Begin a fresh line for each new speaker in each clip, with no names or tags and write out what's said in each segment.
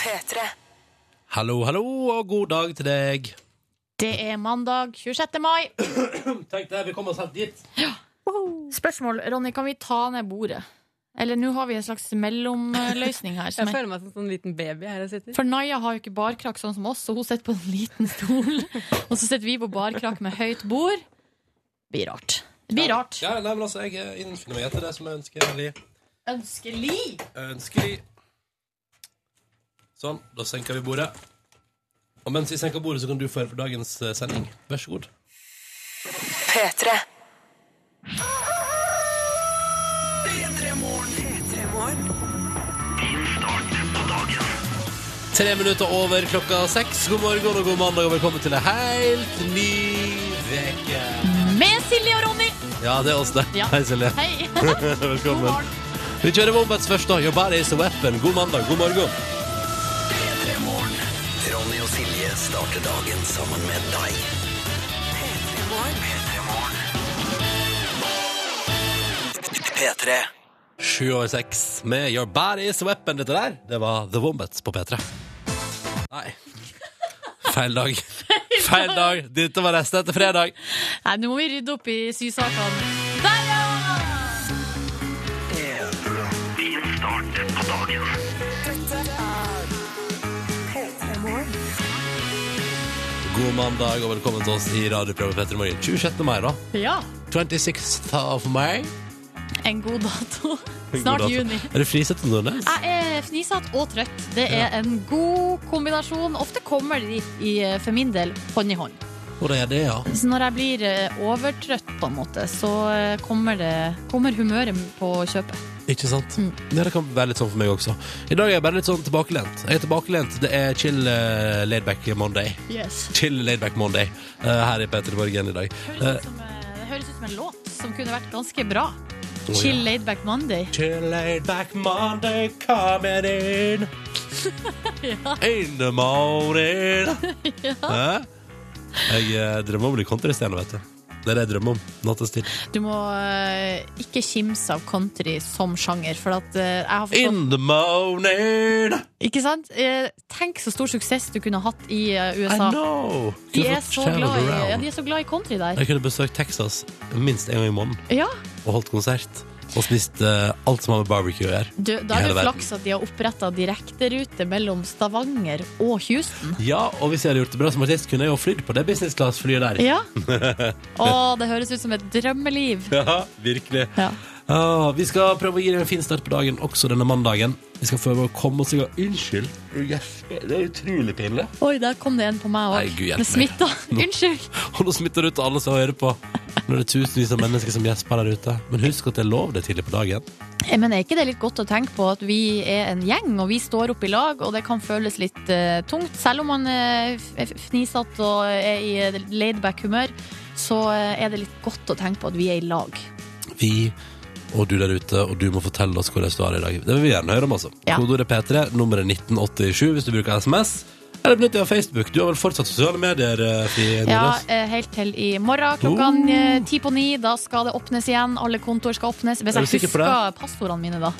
P3.
Hallo, hallo, og god dag til deg.
Det er mandag 26. mai.
Tenk det, vi kom oss helt dit.
Spørsmål, Ronny, kan vi ta ned bordet? Eller nå har vi en slags mellomløsning her.
Jeg
Som er.
føler meg som en sånn liten baby her jeg sitter.
For Naya har jo ikke barkrakk sånn som oss, så hun sitter på en liten stol. Og så sitter vi på barkrakk med høyt bord. Blir rart. Det blir rart.
Ja, nei, men altså, jeg eh, innfinner meg etter det som er ønskelig.
Ønskelig!
Ønskelig. Sånn, da senker vi bordet. Og mens vi senker bordet, så kan du få høre på dagens eh, sending. Vær så god.
P3.
Tre minutter over klokka seks. God morgen og god mandag, og velkommen til en helt ny veke.
Med Silje og Ronny.
Ja, det er oss, det.
Ja.
Hei, Silje.
Hei.
Velkommen. Vi kjører Wombats først, da. Your body is a weapon. God mandag, god morgen.
Ronny og Silje starter dagen sammen med deg. P3.
Sju over seks med Your body is a weapon. Dette der, det var The Wombats på P3. Nei. Feil dag. Feil dag. Dette var resten etter fredag.
Nei, nå må vi rydde opp i sysakene. Der, ja!
God mandag og velkommen til oss i radioprogrammet Petter Morgen. 26. mai, da.
Ja,
26th of May.
en god dato.
God
Snart
dato.
juni.
Er du fnisete nå, Nes?
Jeg er fnisete og trøtt. Det er en god kombinasjon. Ofte kommer de i, eh, for min del hånd i hånd.
Og det er det, ja.
Så når jeg blir eh, overtrøtt, på en måte, så eh, kommer, det, kommer humøret på kjøpet.
Ikke sant?
Mm.
Ja, det kan være litt sånn for meg også. I dag er jeg bare litt sånn tilbakelent. Jeg er tilbakelent. Det er chill uh, laidback Monday. Chill laidback Monday eh, her i Petter Morgen i dag.
Høres ut som, eh, det høres ut som en låt som kunne vært ganske bra.
ja.
Chill Laid Back Monday.
Chill laidback Monday coming in. In the morning. Hæ? Jeg eh, drømmer om å bli countrystjerne, vet du. Det er det jeg drømmer om. Nattestid.
Du må eh, ikke kimse av country som sjanger, for at eh, jeg har forstått
In the morning.
Ikke sant? Eh, Tenk så stor suksess du kunne hatt i eh,
I
USA.
know.
De
Kunne
er,
fått
så
traveled
glad i, ja,
around.
de er så glad i country der.
Jeg kunne besøkt Texas minst en gang i måneden.
Ja,
og holdt konsert. Og spist eh, alt som har med barbecue å gjøre.
du,
I
Da er
hele
det
verden.
flaks at de har oppretta direkterute mellom Stavanger og Houston.
Ja, og hvis jeg hadde gjort det bra som artist, kunne jeg jo flydd på det business class-flyet der.
Ja. Å, det høres ut som et drømmeliv.
Ja, virkelig.
Ja.
Ah, vi skal prøve å gi deg en fin start på dagen også denne mandagen. Vi skal prøve å komme oss i gang. Unnskyld. Det er utrolig pinlig.
Oi, der kom det en på meg
Nei,
òg.
Gud, hjelp
Med
meg.
smitta.
Nå-
Unnskyld.
Og nå smitter det ut til alle som hører på. Nå er det tusenvis av mennesker som gjesper der ute. Men husk at det er lov det er tidlig på dagen.
Eh, Men er ikke det litt godt å tenke på at vi er en gjeng, og vi står oppe i lag, og det kan føles litt eh, tungt. Selv om man eh, er fnisete og er i laidback humør, så eh, er det litt godt å tenke på at vi er i lag.
Vi og du der ute, og du må fortelle oss hvordan du har det i dag. Det vil vi gjerne høre om, altså.
Ja.
Kodeordet P3, nummeret 1987 hvis du bruker SMS. Eller benytt deg av Facebook. Du har vel fortsatt sosiale medier, eh, Fri
Ja,
Nordnes?
eh, helt til i morgen klokka eh, ti på ni. Da skal det åpnes igjen. Alle kontor skal åpnes.
Oh.
Hvis
Er du
jeg
sikker på
husker passordene mine, da.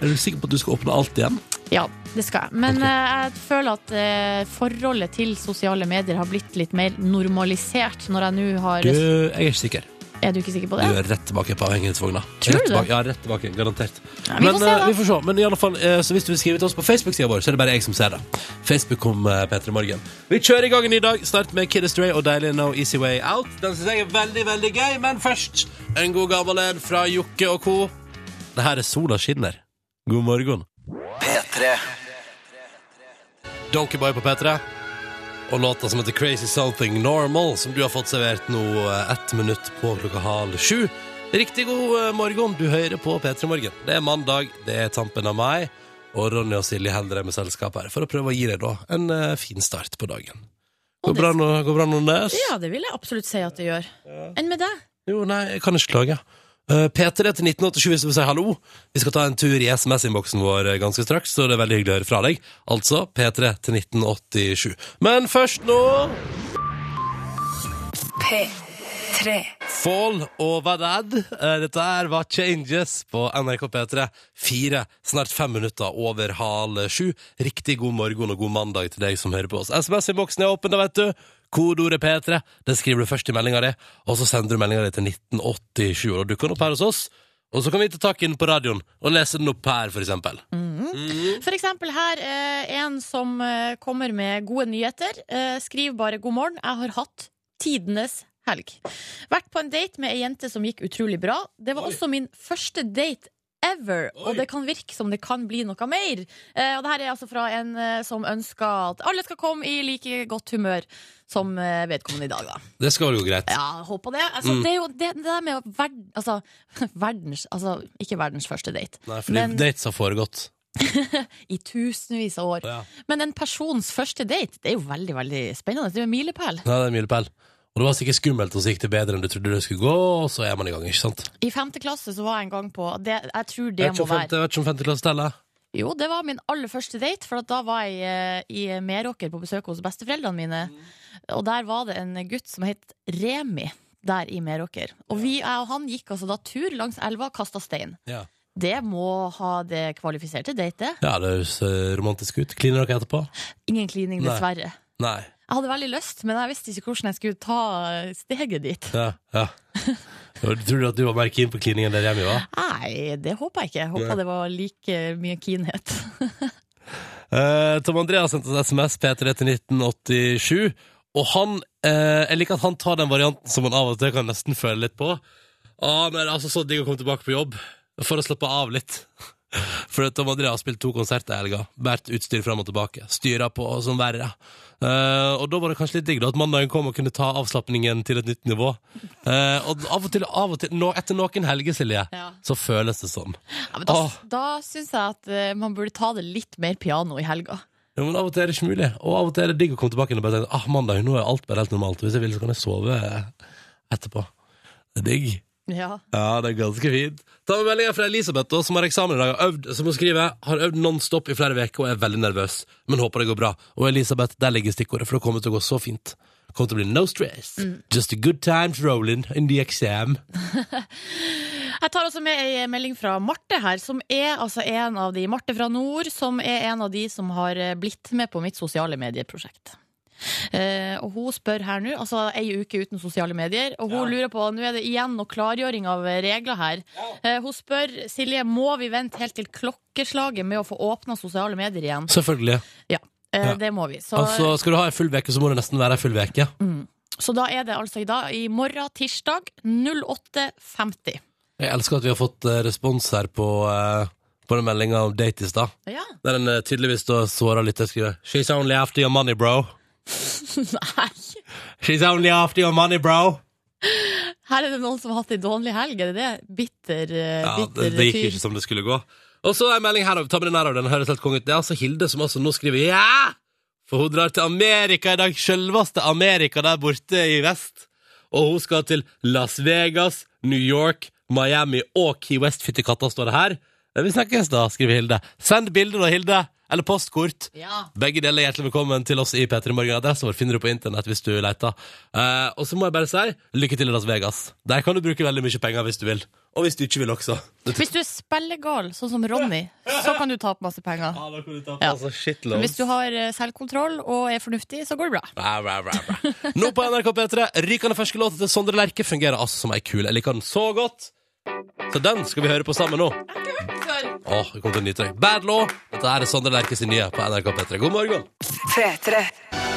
Er du sikker på at du skal åpne alt igjen?
Ja, det skal jeg. Men
Ok.
eh, jeg føler at eh, forholdet til sosiale medier har blitt litt mer normalisert når jeg nå har
Du, jeg er ikke sikker.
Er du ikke sikker på
Du
det?
er rett tilbake på avhengighetsvogna.
Tror du
Rett
det?
tilbake- Ja, rett tilbake. Garantert.
vi får
Men,
se,
eh,
da.
vi får se. Men i alle fall, eh, så hvis du vil skrive til oss på Facebook-sida vår, så er det bare jeg som ser det. Facebook om eh, P3 Morgen. Vi kjører i gang en ny dag, snart med Kid Astray og deilig No Easy Way Out. Den syns jeg er veldig, veldig gøy, men først en god gammel en fra Jokke og co. Det her er Sola skinner. God morgen.
P3.
Donkeyboy på P3. Og låta som heter Crazy Something Normal, som du har fått servert nå eh, ett minutt på klokka halv sju. Riktig god eh, morgen, du hører på P3 Morgen. Det er mandag, det er tampen av meg, og Ronny og Silje holder deg med selskap her for å prøve å gi deg da en eh, fin start på dagen. Går bra nå, går bra nå Nes?
Ja, det vil jeg absolutt si at det gjør. Enn med deg?
Jo, nei, jeg kan ikke klage. Eh, P3 til 1987 hvis du vil si hallo. Vi skal ta en tur i SMS-innboksen vår eh, ganske straks, så det er veldig hyggelig å høre fra deg. Altså P3 til 1987. Men først nå
P3. tre,
Fall over Rad. Eh, Dette her var Changes på NRK P3. Fire, snart fem minutter over halv sju. Riktig god morgen og god mandag til deg som hører på oss. SMS-innboksen er åpen, da vet du. Kodeordet P3. Det skriver du først i meldinga di, og så sender du meldinga di til 1987. Og da dukker den opp her hos oss. Og så kan vi ta tak i den på radioen og lese den opp her, for eksempel.
For eksempel her, eh, en som eh, kommer med gode nyheter. Eh, skriv bare 'god morgen, jeg har hatt tidenes helg'. Vært på en date med ei jente som gikk utrolig bra. Det var
Oi.
også min første date ever,
Oi.
og det kan virke som det kan bli noe mer. Eh, og det her er altså fra en eh, som ønsker at alle skal komme i like godt humør som eh, vedkommende i dag, da.
Det skal vel gå greit.
Ja, jeg håper det. Altså,
Mm.
Det er jo det, det der med å verd, altså, verdens Altså, ikke verdens første date.
Nei, fordi
Men-
dates har foregått.
I tusenvis av år.
Ja.
Men en persons første date, det er jo veldig veldig spennende. Det er jo en milepæl.
Nei, det er en milepæl. Og det var sikkert skummelt, og så gikk det bedre enn du trodde det skulle gå, og så er man i gang, ikke sant?
I femte klasse så var jeg en gang på det, Jeg tror det
Jeg vet ikke
må
om femte-
være
jeg vet ikke om femte klasse teller.
Jo, det var min aller første date, for at da var jeg eh, i Meråker på besøk hos besteforeldrene mine.
Mm.
Og der var det en gutt som het Remi der i Meråker. Og vi, jeg og han gikk altså da tur langs elva og kasta stein.
Ja.
Det må ha det kvalifiserte date.
Ja, det høres eh, romantisk ut. Kliner dere etterpå?
Ingen klining,
Nei.
dessverre.
Nei.
Jeg hadde veldig lyst, men jeg visste ikke hvordan jeg skulle ta eh, steget dit.
Ja, ja. Ja, du Tror du at du var mer keen på klining enn der hjemme, hva?
Nei, det håper jeg ikke. Jeg håper
Nei.
det var like mye keenhet.
Eh, Tom Andreas sendte oss SMS P3 til 1987, og han eh, Jeg liker at han tar den varianten som han av og til kan nesten føle litt på. Ah, men det er altså så digg å komme tilbake på jobb, for å slappe av litt. For at Tom Andreas spilte to konserter i helga, båret utstyr fram og tilbake, styra på som verre. Eh, og da var det kanskje litt digg da at mandagen kom og kunne ta avslapningen til et nytt nivå. Eh, og av og til, av og til nå, etter noen helger, Silje,
Ja.
så føles det sånn.
Ja, men da
Åh.
da syns jeg at eh, man burde ta det litt mer piano i helga.
Ja, men Av og til er det ikke mulig, og av og til er det digg å komme tilbake igjen og bare tenke ah, mandag, nå er alt bare helt normalt. Hvis jeg vil, så kan jeg sove etterpå. Det er digg.
Ja.
Ja, det er ganske fint. Ta med meldinga fra Elisabeth, da, som har eksamen i dag. Har øvd, som hun skriver, har øvd nonstop i flere uker og er veldig nervøs, men håper det går bra. Og Elisabeth, der ligger stikkordet, for det kommer til å gå så fint. Det kommer til å bli no stress. Just a good times rolling in the exam.
Jeg tar også med ei melding fra Marte her, som er altså en av de Marte fra nord, som er en av de som har eh, blitt med på mitt sosiale medieprosjekt. Eh, og hun spør her nå, altså ei uke uten sosiale medier, og hun lurer på Nå er det igjen noe klargjøring av regler her. Eh, hun spør Silje, må vi vente helt til klokkeslaget med å få åpna sosiale medier igjen?
Selvfølgelig.
Eh,
Ja.
Det må vi. Så,
Altså, skal du ha ei full uke, så må det nesten være ei full uke.
så da er det altså i dag, i morgen tirsdag 08.50.
Jeg elsker at vi har fått eh, respons her på, eh, på den meldinga om date i stad.
Ja.
Der en eh, tydeligvis da såra litt og skriver She's only after your money, bro.
Nei.
She's only after your money, bro.
Her er det noen som har hatt ei dårlig helg, er det det? Bitter, eh,
Ja, det,
bitter
det gikk
fyr.
ikke som det skulle gå. Og så en melding her, ta med den her, den høres helt konge ut. Det er altså Hilde som altså nå skriver ja! For hun drar til Amerika i dag, selveste Amerika der borte i vest. Og hun skal til Las Vegas, New York, Miami og Key West. Fytti katta, står det her. Men Vi snakkes da, skriver Hilde. Send bilder da, Hilde. Eller postkort.
Ja.
Begge deler er hjertelig velkommen til oss i P3 Morgen. Adressen vår finner du på internett hvis du leter. Eh, og så må jeg bare si lykke til i Las Vegas. Der kan du bruke veldig mye penger hvis du vil. Og hvis du ikke vil også.
Hvis du er spillegal, sånn som Ronny, så kan du tape masse penger.
da kan du ta
Ja.
altså
Men
shitloads.
hvis du har eh, selvkontroll og er fornuftig, så går det bra.
Bra, bra, bra, bra. Nå på NRK P3, rykende ferske låter til Sondre Lerche fungerer altså som ei kule. Jeg liker den så godt. Så den skal vi høre på sammen nå. Åh, det kom til en ny trøkk. Bad Law. Dette her er Sondre Lerche sin nye på NRK P3. God morgen.
P3.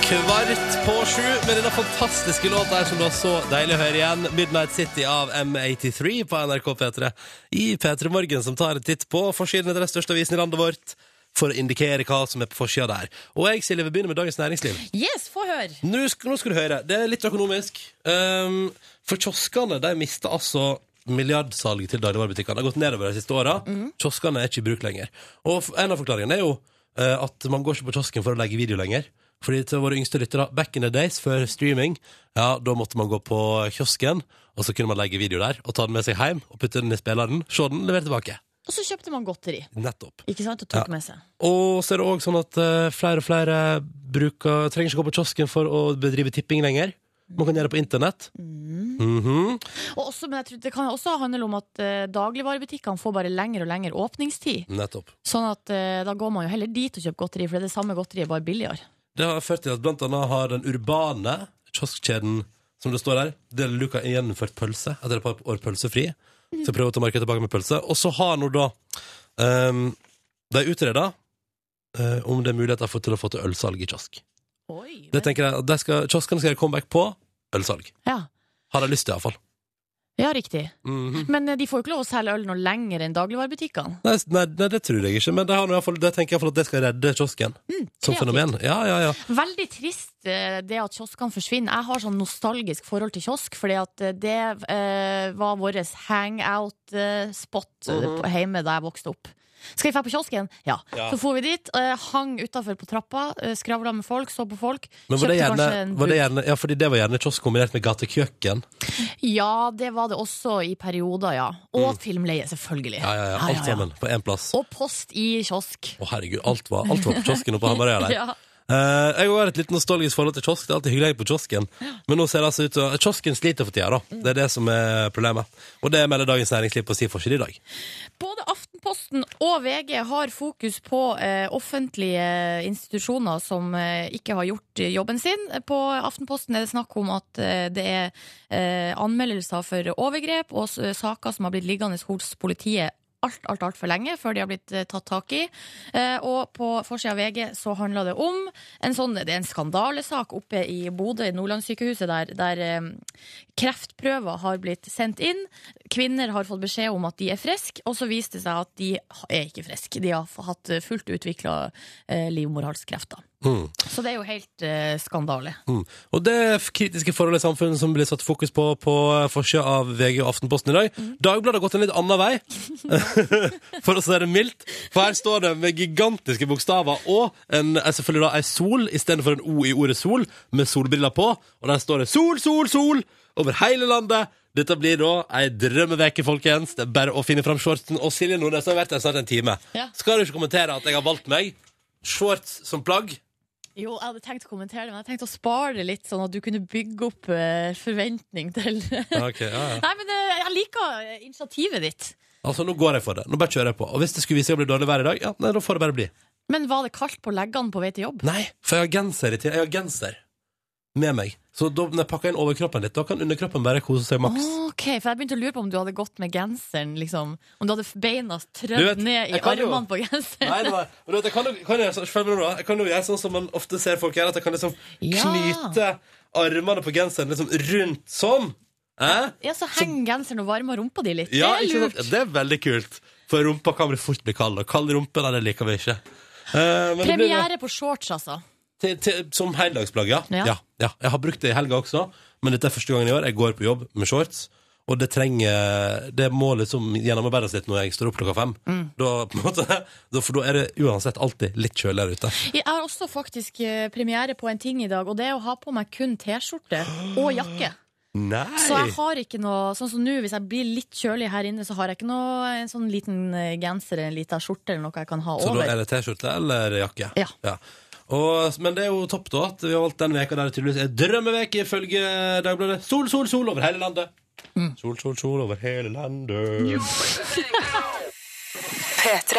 Kvart på sju med denne fantastiske låta her som det var så deilig å høre igjen. Midnight City av M83 på NRK P3. I P3 Morgen som tar en titt på forsiden av den største avisen i landet vårt. For å indikere hva som er på forsida der. Og jeg, Silje, vil begynne med Dagens Næringsliv.
Yes, få høre!
Nå skal, nå skal du høre. Det er litt økonomisk. Um, for kioskene de mister altså milliardsalg til dagligvarebutikkene. Det har gått nedover de siste åra. Kioskene er ikke i bruk lenger. Og f- en av forklaringene er jo eh, at man går ikke på kiosken for å legge video lenger. Fordi til våre yngste lyttere, back in the days, før streaming, ja, da måtte man gå på kiosken, og så kunne man legge video der, og ta den med seg hjem, og putte den i spilleren, se den, levere tilbake.
Og så kjøpte man godteri.
Nettopp.
Ikke sant? Og tok med seg.
Og så er det òg sånn at eh, flere og flere bruker, trenger ikke gå på kiosken for å bedrive tipping lenger. Man kan gjøre det på internett. Mhm.
Og også, men jeg tror det kan også handle om at eh, dagligvarebutikkene får bare lengre og lengre åpningstid.
Nettopp.
Sånn at eh, da går man jo heller dit og kjøper godteri, for det er det samme godteriet, bare billigere.
Det har ført til at blant annet har den urbane kioskkjeden som det står her, Del Luca gjennomført pølse etter et par år pølsefri. Skal prøve å ta markedet tilbake med pølse. Og så har nå da ehm, de utreda om det er muligheter for til å få til ølsalg i kiosk.
Oi,
Det tenker jeg, at de skal, Kioskene skal gjøre comeback på ølsalg.
ja.
Har de lyst til, iallfall.
ja, riktig.
Mm
Men eh, de får jo ikke lov å selge øl noe lenger enn dagligvarebutikkene.
nei, s- nei, nei, det tror jeg ikke, men det, har nå i hvert fall- det tenker jeg iallfall at det skal redde kiosken som
kreativt.
fenomen. Ja, ja, ja.
Veldig trist eh, det at kioskene forsvinner. Jeg har sånn nostalgisk forhold til kiosk, fordi at eh, det eh, var vår eh, hangout-spot hjemme da jeg vokste opp. Skal vi dra på kiosken? Ja.
Mhm. Ja.
Så for vi dit, eh, hang utafor på trappa, uh, skravla med folk, så på folk.
Men var det,
kanskje
gjerne,
en
var det
burger.
gjerne Ja, fordi det var gjerne kiosk kombinert med gatekjøkken.
Ja, det var det også i perioder, ja. Og filmleie, selvfølgelig.
Mm. Ja, ja, ja, alt sammen på én plass. Å,
Og post i kiosk.
herregud, alt var, alt var på kiosken oppe på Hamarøya der.
Ja.
Eh, jeg har et litt nostalgisk forhold til kiosk. Det er alltid hyggelig på kiosken. Men nå ser det altså ut til å- Kiosken sliter for tida, da. Det er det som er problemet. Og det melder Dagens Næringsliv på sin forside i dag.
Både Aftenposten og VG har fokus på eh, offentlige institusjoner som eh, ikke har gjort eh, jobben sin. På Aftenposten er det snakk om at eh, det er eh, anmeldelser for overgrep og s- saker som har blitt liggende hos politiet alt, alt, alt for lenge før de har blitt eh, tatt tak i. Eh, og på forsida av VG så handler det om en sånn, det er en skandalesak oppe i Bodø, i Nordlandssykehuset, der, der eh, kreftprøver har blitt sendt inn. Kvinner har fått beskjed om at de er friske, og så viste det seg at de er ikke friske. De har f- hatt eh, fullt utvikla eh, livmorhalskreft. da.
Mm.
Så det er jo helt eh, skandale.
Mm. Og det f- kritiske forholdet i samfunnet som blir satt fokus på på forsida av VG og Aftenposten i dag. Dagbladet har gått en litt annen vei, for å si det mildt. For her står det med gigantiske bokstaver og en, eh, selvfølgelig da ei sol istedenfor en O i ordet sol, med solbriller på. Og der står det 'Sol, sol, sol' over hele landet. Dette blir da ei drømmeveke, folkens. Det er bare å finne fram shortsen. Og Silje Nordnes har vært her snart en time.
Ja.
Skal du ikke kommentere at jeg har valgt meg shorts som plagg?
Jo, jeg hadde tenkt å kommentere det, men jeg tenkte å spare det litt, sånn at du kunne bygge opp eh, forventning til
Ja, ok, ja, ja.
Nei, men eh, jeg liker eh, initiativet ditt.
Altså, nå går jeg for det. Nå bare kjører jeg på. Og hvis det skulle vise seg å bli dårlig vær i dag, ja, nei, da får det bare bli.
Men var det kaldt på leggene på vei til jobb?
Nei, for jeg har genser i til. Jeg har genser med meg. Så da, når jeg pakker inn overkroppen litt, da kan underkroppen bare kose seg maks.
Ok, for jeg begynte å lure på om du hadde gått med genseren, liksom. Om du hadde beina
Du vet,
trødd ned i
jeg kan jo-
armene på genseren.
Nei, det var, men du vet, jeg kan, jo- kan jeg, gjøre sånn- følg med nå, da. jeg kan jo gjøre sånn som man ofte ser folk gjøre, at jeg kan liksom
Ja.
knyte armene på genseren liksom rundt sånn. Eh?
Ja, så henger genseren og varmer rumpa di litt.
Ja,
det
ikke
er
sant?
lurt.
Ja, det er veldig kult. For rumpa kan bli fort bli kald, og kald rumpe, nei, det liker vi ikke. Eh, men det blir-
Premiere på shorts, altså.
til, til, som heldagsplagg, ja. Ja.
Ja.
ja. Jeg har brukt det i helga også, men dette er første gangen i år. Jeg går på jobb med shorts, og det trenger Det må liksom gjennomarbeides litt når jeg står opp klokka fem. Da, på en måte, da, for da er det uansett alltid litt kjøligere ute.
Jeg har også faktisk eh, premiere på en ting i dag, og det er å ha på meg kun T-skjorte og jakke. Så
Nei!
jeg har ikke noe Sånn som nå, hvis jeg blir litt kjølig her inne, så har jeg ikke noe en sånn liten eh, genser eller en liten skjorte eller noe jeg kan ha
Så da
over.
er det T-skjorte eller jakke?
Ja.
Og, men det er jo topp, da, at vi har valgt den veka der det tydeligvis er drømmeveke, ifølge Dagbladet. Sol, sol, sol over hele landet.
Mm.
Sol, sol, sol over hele landet.
P3.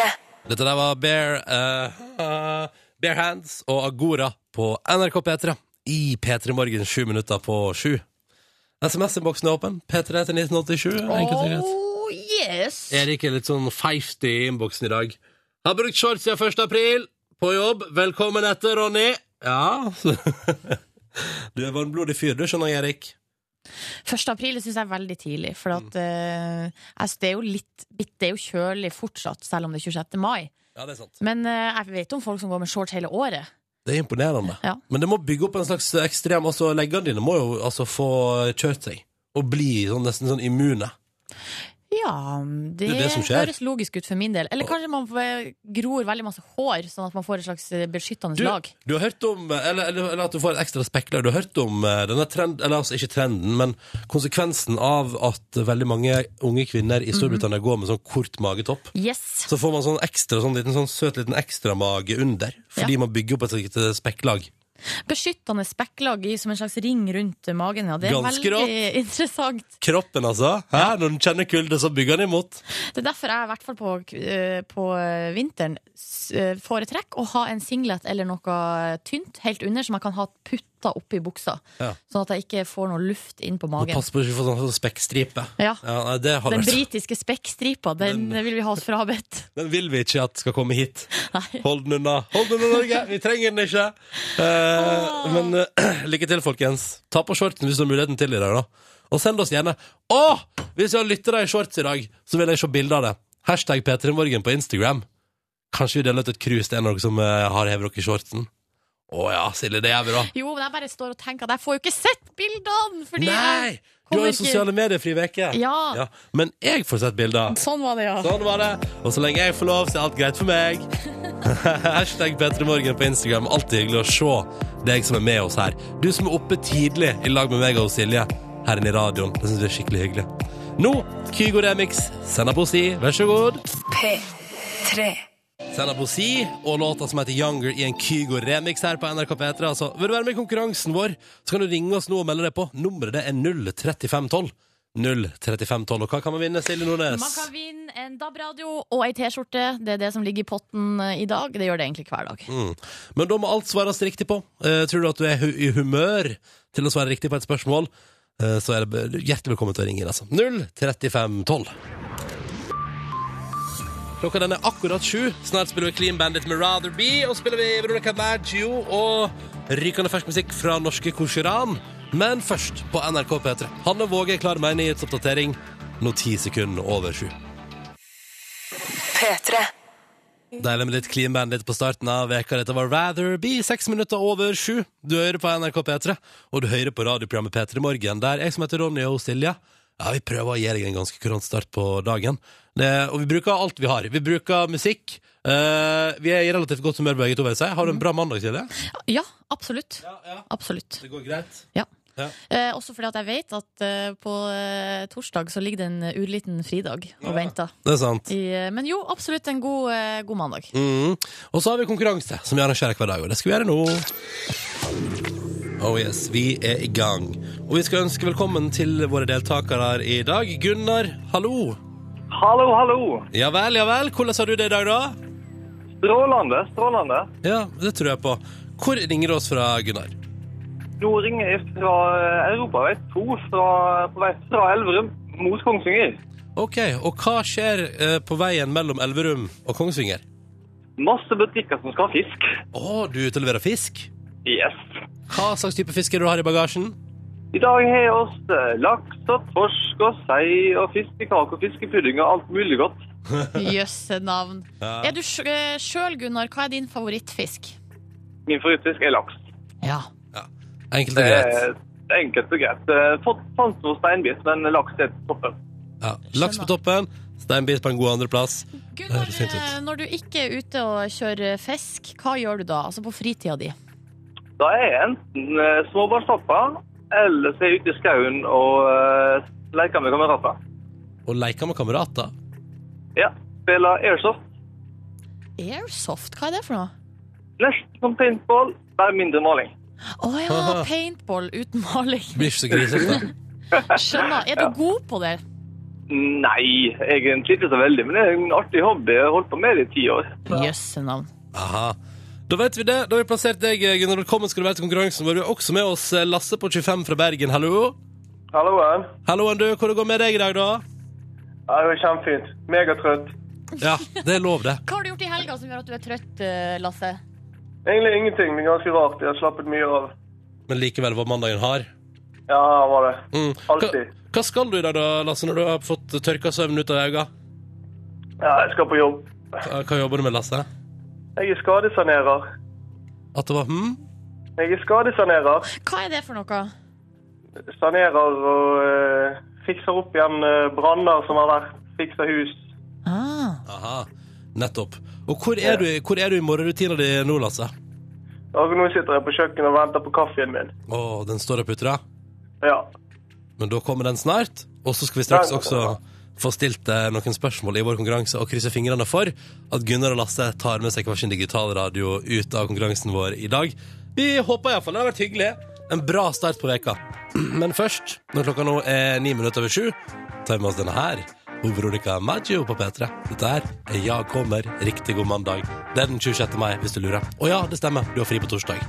Dette der var Bare, eh, eh, Bare Hands og Agora på NRK P3 i P3 Morgen sju minutter på sju. SMS-innboksen er åpen. P3 til 1987. Enkelt og greit.
Oh, yes!
Erik er litt sånn feisty i innboksen i dag. Har brukt shorts siden 1. april. På jobb. Velkommen etter, Ronny. Ja. Du er varmblodig fyr, du, skjønner jeg, Erik.
1. april syns jeg er veldig tidlig, for at, eh, altså, det, er jo litt, det er jo kjølig fortsatt, selv om det er 26. mai.
Ja, det er sant.
Men eh, jeg vet om folk som går med shorts hele året.
Det er imponerende.
Ja.
Men det må bygge opp en slags ekstrem Altså, leggene dine må jo altså få kjørt seg. Og bli sånn, nesten sånn immune.
Ja, det,
Det er det som skjer.
høres logisk ut for min del. Eller kanskje man eh, gror veldig masse hår, sånn at man får et slags eh, beskyttende
Du,
lag.
du har hørt om eller, eller, eller at du får et ekstra spekler. Du har hørt om eh, denne trend, eller altså ikke trenden, men konsekvensen av at veldig mange unge kvinner i Storbritannia går med sånn kort magetopp.
Yes.
Så får man sånn ekstra, sånn liten sånn søt liten ekstramage under, fordi man bygger opp et slikt eh, spekklag.
Beskyttende spekklag i, som en slags ring rundt magen. Ja. Det er
Ganske
veldig
rått.
interessant.
Kroppen, altså. Hæ? Når den kjenner kulde, så bygger den imot.
Det er derfor jeg i hvert fall på, eh, på vinteren s- eh, foretrekker å ha en singlet eller noe tynt helt under, som jeg kan ha putta oppi buksa.
Ja.
Sånn at jeg ikke får noe luft inn på
Og
magen.
pass på å ikke få sånn spekkstripe.
Ja.
Ja, nei, det har
Den
vært.
britiske spekkstripa, den
Den-
vil vi ha oss frabedt.
Den vil vi ikke at skal komme hit.
Nei.
Hold den unna. Hold den unna, Norge! Vi trenger den ikke. Eh, men eh, lykke til, folkens. Ta på shortsen hvis du har muligheten til i dag, da. Og send oss gjerne Å! Hvis vi har lyttere i shorts i dag, så vil jeg se bilde av det. Hashtag P3morgen på Instagram. Kanskje vi deler ut et krus til en av dere som eh, har hevet dere i shortsen. Å ja, Silje, det gjør vi, da.
Jo, men jeg bare står og tenker at jeg får jo ikke sett bildene! Fordi
Nei!
jeg
Du har
kommer
jo sosiale medier-fri uke.
Ja.
Men jeg får sett bilder.
Sånn var det, ja.
Sånn var det. Og så lenge jeg får lov, så er alt greit for meg. Hashtag Petremorgen på Instagram. Alltid hyggelig å se deg som er med oss her. Du som er oppe tidlig i lag med meg og Silje her inne i radioen. Det syns vi er skikkelig hyggelig. Nå Kygo Remix. Send deg poesi, vær så god.
P3.
Send deg poesi og låta som heter Younger i en Kygo Remix her på NRK P3. Altså, vil du være med i konkurransen vår, så kan du ringe oss nå og melde deg på. Nummeret det er 03512. 03512. Og hva kan man vinne, Silje Nordnes?
Man kan vinne en DAB-radio og ei T-skjorte. Det er det som ligger i potten eh, i dag. Det gjør det egentlig hver dag.
Mm. Men da må alt svares riktig på. Eh, tror du at du er hu i humør til å svare riktig på et spørsmål, eh, så er det be- hjertelig velkommen til å ringe inn, altså. 03512. Klokka den er akkurat sju. Snart spiller vi Clean Bandit med Rather Be, og spiller vi Veronica Maggio og rykende fersk musikk fra norske Kosheran. Men først på NRK P3. Hanne Våge er klar med en nyhetsoppdatering nå ti sekunder over sju.
P3.
Deilig med litt clean bandit på starten av veka. Dette var Rather Be, seks minutter over sju. Du hører på NRK P3, og du hører på radioprogrammet P3 Morgen, der jeg som heter Ronny og Silje ja, vi prøver å gi deg en ganske kurant start på dagen. Det, og vi bruker alt vi har. Vi bruker musikk. eh, vi er i relativt godt humør, begge to. vil jeg si. Har du en bra mandag, Silje?
Ja, absolutt.
ja.
Absolutt.
Det går greit.
Ja.
Ja.
Eh, også fordi at jeg vet at eh, på eh, torsdag så ligger det en eh, urliten fridag og venter.
Det er sant.
I, eh, men jo, absolutt en god, eh, god mandag.
Mm. Og så har vi konkurranse, som vi arrangerer hver dag, og det skal vi gjøre nå. Oh yes, vi er i gang. Og vi skal ønske velkommen til våre deltakere her i dag. Gunnar, hallo.
Hallo, hallo.
Ja vel, ja vel. Hvordan har du det i dag, da?
Strålende, strålende.
Ja, det tror jeg på. Hvor ringer du oss fra, Gunnar?
Nå ringer jeg fra eh, Europavei 2 fra, på vei fra Elverum mot Kongsvinger.
Ok, og hva skjer eh, på veien mellom Elverum og Kongsvinger?
Masse butikker som skal ha fisk.
Å, du utleverer fisk?
Yes.
Hva slags type fisk er det du har i bagasjen?
I dag har jeg oss eh, laks og torsk og sei og fiskekake og fiskepudding og alt mulig godt.
Jøsse navn.
Ja.
Er du sj- eh, sjøl, Gunnar, hva er din favorittfisk?
Min favorittfisk er laks. Eh,
Ja.
Enkelt
Det
og greit.
er enkelt og greit. Eh, Fått fansen hos steinbit, men laks er toppen.
Ja. Laks på toppen, steinbit på en god andreplass. Det
Gunnar,
høres fint ut.
eh, når du ikke er ute og kjører fisk, hva gjør du da? Altså på fritida di?
Da er jeg enten eh, småbarnspappa, eller så er jeg ute i skauen og eh, leker med kamerater.
Og leker med kamerater.
Ja, spiller airsoft.
Airsoft, hva er det for noe?
Nesten som paintball, bare mindre maling.
Å ja, paintball uten maling.
Blir ikke så grisete.
Skjønner. Er du god på det?
Nei, egentlig ikke så veldig, men det er en artig hobby. Jeg har holdt på med det i ti år.
Jøsse navn.
Aha. Da vet vi det. Da har vi plassert deg, eh, Gunnar. Velkommen skal du være til konkurransen vår. Vi har også med oss eh, Lasse på 25 fra Bergen. Hallo.
Hallo, ja.
Halloen, du. Hvordan går det med deg i dag, da?
Ja, det går kjempefint. Megatrøtt.
Ja, det er lov, det.
Hva har du gjort i helga som gjør at du er trøtt, eh, Lasse?
Egentlig ingenting, men ganske rart. Jeg har slappet mye av.
Men likevel var mandagen hard.
Ja, var det.
Mm. Hva,
Alltid.
hva skal du i dag, da, Lasse, når du har fått tørka søvnen ut av øynene?
Ja, jeg skal på jobb.
Hva, hva jobber du med, Lasse?
Jeg er skadesanerer.
At det var hm?
Jeg er skadesanerer.
Hva er det for noe?
Sanerer og eh, fikser opp igjen eh, branner som har vært. Fikser hus.
Ah.
Aha. Nettopp. Og hvor er du, i- hvor er du i morgenrutina di nå, Lasse?
Og nå sitter jeg på kjøkkenet og venter på kaffen min.
Å, den står og putrer.
Ja.
Men da kommer den snart, og så skal vi straks
Ja, ja,
også
ja.
få stilt eh, noen spørsmål i vår konkurranse og krysse fingrene for at Gunnar og Lasse tar med seg hver sin digitale radio ut av konkurransen vår i dag. Vi håper iallfall det har vært hyggelig. En bra start på veka. Men først, når klokka nå er ni minutter over sju, tar vi med oss denne her. Hun Veronica Maggio på P3. Dette her er Ja kommer. Riktig god mandag. Det er den 26. mai, hvis du lurer. Å ja, det stemmer. Du har fri på torsdag.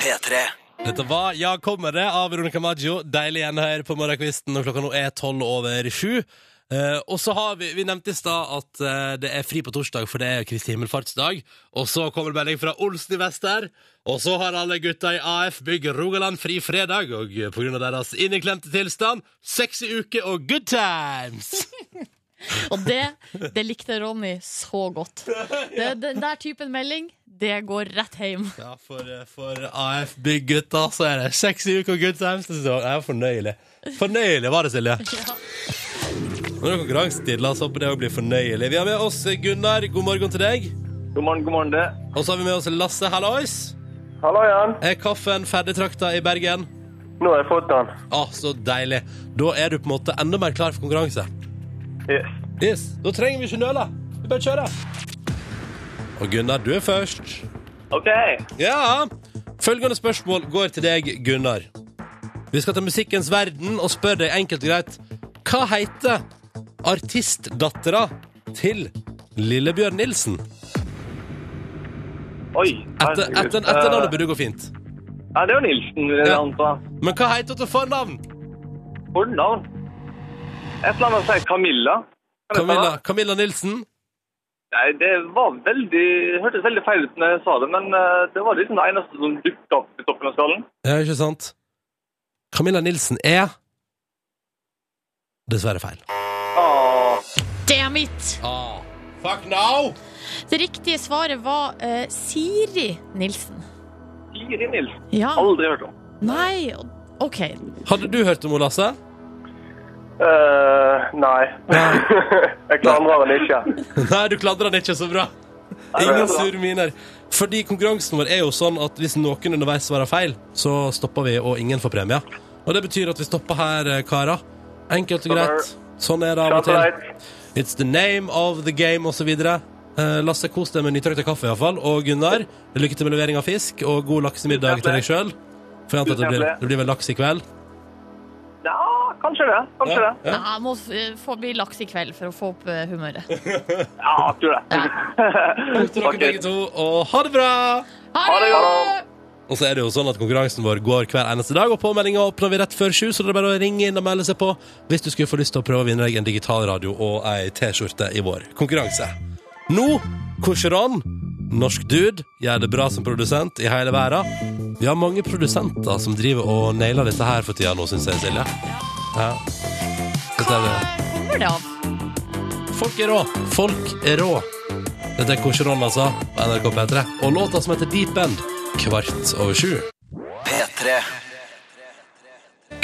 P3
Dette var Ja, kommer det av Veronica Maggio. Deilig igjen her på morgenkvisten når klokka nå er tolv over sju. Eh, og så har vi, vi nevnte i stad at eh, det er fri på torsdag, for det er Kristi himmelfartsdag. Og så kommer det melding fra Olsen i vest her. Og så har alle gutta i AF Bygg Rogaland fri fredag, og eh, på grunn av deres inneklemte tilstand, sexy uke og good times!
Og det, det likte Ronny så godt. Det, den der typen melding, det går rett hjem.
Ja, for, eh, for AF Bygg-gutta så er det sexy uke og good times. Det er fornøyelig. Fornøyelig var det, Silje. Nå er det konkurransetid. La oss håpe det òg blir fornøyelig. Vi har med oss eh, Gunnar. God morgen til deg.
God morgen, god morgen, det.
Og så har vi med oss Lasse. Hallois.
Hallo igjen.
Er kaffen ferdigtrakta i Bergen?
Nå har jeg fått den.
Ah, så deilig. Da er du på en måte enda mer klar for konkurranse.
Yes.
Yes, Da trenger vi ikke nøle. Vi bare kjører. Og Gunnar, du er først.
OK.
Ja, følgende spørsmål går til deg, Gunnar. Vi skal til musikkens verden og spør deg enkelt og greit Hva heter artistdattera til Lillebjørn Nilsen?
Oi.
Etter,
herregud.
etter, etternavnet burde gå fint.
Eh, Ja, det er jo Nilsen, vil jeg
Ja.
anta.
Men hva heter hun til fornavn?
Fornavn. Et eller annet å si Camilla. Kan det
Camilla,
stemme?
Camilla Nilsen?
Nei, det var veldig Hørtes veldig feil ut når jeg sa det, men eh, det var liksom det eneste som dukket opp i toppen av skallen.
Ja, ikke sant? Camilla Nilsen er Dessverre feil.
Ah,
Damn it!
Ah, fuck now!
Det riktige svaret var eh, Siri Nilsen.
Siri Nilsen.
Ja.
Aldri hørt om.
Nei, OK.
Hadde du hørt om henne, Lasse?
eh nei. jeg klandrer den ikke.
Nei, du kladrer den ikke så bra.
det er
Ingen
bra.
sure miner. Fordi konkurransen vår er jo sånn at hvis noen underveis svarer feil, så stopper vi, og ingen får premie. Og det betyr at vi stopper her, eh, karer. Enkelt og greit. Sånn er det av og til.
Klandreit.
It's the name of the game, osv. Eh, Lasse, kos deg med nytrøkta kaffe, iallfall. Og Gunnar, lykke til med levering av fisk, og god laksemiddag til deg sjøl. For jeg antar at det blir, det blir vel laks i kveld?
Ja, kanskje det. Kanskje
Ja,
det.
ja.
Nei, jeg må eh, få bli laks i kveld for å få opp eh, humøret.
Ja, jeg tror det.
Takk til dere
Ok.
begge to, og ha det bra!
Ha det!
Og så er det jo sånn at konkurransen vår går hver eneste dag, og påmeldinga åpner vi rett før sju, så det er bare å ringe inn og melde seg på hvis du skulle få lyst til å prøve å vinne deg en digital radio og ei T-skjorte i vår konkurranse. Nå, Korseran, norsk dude, gjør det bra som produsent i hele verden. Vi har mange produsenter som driver og nailer dette her for tida nå, syns jeg, Silje. Ja. Dette er det.
Hva kommer det av?
Folk er rå. Folk er rå. Dette er Korseran, altså, på NRK P3, og låta som heter Deep End, kvart over sju.
P3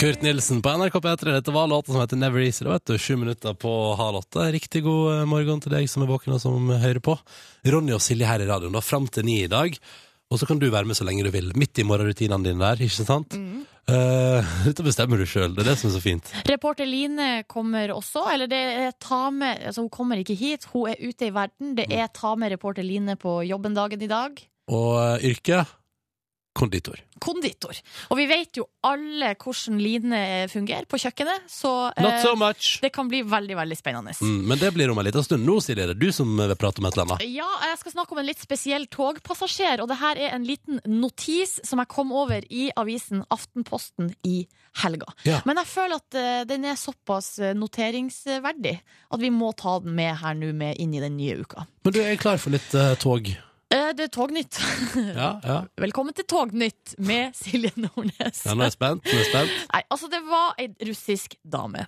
Kurt Nilsen på NRK P3. Dette var låta som heter Never Easy. Det vet du, Sju minutter på halv åtte. Riktig god eh, morgen til deg som er våken og som hører på. Ronny og Silje her i radioen da, fram til ni i dag. Og så kan du være med så lenge du vil. Midt i morgenrutinene dine der, ikke sant? Eh, dette bestemmer du sjøl. Det er det som er så fint.
Reporter Line kommer også, eller det er ta med altså Hun kommer ikke hit, hun er ute i verden. Det er ta med reporter Line på jobben dagen i dag.
Og eh, yrke? Konditor.
Konditor. Og vi vet jo alle hvordan Line eh, fungerer på kjøkkenet, så eh,
Not so much.
det kan bli veldig, veldig spennende.
Mm, men det blir om en liten stund. Nå, Silje, er det du som eh, vil prate om et eller annet.
Ja, jeg skal snakke om en litt spesiell togpassasjer, og det her er en liten notis som jeg kom over i avisen Aftenposten i helga.
Ja.
Men jeg føler at eh, den er såpass eh, noteringsverdig at vi må ta den med her nå med inn i den nye uka.
Men du er klar for litt eh, tog?
Eh, Det er Tognytt.
Ja, ja.
Velkommen til Tognytt med Silje Nordnes.
ja nå er jeg spent. Nå er jeg spent.
Nei, altså det var ei russisk dame.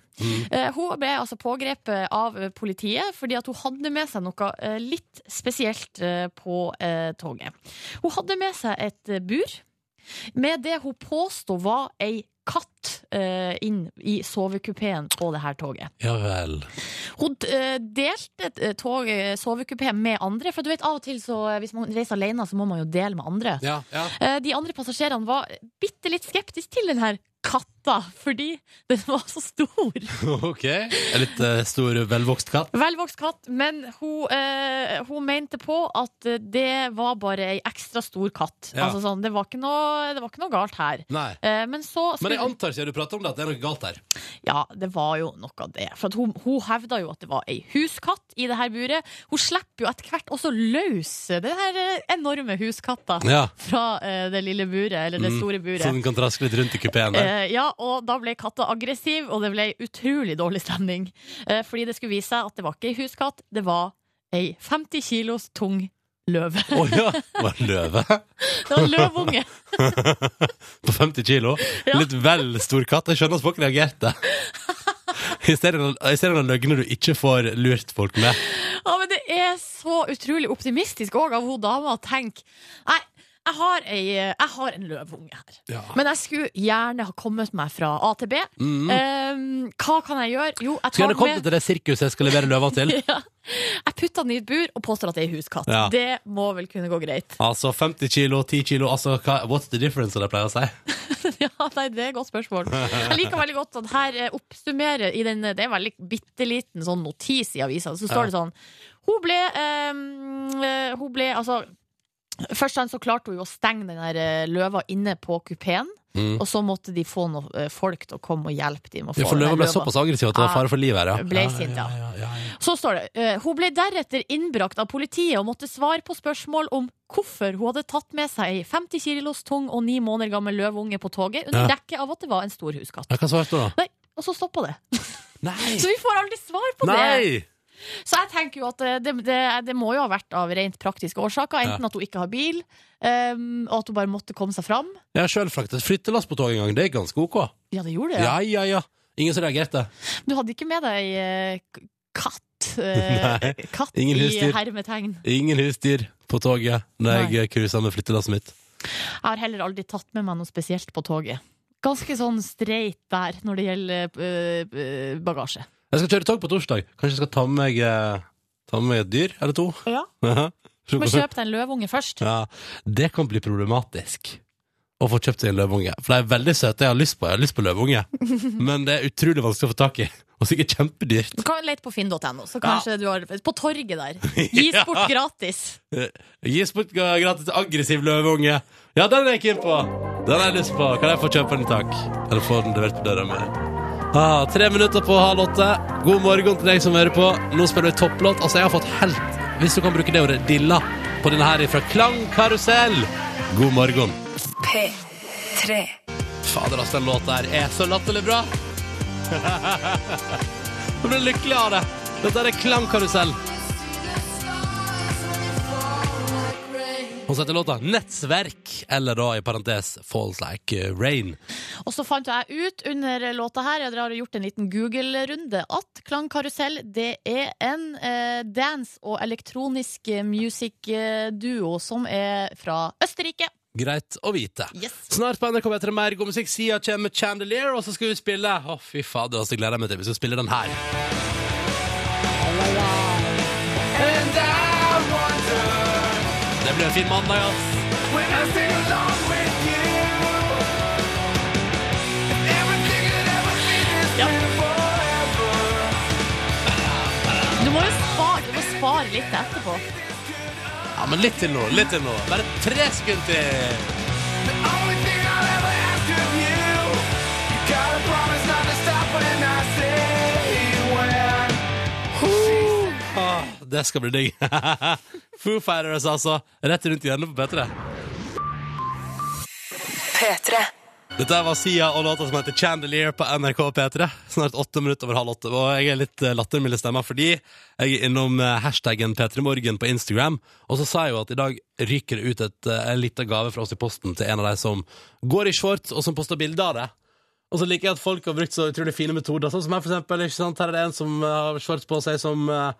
Eh, hun ble altså pågrepet av eh, politiet fordi at hun hadde med seg noe eh, litt spesielt eh, på eh, toget. Hun hadde med seg et eh, bur med det hun påsto var ei katt eh, inn i sovekupeen på det her toget.
Ja vel.
Hun eh, delte et, eh, tog, eh, sovekupé med andre, for du vet av og til så, eh, hvis man reiser alene, så må man jo dele med andre.
Ja, ja.
Eh, De andre passasjerene var bitte litt skeptiske til den her katten katta fordi den var så stor.
Ok. En litt eh, stor, velvokst katt.
Velvokst katt, men hun, eh, hun mente på at det var bare ei ekstra stor katt.
Ja.
Altså sånn, det var ikke noe, det var ikke noe galt her.
Nei.
Eh, men så
Men
skulle,
jeg antar siden du prater om det, at det er noe galt her.
Ja, det var jo noe av det. For at hun, hun hevda jo at det var ei huskatt i det her buret. Hun slipper jo etter hvert også løs den her eh, enorme huskatta
Ja.
fra eh, det lille buret, eller det
Mm,
store
Så
buret.
den kan traske litt rundt i kupeen der.
Eh, ja, og da ble katta aggressiv, og det ble utrolig dårlig stemning. Eh, fordi det skulle vise seg at det var ikke ei huskatt, det var ei 50 kilos tung løve.
Å ja! Var det løve?
Det var en løvunge.
På 50 kilo?
Ja.
Litt vel stor katt. Jeg skjønner at folk reagerte. I stedet for løgner du ikke får lurt folk med.
Ja, men det er så utrolig optimistisk òg av hun dama å tenke Nei, jeg har, ei, jeg har en løvunge her.
Ja.
Men jeg skulle gjerne ha kommet meg fra A til B.
Mm.
Eh, hva kan jeg gjøre? Jo, jeg
Skulle
tar
gjerne kommet
med
til det sirkuset jeg skal levere løva til.
ja. Jeg putter den i et bur og påstår at det er ei huskatt.
Ja.
Det må vel kunne gå greit.
Altså 50 kilo, 10 kilo, altså hva, what's the difference, som de pleier å si?
Ja, nei, det er et godt spørsmål. Jeg liker veldig godt at her eh, oppsummerer i den, Det er en veldig bitte liten sånn notis i avisa. Så står det sånn Hun ble, eh, eh, hun ble altså Først sånn så klarte hun jo å stenge den her eh, løva inne på kupeen.
Mm.
Og så måtte de få noen eh, folk til å komme og hjelpe dem. Med å
Ja,
få
for
den her
løva ble
løva.
såpass aggressiv at det var fare for livet her, ja.
Ble sint, ja. Så står det eh, Hun ble deretter innbrakt av politiet og måtte svare på spørsmål om hvorfor hun hadde tatt med seg ei 50 kilos tung og ni måneder gammel løveunge på toget under
Ja.
dekke av at det var en stor huskatt.
Ja, Hva svarte du da?
Og så stoppa det.
Nei!
Så vi får aldri svar på det.
Nei!
Så jeg tenker jo at eh, det, det, det må jo ha vært av rent praktiske årsaker. Enten at hun ikke har bil, ehm, og at hun bare måtte komme seg fram.
Jeg har sjøl fraktet flyttelass på tog en gang. Det er ganske ok.
Ja, det gjorde det.
Ja, ja, ja. Ingen som reagerte.
Du hadde ikke med deg eh, k- katt. eh,
Nei,
katt
ingen
i
husdyr.
hermetegn.
Ingen husdyr på toget når
Nei.
jeg cruisa med flyttelasset mitt.
Jeg har heller aldri tatt med meg noe spesielt på toget. Ganske sånn streit der når det gjelder øh, øh, bagasje.
Jeg skal kjøre tog på torsdag. Kanskje jeg skal ta med meg, eh, ta med meg et dyr eller to?
Ja.
Så-
Må kjøpe deg en løvunge først.
Ja, det kan bli problematisk å få kjøpt seg en løveunge. For de er veldig søte. Jeg har lyst på, jeg har lyst på løveunge. Men det er utrolig vanskelig å få tak i. Og sikkert kjempedyrt.
Du kan lete på finn.no, så kanskje du har På torget der. Gis
Ja.
bort gratis.
Gis bort Eh, ga- gratis aggressiv løveunge. Ja, den er jeg keen på. Den har jeg lyst på. Kan jeg få kjøpe den i tak? Eller få den levert på døra mi? Ah, tre minutter på halv åtte. God morgen til deg som hører på. Nå spiller vi topplåt. Altså, jeg har fått helt Hvis du kan bruke det ordet dilla på denne her fra Klang Karusell. God morgen.
P3.
Fader, altså, den låta her er så latterlig bra. Jeg blir lykkelig av det. Dette er Klangkarusell. Hun setter låta 'Nettverk', eller da i parentes 'Falls Like Rain'.
Og så fant jeg ut under låta her, jeg har gjort en liten Google-runde, at Klangkarusell det er en eh, dance- og elektronisk music-duo som er fra Østerrike.
Greit å vite.
Yes.
Snart på NRK P3 mer god musikk. Sia kommer med 'Chandelier', og så skal vi spille Å, fy fader, altså, jeg gleder jeg meg til. Vi skal spille den her. Det blir en fin mandag, ass.
Du må jo spare, du må spare litt til etterpå.
Ja, men litt til nå, litt til nå. Bare tre sekunder til. Ah, det skal bli digg. Foo Fighters, altså. Rett rundt hjørnet på P3.
P3.
Dette var Sia og låta som heter 'Chandelier' på NRK P3. Snart åtte minutter over halv åtte. Og jeg er litt eh, lattermild i stemma fordi jeg er innom eh, hashtaggen P3morgen på Instagram. Og så sa jeg jo at i dag ryker det ut et, eh, en liten gave fra oss i posten til en av de som går i shorts, og som poster bilder av det. Og så liker jeg at folk har brukt så utrolig fine metoder. Sånn som her, for eksempel. Ikke sant? Her er det en som eh, har shorts på seg, som eh,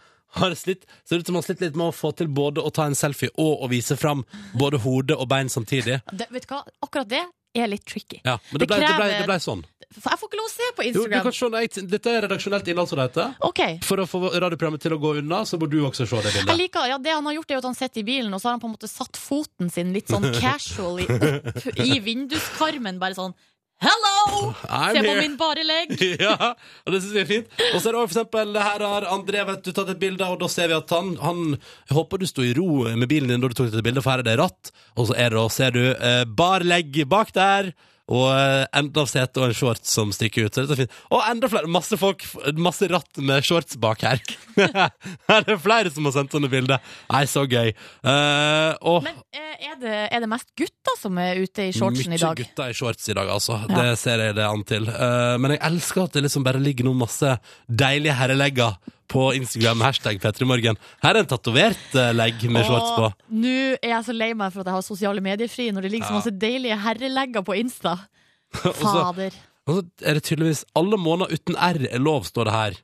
har slitt Ser ut som han har slitt litt med å få til både å ta en selfie og å vise fram både hode og bein samtidig.
Det, vet du hva? Akkurat det er litt tricky.
Ja, men det
Det
ble, det ble,
krever-
det ble sånn.
For jeg får ikke lov å se på
Jo, du
Instagram.
kan se når jeg, Dette er redaksjonelt innhold, som det heter.
Ok,
For å få radioprogrammet til å gå unna, så må du også se det
jeg
bildet.
liker, ja, Det han har gjort, er jo at han sitter i bilen og så har han på en måte satt foten sin litt sånn casually opp i vinduskarmen. Bare sånn Hello!
I'm
Se på
here.
min bare legg.
ja, og det synes jeg er fint. Og så er det også for eksempel, her har André vet du, tatt et bilde, og da ser vi at han, han Jeg håper du sto i ro med bilen din da du tok dette bildet, for her er det ratt. Og så er det da, ser du, eh, bar legg bak der, og eh, enda av setet og en shorts som stikker ut. Så dette er fint. Og enda flere, masse folk, masse ratt med shorts bak her. her er det flere som har sendt sånne bilder. Nei, så gøy. Eh, og
Men eh, er det, er det mest gutter som er ute i shortsen i dag?
mye gutter i shorts i dag, altså.
Ja.
Det ser jeg det an til. Eh, men jeg elsker at det liksom bare ligger noen masse deilige herrelegger på Instagram. Hashtag Petremorgen. Her er en tatovert eh, legg med shorts på.
Åh, Nå er jeg så lei meg for at jeg har sosiale medier fri, når det ligger så masse deilige herrelegger på Insta.
Og så-
Fader.
og så er det tydeligvis alle måneder uten R er lov, står det her.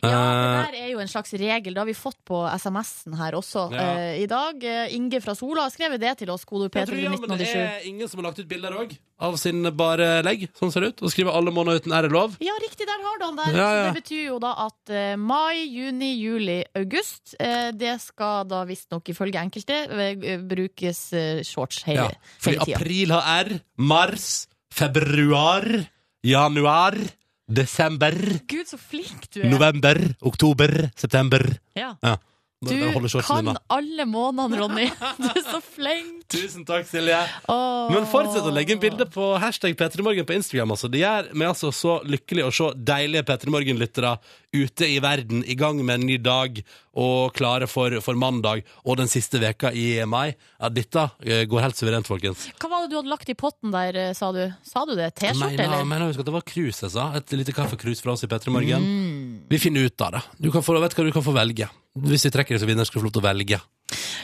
Ja, det
Eh,
der er jo en slags regel. Det har vi fått på SMS-en her også
Ja.
eh, i dag. Eh, Inge fra Sola har skrevet det til oss, kodeord
jeg tror, ja,
P3
men det
1987.
er ingen som har lagt ut bilder òg, av sin bare legg. Sånn ser det ut. Og skriver 'alle måneder uten R er lov'.
Ja, riktig, der har du han der.
Ja, ja.
Så det betyr jo da at eh, mai, juni, juli, august eh, Det skal da visstnok ifølge enkelte eh, brukes eh, shorts
Ja,
hele,
fordi
hele tida.
april har R, mars, februar, januar, desember
Gud, så flink du er!
November, oktober, september
Ja.
ja.
Du
Bare holde shortsen
kan
unna.
alle månedene, Ronny. Du er så flink!
Tusen takk, Silje.
Åh.
Men fortsett å legge inn bilde på hashtag P3morgen på Instagram. Altså. Det gjør meg altså så lykkelig å se deilige P3morgen-lyttere ute i verden, i gang med en ny dag og klare for, for mandag og den siste veka i mai. Ja, dette eh, går helt suverent, folkens.
Hva var det du hadde lagt i potten der, eh, sa du? Sa du det? T-skjorte,
Mener-
eller?
mener, husk at det var krus, jeg sa. Et lite kaffekrus fra oss i P3morgen.
Mm.
Vi finner ut av det. Du kan få, vet hva du kan få velge. Hvis vi trekker det som vinner, skal du få lov til å velge.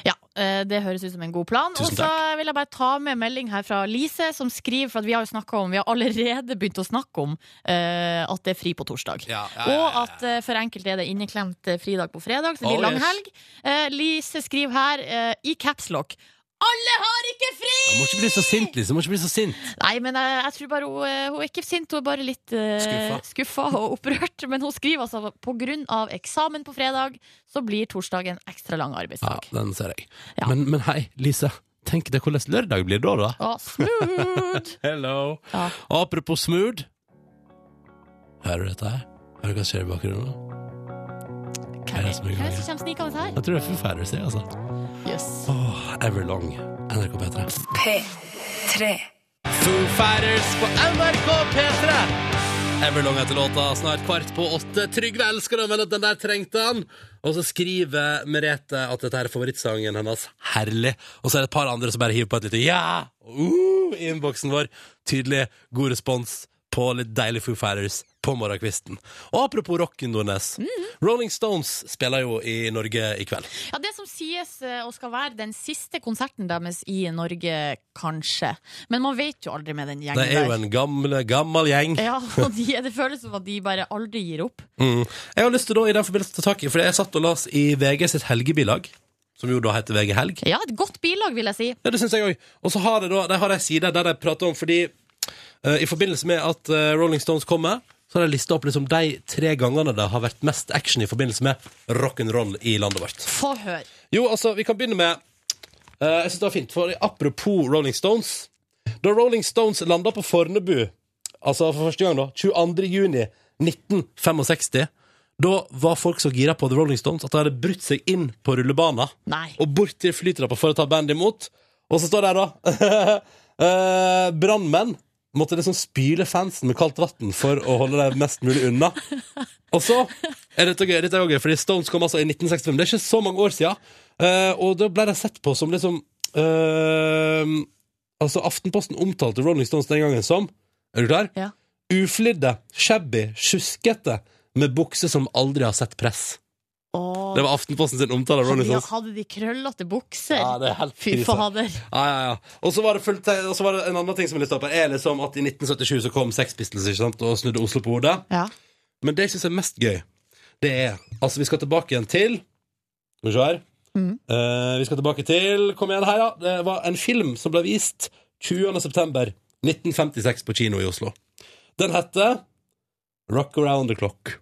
Ja, eh, det høres ut som en god plan. Og
Tusen
så vil jeg bare ta med en melding her fra Lise, som skriver for at vi har jo snakket om, vi har allerede begynt å snakke om eh, at det er fri på torsdag.
Ja, ja, ja, ja,
Og at eh, for enkelte er det inneklemt eh, fridag på fredag, så det blir
Oh, yes.
lang helg. Eh, Lise skriver her eh, i caps lock Alle har ikke fri!
Jeg må ikke bli så sint, Lise. Jeg Må ikke bli så sint.
Nei, men jeg, jeg tror bare hun, eh, hun er ikke sint, hun er bare litt eh,
Skuffa.
skuffa og opprørt. Men hun skriver altså på grunn av eksamen på fredag, så blir torsdag en ekstra lang
Ja,
arbeidsdag.
den ser jeg.
Ja.
Men, men hei, Lise. Tenk deg hvordan lørdag blir da, da.
Å, smooth!
Hello.
Ja.
Apropos smooth. Hører du dette her? Hører du hva som skjer i bakgrunnen? nå?
Hvem
det som er i gang?
er det som kommer snikende her?
Jeg tror det er Foo Fighters, det, altså.
Jøss.
Åh, Everlong. NRK P3.
P3.
Foo Fighters på NRK P3. Everlong heter låta, snart kvart på åtte. Trygve elsker den, men at den der trengte han. Og så skriver Merete at dette er favorittsangen hennes. Herlig. Og så er det et par andre som bare hiver på et lite ja uh, i innboksen vår. Tydelig god respons på litt deilig Foo Fighters på morgenkvisten. Og apropos rock, Nordnes. Rolling Stones spiller jo i Norge i kveld.
Ja, det som sies eh, og skal være den siste konserten deres i Norge, kanskje. Men man vet jo aldri med den gjengen
Det er jo
der.
en gammel, gammel gjeng.
Ja, og de, Det føles som at de bare aldri gir opp.
Mm. Jeg har lyst til da i den forbindelse til tak i, for jeg satt og las i VG sitt helgebilag, som jo da heter VG Helg.
Ja, et godt bilag, vil jeg si.
Ja, det synes jeg også. Og så har de da, de har en side der de prater om, fordi eh, i forbindelse med at eh, Rolling Stones kommer, så har de listet opp liksom de tre gangene det har vært mest action i forbindelse med rock'n'roll i landet vårt.
Få høre.
Jo, altså, vi kan begynne med eh, Jeg synes det var fint, for apropos Rolling Stones Da Rolling Stones landet på Fornebu Altså for første gang da 22. juni 1965 Da var folk så gira på The Rolling Stones At de hadde brutt seg inn på rullebana
Nei.
Og bort til flytrappa for å ta bandet imot Og så står det her da uh, Brandmenn Måtte liksom spyle fansen med kaldt vatten For å holde dem mest mulig unna og så er dette gøy, dette er også gøy, fordi Stones kom altså i 1965. Det er ikke så mange år siden. Eh, og da ble de sett på som liksom eh, Altså, Aftenposten omtalte Rolling Stones den gangen som Er du klar?
Ja.
Uflidde, shabby, sjuskete, med bukse som aldri har sett press.
Åh,
Det var Aftenposten sin omtale av
hadde,
Rolling
de,
Stones.
hadde de krøllete bukser?
Ja, det er helt
Fy
krise.
fader.
Ja, ja, ja. Og så var det fullt Og så var det en annen ting som jeg lyst til å ta opp her, er liksom at i 1977 så kom Sex Pistols ikke sant, og snudde Oslo på hodet.
Ja.
Men det jeg syns er mest gøy, det er Altså, vi skal tilbake igjen til Skal vi se her.
Mhm.
Eh, vi skal tilbake til Kom igjen her, ja. Det var en film som ble vist 20.9.1956 på kino i Oslo. Den heter Rock Around the Clock.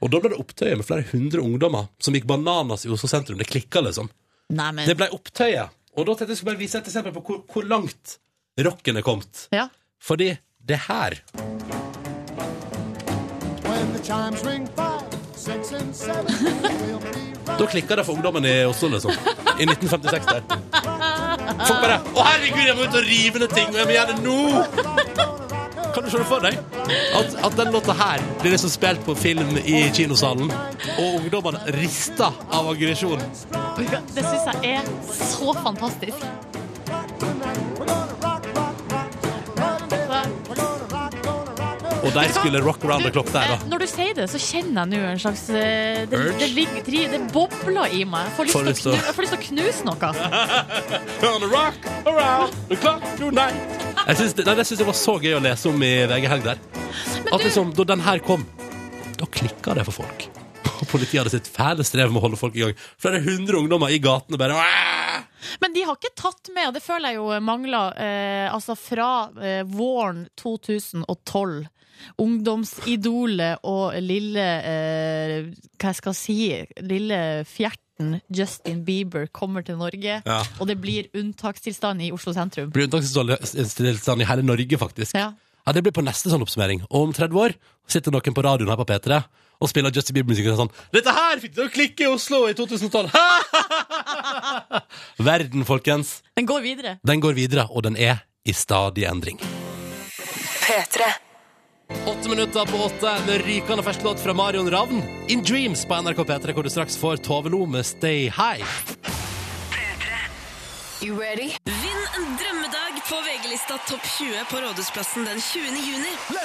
Og da ble det opptøyer med flere hundre ungdommer som gikk bananas i Oslo sentrum. Det klikka, liksom.
Nei,
Det
men
ble opptøyer. Og da tenkte jeg skulle bare vise et eksempel på hvor, hvor langt rocken er kommet.
ja.
Fordi det her. Da klikka det for ungdommen i Oslo, liksom. I 1956 der. Folk bare Å, herregud, jeg må ut og rive ned ting, og jeg må gjøre det nå! Kan du se det for deg? At, at den låta her blir liksom spilt på film i kinosalen, og ungdommene rister av aggresjon.
Det syns jeg er så fantastisk.
Og de skulle rock around the clock der,
eh,
da.
Når du sier det, så kjenner jeg nå en slags eh, Det,
Urge?
det, ligger, tri- det bobler i meg. Jeg får
Får
lyst
lyst til
til
å-
å knu- jeg får lyst til å knuse noe.
Gonna rock around the clock tonight. Jeg synes det, nei, det synes jeg var så gøy å lese om i VG Helg der. At liksom, da den her kom, da klikka det for folk. Og Politiet hadde sitt fæle strev med å holde folk i gang. Flere hundre ungdommer i gatene bare «Åh!»
Men de har ikke tatt med, og det føler jeg jo mangler, eh, altså fra eh, våren 2012. Ungdomsidolet og lille eh, Hva jeg skal si Lille fjerten Justin Bieber kommer til Norge,
Ja.
og det blir unntakstilstand i Oslo sentrum.
Blir unntakstilstand i hele Norge, faktisk.
Ja.
Ja, Det blir på neste sånn oppsummering. Og om 30 år sitter noen på radioen her på P3 og spiller Justin Bieber-musikk og er sånn 'Dette her fikk det å klikke i Oslo i 2012!' Verden, folkens.
Den går videre.
Den går videre, og den er i stadig endring.
P3.
Åtte minutter på åtte med rykende fersk låt fra Marion Ravn. In Dreams på NRK P3, hvor du straks får Tove Lo med Stay High.
You ready?
Vinn en drømmedag på VG-lista Topp 20 på Rådhusplassen den 20. juni.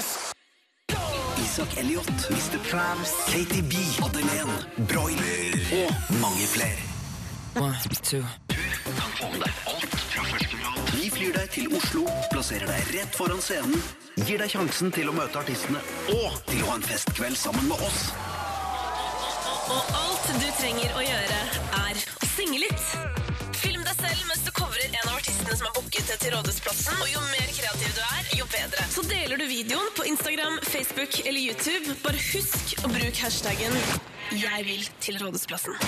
Isak Elliot, Mr. Prams, Katie B, Madeleine, Broiler og mange flere. Du kan få med deg alt fra første rad. Vi flyr deg til Oslo, plasserer deg rett foran scenen, gir deg sjansen til å møte artistene og til å ha en festkveld sammen med oss.
Og alt du trenger å gjøre, er å synge litt. Film deg selv mens du coverer en av artistene som er booket til Rådhusplassen. Og jo mer kreativ du er, jo bedre. Så deler du videoen på Instagram, Facebook eller YouTube. Bare husk å bruke hashtaggen 'Jeg vil til Rådhusplassen'.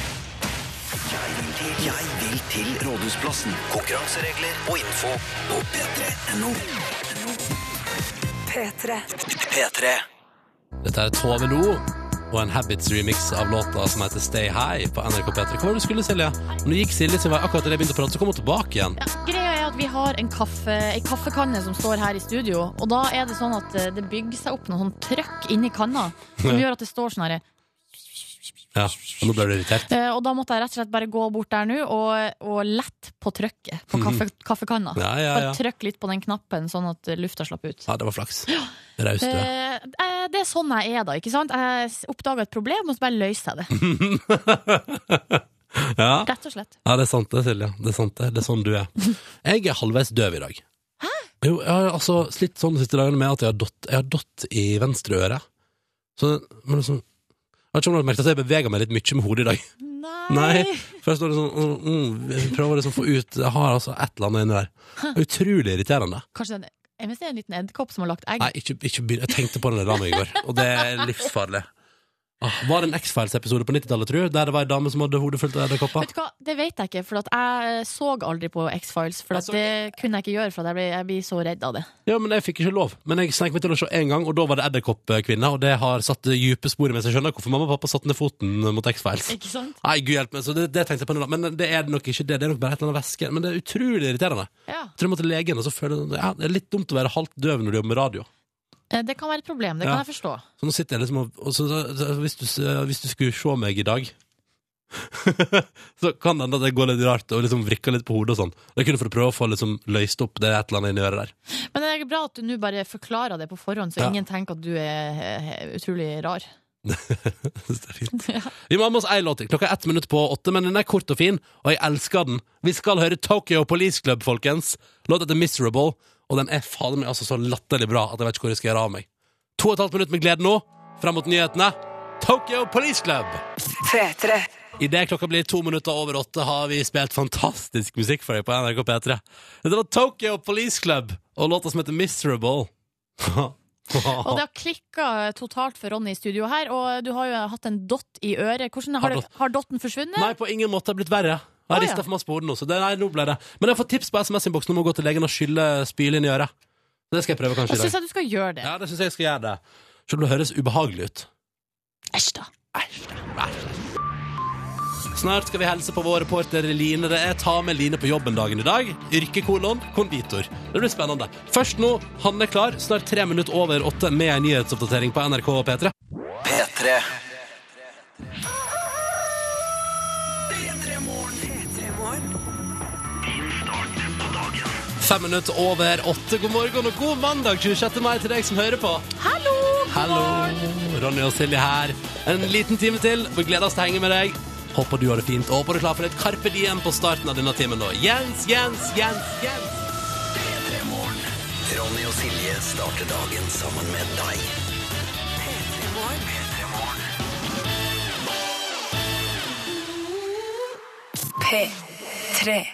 Jeg vil til, jeg vil til Rådhusplassen. Konkurranseregler og info på p3.no.
P3.
P3.
Dette er Tove Lo og en Habits-remix av låta som heter Stay High på NRK P3. Hvor var det du skulle, Silje? Nå gikk Silje sin vei akkurat da jeg begynte å prate, så kom hun tilbake igjen.
Ja, greia er at vi har en, kaffe, en kaffekanne som står her i studio. Og da er det sånn at eh, det bygger seg opp noe sånn trøkk inni kanna som
Ja.
gjør at det står sånn her.
Ja, og nå ble du irritert.
Eh, Og da måtte jeg rett og slett bare gå bort der nå og, og lette på trøkket på kaffe, kaffekanna.
Mhm. Ja, ja, ja.
Bare trykk litt på den knappen, sånn at lufta slapp ut.
Ja, det var flaks. Raust, du er.
Eh, eh, det er sånn jeg er, da. ikke sant? Jeg oppdaga et problem, og så bare løser jeg det.
Ja.
Rett og slett.
Ja, det er sant det, Silje. Det er sant det. Det er sånn du er. Jeg er halvveis døv i dag. Hæ? Jo, jeg har altså slitt sånn de siste dagene med at jeg har dott, jeg har dott i venstre øre. Så, men liksom Jeg vet ikke om du har merket at jeg beveger meg litt mye med hodet i dag.
Nei.
Nei. For jeg står liksom mm, mm, jeg prøver liksom å få ut Jeg har altså et eller annet inni der. Det er Utrolig irriterende.
Kanskje det er en, hvis det er en liten edderkopp som har lagt egg.
Nei, ikke, ikke begynn. Jeg tenkte på det da jeg la meg i går, og det er livsfarlig. Ah, var det en X-Files-episode på 90-tallet, tror du? Der det var ei dame som hadde hodet fullt av edderkopper?
Vet du hva, Det vet jeg ikke, for at jeg så aldri på X-Files. For
Jeg
at
så-
det kunne jeg ikke gjøre, for at jeg blir, jeg blir så redd av det.
Ja, men jeg fikk ikke lov. Men jeg snek meg til å se en gang, og da var det edderkoppkvinner, og det har satt dype spor i meg, så jeg skjønner hvorfor mamma og pappa satte ned foten mot X-Files.
Ikke sant?
Nei, gud hjelpe meg, så det, det tenkte jeg på nå, da. Men det er nok ikke det, det er nok bare et eller annet væske. Men det er utrolig irriterende.
Ja.
Jeg tror jeg må til legen, og så føler jeg ja, det er litt dumt å være halvt døv når du jobber med radio.
Eh, Det kan være et problem, det
Ja.
kan jeg forstå.
Så nå sitter jeg liksom og og så, så, så, hvis, du, s- hvis du skulle se meg i dag Så kan det hende at det går litt rart og liksom vrikker litt på hodet og sånn. Det kunne for å prøve å få liksom løst opp det er et eller annet inni øret der.
Men det er bra at du nå bare forklarer det på forhånd, så
Ja.
ingen tenker at du er eh, utrolig rar.
Jeg synes det er fint. Vi må ha med oss ei låt til. Klokka er ett minutt på åtte, men den er kort og fin, og jeg elsker den. Vi skal høre Tokyo Police Club, folkens. Låta heter Miserable, og den er fader meg altså så latterlig bra at jeg vet ikke hvor jeg skal gjøre av meg. To og et halvt minutt med glede nå, frem mot nyhetene. Tokyo Police Club!
P3.
Idet klokka blir to minutter over åtte, har vi spilt fantastisk musikk for deg på NRK P3. Dette var Tokyo Police Club og låta som heter Miserable.
Og det har klikka totalt for Ronny i studio her, og du har jo hatt en dott i øret. Hvordan,
Har
har, det-
dott.
har dotten forsvunnet?
Nei, på ingen måte. Det har blitt verre. Jeg har
Å, ja.
ristet for masse på hodet nå, så det, nei, nå ble det. Men jeg har fått tips på SMS-innboksen om å gå til legen og skylle spyle inn i øret. Det skal jeg prøve kanskje
Da
i dag.
syns jeg du skal gjøre det.
Ja, det syns jeg jeg skal gjøre det. Selv om det høres ubehagelig ut.
Æsj, da.
Snart skal vi helse på vår reporter Line. Det er Ta med Line på jobben dagen i dag. Yrkekolon konditor. Det blir spennende. Først nå, Hanne er klar, snart tre minutter over åtte med en nyhetsoppdatering på NRK og P3.
P3.
Fem minutter over åtte. God morgen og god mandag 26. mai til deg som hører på.
Hallo!
Hallo! Ronny og Silje her. En liten time til. Vi gleder oss til å henge med deg. Håper du har det fint, og håper du er klar for et Carpe Diem på starten av denne timen nå. Jens, Jens, Jens, Jens!
P3 Morgen. Ronny og Silje starter dagen sammen med deg.
P3.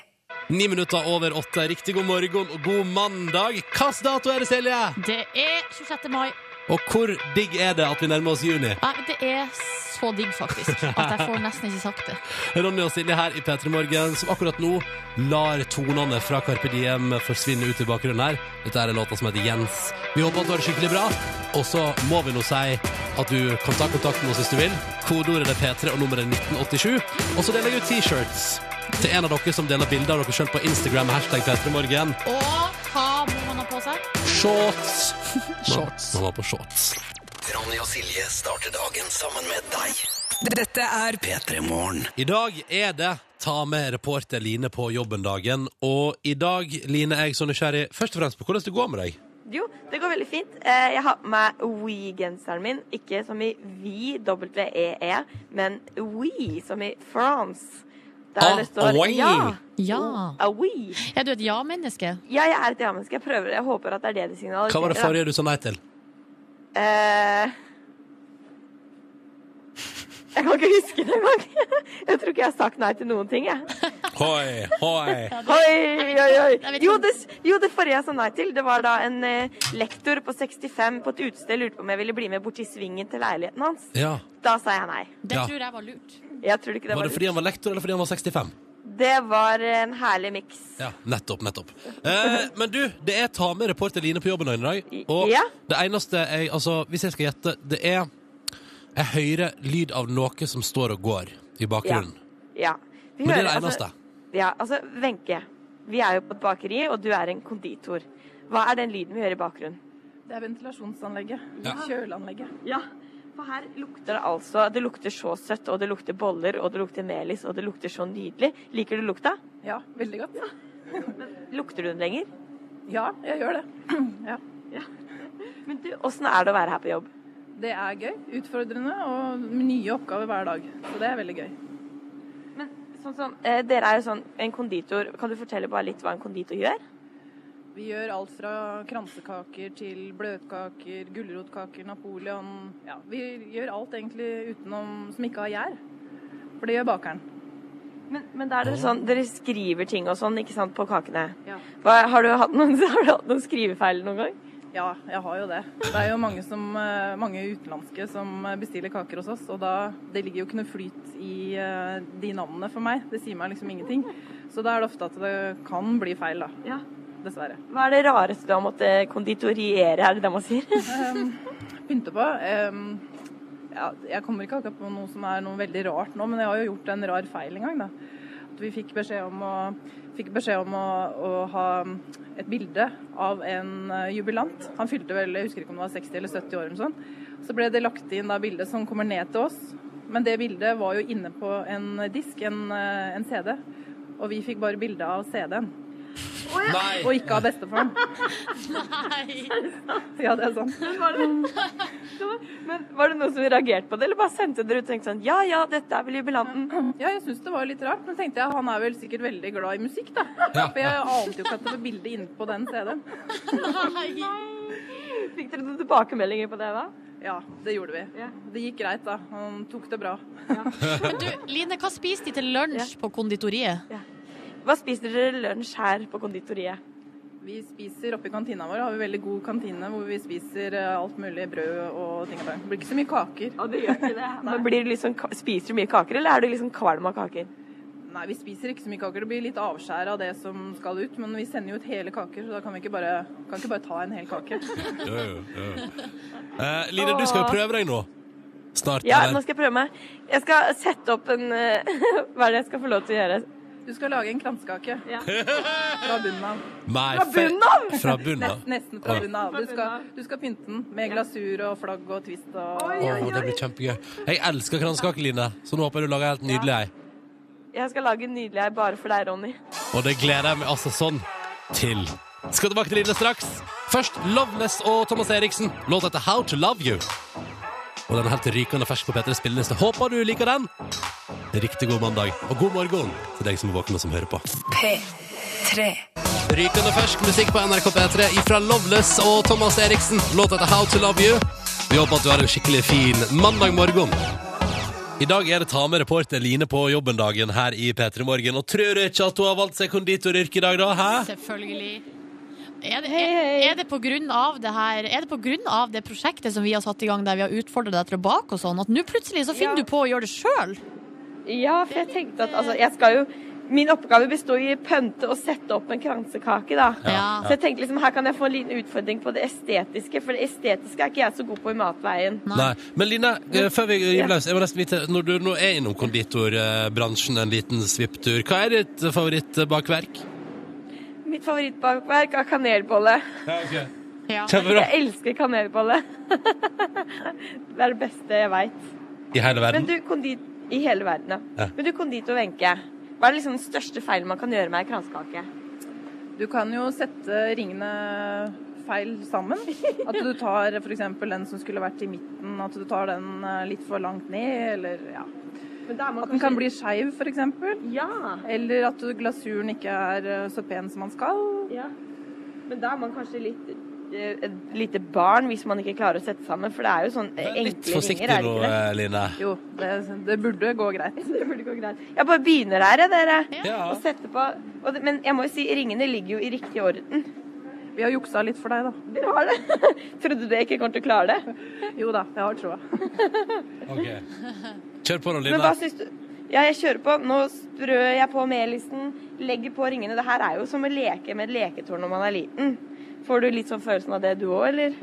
Ni minutter over åtte. Riktig god morgen og god mandag. Hvilken dato er det, Silje?
Det er 26. mai.
Og hvor digg er det at vi nærmer oss juni?
Nei, det er så digg, faktisk, at jeg får nesten ikke sagt det.
Ronny og Silje her i P3 Morgen, som akkurat nå lar tonene fra Carpe Diem forsvinne ut i bakgrunnen her. Dette er en låta som heter Jens. Vi håper at du har det skikkelig bra. Og så må vi nå si at du kan ta kontakt med oss hvis du vil. Kodeordet er P3 og nummeret er 1987. Og så deler jeg ut T-shirts til en av dere som deler bilder av dere sjøl på Instagram med hashtag P3morgen.
Og hva må man ha på seg?
Shorts! Shorts. Man var på shorts.
Ronny og Silje starter dagen sammen med deg.
Dette er
P3 Morgen.
I dag er det Ta med reporter Line på jobben-dagen. Og i dag, Line, er jeg så nysgjerrig først og fremst på hvordan det går med deg.
Jo, det går veldig fint. Eh, Jeg har på meg We-genseren min. Ikke som i We, W-E-E, E, men We, som i France.
Ah, away.
Ja.
Ja.
A we.
Er du et ja-menneske?
Ja, jeg er et ja-menneske. Jeg prøver. Jeg håper at det er det de signaliserer.
Hva var det
da.
forrige du sa nei til?
Eh, Jeg kan ikke huske det engang. Jeg tror ikke jeg har sagt nei til noen ting, jeg.
Hoi, hoi.
Oi, oi,
Jeg
oi.
vet ikke
Jo
om-
det, jo, det forrige jeg sa nei til, det var da en eh, lektor på 65 på et utested lurte på om jeg ville bli med bort til svingen til leiligheten hans.
Ja.
Da sa jeg nei.
Det
Ja.
tror jeg var lurt.
Jeg tror ikke det
Var
var
det fordi han var lektor, eller fordi han var 65?
Det var en herlig miks.
Ja, Nettopp, nettopp. Eh, men du, det er Ta med reporter Line på jobben i dag. Og
Ja.
det eneste jeg Altså, hvis jeg skal gjette, det er Jeg hører lyd av noe som står og går i bakgrunnen.
Ja. Vi
Men det er
hører-
det
altså-
eneste.
Ja, altså, Wenche, vi er jo på et bakeri, og du er en konditor. Hva er den lyden vi hører i bakgrunnen?
Det er ventilasjonsanlegget.
Ja.
Kjøleanlegget.
Ja, for her lukter det altså Det lukter så søtt, og det lukter boller, og det lukter melis, og det lukter så nydelig. Liker du lukta?
Ja, veldig godt. Ja,
Lukter du den lenger?
jeg gjør det. Ja.
Men du, åssen er det å være her på jobb?
Det er gøy, utfordrende og nye oppgaver hver dag. Så det er veldig gøy.
Men sånn som eh, Dere er jo sånn en konditor. Kan du fortelle bare litt hva en konditor gjør?
Vi gjør alt fra kransekaker til bløtkaker, gulrotkaker, Napoleon Ja, vi gjør alt egentlig utenom som ikke har gjær. For det gjør bakeren.
Men, men da er det sånn, dere skriver ting og sånn, ikke sant, på kakene.
Ja.
Hva, har, du hatt noen, har du hatt noen skrivefeil noen gang?
Ja, jeg har jo det. Det er jo mange, som, eh, mange utenlandske som eh, bestiller kaker hos oss, og da, det ligger jo ikke noe flyt i eh, de navnene for meg. Det sier meg liksom ingenting. Så da er det ofte at det kan bli feil, da.
Ja.
Dessverre.
Hva er det rareste du har måttet konditoriere, er det det man sier?
Pynte på. em, ja, jeg kommer ikke akkurat på noe som er noe veldig rart nå, men jeg har jo gjort en rar feil en gang, da. At vi fikk beskjed om å, fikk beskjed om å, å ha et bilde av en eh, jubilant. Han fylte vel, jeg husker ikke om det var 60 eller 70 år eller noe sånt. Så ble det lagt inn da bildet som kommer ned til oss. Men det bildet var jo inne på en disk, en, eh, en CD. Og vi fikk bare bilde av CD-en, og
Nei!
ikke av bestefaren. Ja, det er sånn.
Men var det noen som reagerte på det, eller bare sendte dere ut og tenkte sånn, ja, ja, dette er vel jubilanten?
Ja, jeg syns det var litt rart, men tenkte jeg han er vel sikkert veldig glad i musikk, da.
Ja.
For jeg ante jo ikke at det var bilde inne på den CD-en.
Fikk dere noen tilbakemeldinger på det da?
Ja, det gjorde vi.
Ja.
Det gikk greit, da. Han tok det bra.
Men du, Line, hva spiste de til lunsj på konditoriet?
Hva spiser dere lunsj her på konditoriet?
Vi spiser oppe i kantina vår, har vi veldig god kantine hvor vi spiser eh, alt mulig brød og ting og tang. Det blir ikke så mye kaker.
Men blir du liksom, spiser du mye kaker, eller er du liksom kvalm av kaker?
Nei, vi spiser ikke så mye kaker. Det blir litt avskjær av det som skal ut. Men vi sender jo ut hele kaker, så da kan vi ikke bare, kan ikke bare ta en hel kake.
Jo, jo, jo. Eh, Line, du skal jo prøve deg nå. Snart.
Ja, nå
eller?
skal jeg prøve meg. Jeg skal sette opp en eh, Hva er det jeg skal få lov til å gjøre?
Du skal lage en kransekake
Ja.
fra bunnen av.
Nei,
Fra
fe-
bunnen av!
Fra bunnen av.
Nest, nesten fra
Ja.
bunnen av. Du
Fra bunnen
skal,
av.
du skal pynte den med glasur og flagg og twist og
Åh, det blir kjempegøy. Jeg elsker kransekake, Line, så nå håper jeg du lager helt nydelig ei.
Jeg skal lage en nydelig ei bare for deg, Ronny.
Og det gleder jeg meg altså sånn til. Skal tilbake til Line straks. Først Loveless og Thomas Eriksen. Låta heter How to Love You. Og den er helt rykende fersk på P3s spilleliste. Håper du liker den. Riktig god mandag, og god morgen til deg som er våken og som hører på.
P3.
Rykende fersk musikk på NRK P3 ifra Loveless og Thomas Eriksen. Låta heter How to Love You. Vi håper at du har en skikkelig fin mandag morgen. I dag er det ta med reporter Line på jobben-dagen her i P3 Morgen. Og tror du ikke at hun har valgt seg konditoryrket i dag, da? Hæ?
Selvfølgelig. Er det, er, er det på grunn av det her Er det på grunn av det prosjektet som vi har satt i gang, der vi har utfordra deg til å bake og sånn, at nå plutselig så finner
Ja.
du på å gjøre det sjøl?
Ja, for jeg tenkte at altså, jeg skal jo Min oppgave består i å pønte og sette opp en kransekake, da.
Ja.
Så jeg tenkte liksom, her kan jeg få en liten utfordring på det estetiske, for det estetiske er ikke jeg så god på i matveien.
Nei. Men Line, eh, før vi gir løs, jeg må nesten vite Når du nå er innom konditorbransjen en liten svipptur, hva er ditt favorittbakverk?
Mitt favorittbakverk er kanelbolle.
Ja, okay.
Ja.
Kjempebra.
Jeg elsker kanelbolle. det er det beste jeg veit.
I hele
Men
verden.
du, kondit... I hele verden, ja.
Ja.
Men du, konditor Wenche. Hva er liksom den største feilen man kan gjøre med ei kransekake?
Du kan jo sette ringene feil sammen. At du tar f.eks. den som skulle vært i midten, at du tar den eh, litt for langt ned, eller ja.
Men da er man
At den kan bli skeiv, f.eks.
Ja.
Eller at du- glasuren ikke er eh, så pen som man skal.
Ja. Men da er man kanskje litt eh, et lite barn hvis man ikke klarer å sette sammen, for det er jo sånn eh,
Vær Litt
enkle
forsiktig
ringer, er det
nå,
ikke det?
eh, Line.
Jo, det, det burde gå greit.
Det burde gå greit. Jeg bare begynner her, jeg, dere.
Ja.
Og setter på og det, Men jeg må jo si, ringene ligger jo i riktig orden.
Vi har juksa litt for deg, da.
Dere har det. Trodde du jeg ikke kom til å klare det?
Jo da, jeg har troa.
Ok. Kjør på nå,
Men hva
Line.
syns du? Ja, jeg kjører på. Nå strør jeg på melisten, legger på ringene. Det her er jo som å leke med et leketårn når man er liten. Får du litt sånn følelsen av det du òg, eller?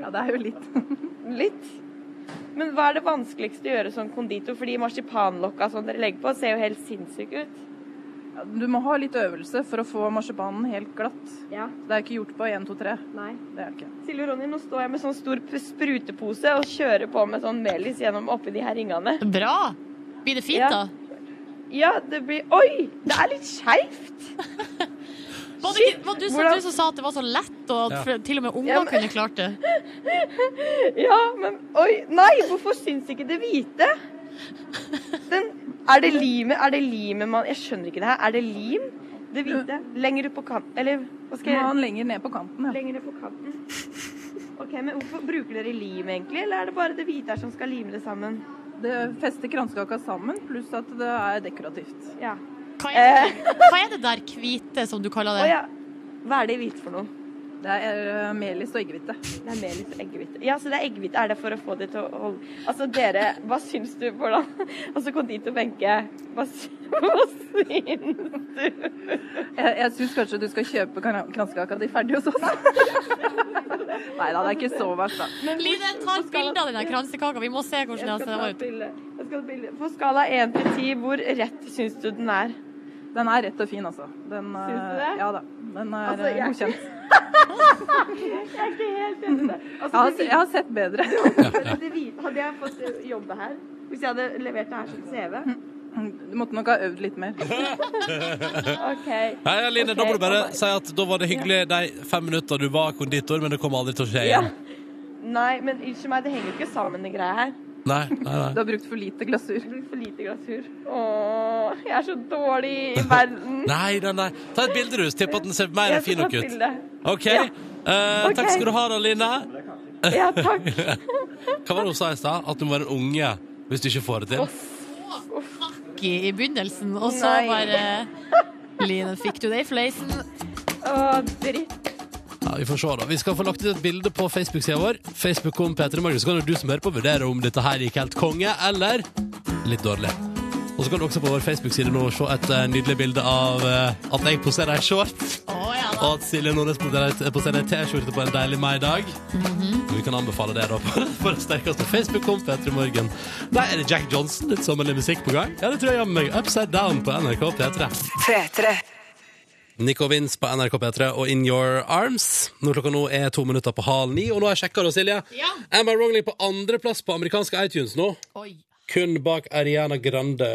Ja, det er jo litt.
Litt. Men hva er det vanskeligste å gjøre sånn? som konditor? Fordi marsipanlokka som dere legger på, ser jo helt sinnssyke ut.
Ja, Du må ha litt øvelse for å få marsipanen helt glatt.
Ja.
Det er ikke gjort på 1, 2, 3.
Nei.
Det er det ikke.
Silje og Ronny, nå står jeg med sånn stor p- sprutepose og kjører på med sånn melis gjennom oppi de her ringene.
Bra! Blir det fint,
Ja.
da?
Ja, det blir Oi! Det er litt skeivt.
Var det, ikke- var du, som,
Hvordan-
du som sa at det var så lett, og at
Ja.
f- til og med
Ja,
unger
men-
kunne klart det?
Ja, men Oi! Nei, hvorfor syns ikke det hvite? Den Er det limet? Er det limet man Jeg skjønner ikke det her. Er det lim? Det hvite? Lenger ut på kanten Eller
Du
hva skal
må
jeg
ha den lenger ned på kanten. Ja.
Lengre på kanten. Ok, men Hvorfor bruker dere lim, egentlig? Eller er det bare det hvite her som skal lime det sammen?
Det fester kransekaka sammen, pluss at det er dekorativt.
Ja.
Hva er det, hva er det der hvite, som du kaller
Eh. Å
det?
ja. Hva er det i hvite for noe?
Det er eh, melis og eggehvite.
Det er melis og eggehvite. Ja, så det er eggehvite. Er det for å få det til å holde Altså, dere, hva syns du? Hvordan Altså, konditor Wenche, hva, sy- hva syns du?
Jeg, jeg syns kanskje du skal kjøpe kran- kransekaka di ferdig hos oss. Nei da, det er ikke så verst, da.
Line, ta et bilde av den der kransekaka. Vi må se hvordan
Jeg
den
skal ta
ser ut.
et bilde. Jeg skal ta et bilde. På skala 1 til 10, hvor rett syns du den er?
Den er rett og fin, altså. Den, eh,
Syns du det?
Ja da. Den er
Altså,
eh,
jeg-
godkjent.
Jeg er ikke helt enig i det.
Jeg har,
Altså,
se-
det
jeg har sett bedre.
hvite- det hvite- Hadde jeg fått eh, jobbe her, hvis jeg hadde levert det her som CV
Du måtte nok ha øvd litt mer.
OK.
Hei, ja, Line,
Ok,
da må du bare
bye-bye.
si at da var det hyggelig de fem minutter du var konditor, men det kommer aldri til å skje
Ja.
igjen.
Nei, men unnskyld meg, det henger jo ikke sammen, det greia her.
Nei, nei,
Du
nei.
har brukt for lite glasur.
Det blir for lite glasur. Åh, jeg er så dårlig i verden.
Nei, nei, nei. Ta et bilde, du. så Tipper at den ser mer
Jeg
enn fin
skal
nok
ta
ut.
bilde.
OK.
Ja.
Eh, takk
Ok.
skal du ha, da, Line.
Ja, takk.
Hva var det hun sa i stad? At du må være en unge hvis du ikke får det til?
I i begynnelsen, og så
Nei.
bare Line, fikk du det i fleisen?
Åh, dritt.
Ja, Vi får se, da. Vi skal få lagt ut et bilde på Facebook-sida vår. Facebook om Peter Magnus. Så kan jo du som hører på, vurdere om dette her gikk helt konge eller litt dårlig. Og så kan du også på vår Facebook-side nå se et eh, nydelig bilde av eh, at jeg poserer ei shorts,
Å ja da.
og at Silje Nordnes poserer et- poserer ei T-skjorte på en deilig maidag.
Mhm.
Vi kan anbefale det da på, på det sterkeste Facebook-kompet etter i morgen. Der er det Jack Johnson, litt sommerlig musikk på gang. Ja, det tror jeg jammen meg. Upside Down på NRK P3.
P3.
Nico Vins på NRK P3 og In Your Arms. Når klokka nå er to minutter på halv ni, og nå har jeg sjekka det, Silje.
Ja.
Am I Wrongly på andreplass på amerikanske iTunes nå.
Oi.
Kun bak Ariana Grande.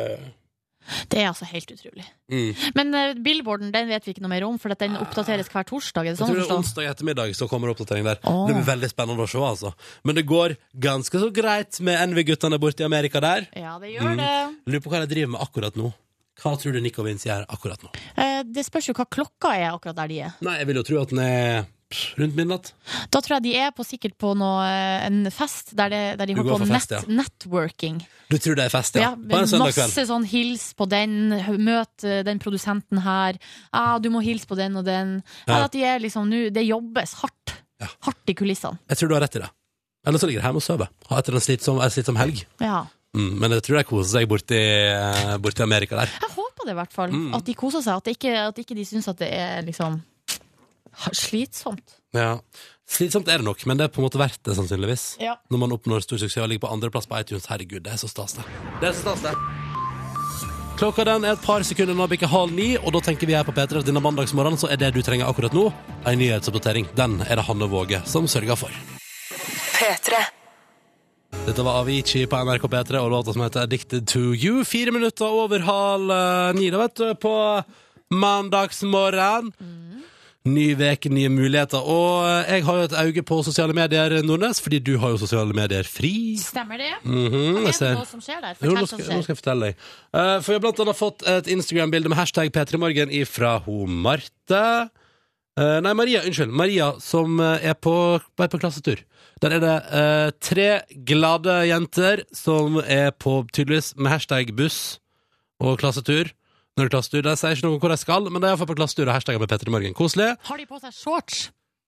Det er altså helt utrolig.
Mm. Ah.
Men eh, billboarden den vet vi ikke noe mer om, for at den oppdateres hver torsdag. Er det
Jeg
sånn
tror
å
det er
forstå?
onsdag ettermiddag så kommer oppdatering der.
Åh.
Det blir veldig spennende å se, altså. Men det går ganske så greit med NV-guttene borte i Amerika der.
Ja, det
Mm.
gjør det.
Lurer på hva de driver med akkurat nå. Hva tror du Nico Vins gjør akkurat nå?
Eh, Det spørs jo hva klokka er akkurat der de er.
Nei, jeg vil jo tro at den er pff, rundt midnatt.
Da tror jeg de er på sikkert på noe, eh, en fest der, det, der de
Du
holder
går
på
for fest,
nett, networking.
Du tror det er fest, ja?
Ja,
på en søndag kveld.
masse sånn hils på den, møt eh, den produsenten her, ah, du må hilse på den og den.
Ja.
Ja. At de er liksom nå, det jobbes hardt.
Ja.
Hardt i kulissene.
Jeg tror du har rett i det. Eller så ligger de hjemme og sover. Ha Etter en slitsom, en slitsom helg.
Ja.
Mm, men jeg tror de koser seg borti, eh, borti Amerika der.
Jeg håper det, i hvert fall.
Mm.
At de koser seg. At, det ikke, at ikke de syns at det er liksom slitsomt.
Ja. Slitsomt er det nok, men det er på en måte verdt det, sannsynligvis.
Ja.
Når man oppnår stor suksess og ligger på andreplass på iTunes. Herregud, det er så stas, det. Det er så stas, det. Klokka den er et par sekunder nå bikker halv ni, og da tenker vi her på P3 at denne mandagsmorgenen så er det du trenger akkurat nå, ei nyhetsoppdatering. Den er det Hanne Våge som sørger for.
P3.
Dette var Avicii på NRK P3 og låta som heter Addicted to you. Fire minutter over halv eh, ni, da, vet du, på mandagsmorgen. Ny veke, nye muligheter. Og eh, jeg har jo et øye på sosiale medier, Nordnes, fordi du har jo sosiale medier fri.
Stemmer det?
Mhm, jeg
er det
ser.
noe som skjer
Jo,
der? Fortell
nå
hva
skal,
som
nå
skjer.
skal jeg fortelle deg. Eh, for jeg har blant annet fått et Instagram-bilde med hashtag P3morgen fra ho Marte. Eh, nei, Maria, unnskyld. Maria som eh, er på, er på klassetur. Der er det eh, tre glade jenter som er på tydeligvis med hashtag buss og klassetur. Når det er klassetur, De sier ikke noe om hvor de skal, men de er i hvert fall på klassetur og hashtagger med P3morgen. Koselig.
Har de på seg shorts?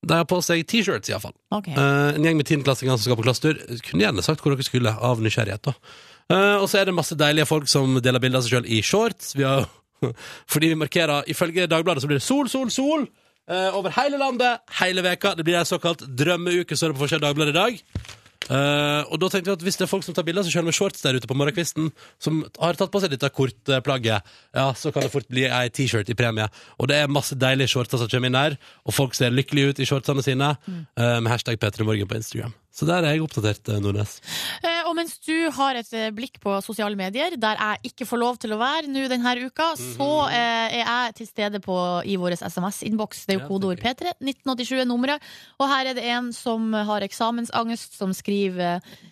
De har på seg T-shirts, iallfall.
Ok.
Eh, en gjeng med tiendeklassinger som skal på klassetur. Kunne gjerne sagt hvor dere skulle, av nysgjerrighet. da. Eh, og så er det masse deilige folk som deler bilder av seg sjøl i shorts. Vi har, fordi vi markerer Ifølge Dagbladet så blir det sol, sol, sol eh, over hele landet hele veka. Det blir ei såkalt drømmeuke, så er det på forskjell Dagbladet i dag. Eh, og da tenkte jeg at Hvis det er folk som tar bilder av seg sjøl med shorts der ute på morgenkvisten, som har tatt på seg dette kortplagget, ja, så kan det fort bli ei T-shirt i premie. Og det er masse deilige shortser som kommer inn der, og folk ser lykkelige ut i shortsene sine. eh, med hashtag P3morgen på Instagram. Så der er jeg oppdatert, eh, Nordnes.
Eh, Og mens du har et eh, blikk på sosiale medier, der jeg ikke får lov til å være nå denne uka, så eh, er jeg til stede på, i vår SMS-innboks. Det er jo
Ja,
kodeord
tenker
P3. 1987 er nummeret. Og her er det en som har eksamensangst, som skriver eh,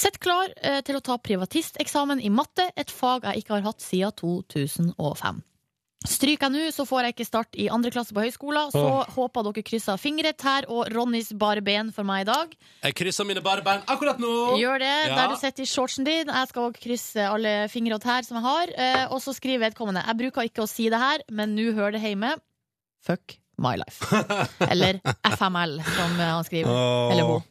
Sett klar eh, til å ta privatisteksamen i matte, et fag jeg ikke har hatt siden 2005. Stryker jeg nå, så får jeg ikke start i andre klasse på høyskolen. Så håper dere krysser fingre, tær og Ronnys bare ben for meg i dag.
Jeg krysser mine bare bein akkurat nå!
Gjør det,
Ja.
der du sitter i shortsen din. Jeg skal også krysse alle fingre og tær som jeg har. Eh, og så skriver vedkommende Jeg bruker ikke å si det her, men nå hører det hjemme. Fuck my life. Eller FML, som eh, han skriver.
Åh.
Eller hun.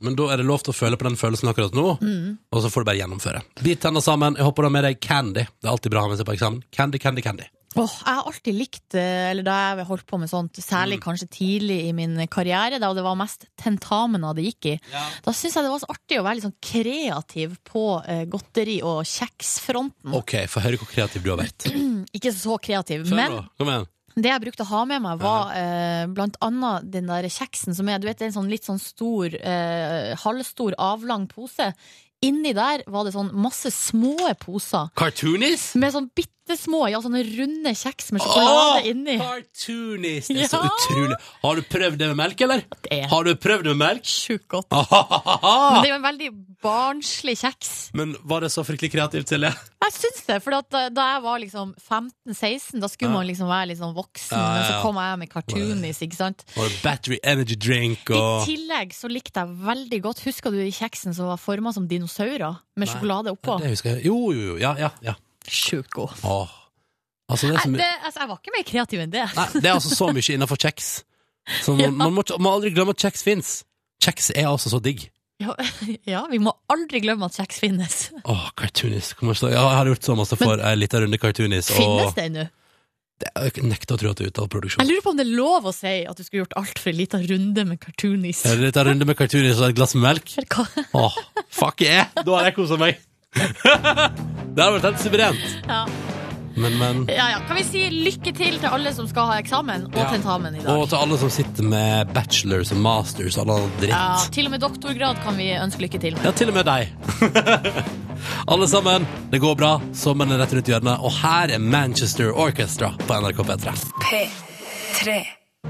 Men da er det lov til å føle på den følelsen akkurat nå, og så får du bare gjennomføre. Bit tenna sammen. Jeg håper du har med deg candy. Det er alltid bra å ha med seg på eksamen. Candy, candy, candy.
Åh, jeg har alltid likt, eh, eller da jeg holdt på med sånt, særlig
Mm.
kanskje tidlig i min karriere, da det var mest tentamener det gikk i, da syns jeg det var så artig å være litt sånn kreativ på eh, godteri- og kjeksfronten.
OK, få høre hvor kreativ du har vært.
Ikke så kreativ,
Kjør
men
nå. Kom igjen.
Det jeg brukte å ha med meg, var eh, blant annet den der kjeksen som er Du vet, det er en sånn litt sånn stor, eh, halvstor, avlang pose. Inni der var det sånn masse små poser.
Cartoonis?
Med sånn bitte små, ja, sånne runde kjeks med sjokolade inni.
Cartoonis! Det er så
Ja.
utrolig. Har du prøvd det med melk, eller?
Det er
Har du prøvd det med melk?
sjukt godt. Men
Ahahaha!
det er jo en veldig barnslig kjeks.
Men var det så fryktelig kreativt, Silje?
Jeg syns det, for da, da jeg var liksom 15-16, da skulle
Ja.
man liksom være litt sånn voksen,
Ja, ja,
men så
ja.
kom jeg med cartoonis, ikke sant.
Var det battery energy drink
I
og
tillegg så likte jeg veldig godt Husker du de kjeksen som var forma som dinosaurer?
Nei.
Med sjokolade oppå?
Det husker jeg. Jo, jo, jo. Ja, ja. ja.
Sjukt god.
Åh. Altså, det er, så my-
Nei, det, altså, jeg var ikke mer kreativ enn det.
Nei, det er altså så mye innafor kjeks. Så
Ja.
man, man, må, man må aldri glemme at kjeks fins. Kjeks er altså så digg.
Ja, ja, vi må aldri glemme at kjeks finnes.
Åh, cartoonis. Kommer ikke til å- Ja, jeg har gjort så masse for ei lita runde cartoonis,
Finnes
og
det ennå?
det, jeg nekter å tro at det er ute av
Jeg
produksjon.
lurer på om det er lov å si at du skulle gjort alt for en liten runde med cartoonis.
En lita runde med cartoonis og et glass med melk?
For hva-
Åh, fuck yeah! Da har jeg kosa meg. det har vært helt suverent.
Ja.
Men, men.
Ja, ja. Kan vi si lykke til til alle som skal ha eksamen og
Ja.
tentamen i
Og
dag?
til alle som sitter med bachelors og masters og all annen dritt.
Ja,
Ja.
til og med doktorgrad kan vi ønske lykke til med.
til og med deg. alle sammen, det går bra. Sommeren er rett rundt hjørnet, og her er Manchester Orchestra på NRK P3.
P3.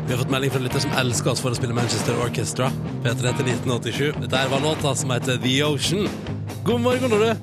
Vi har fått melding fra en lytter som elsker oss for å spille Manchester Orchestra. P3 til 1987. Dette her var låta som heter The Ocean. God morgen, du.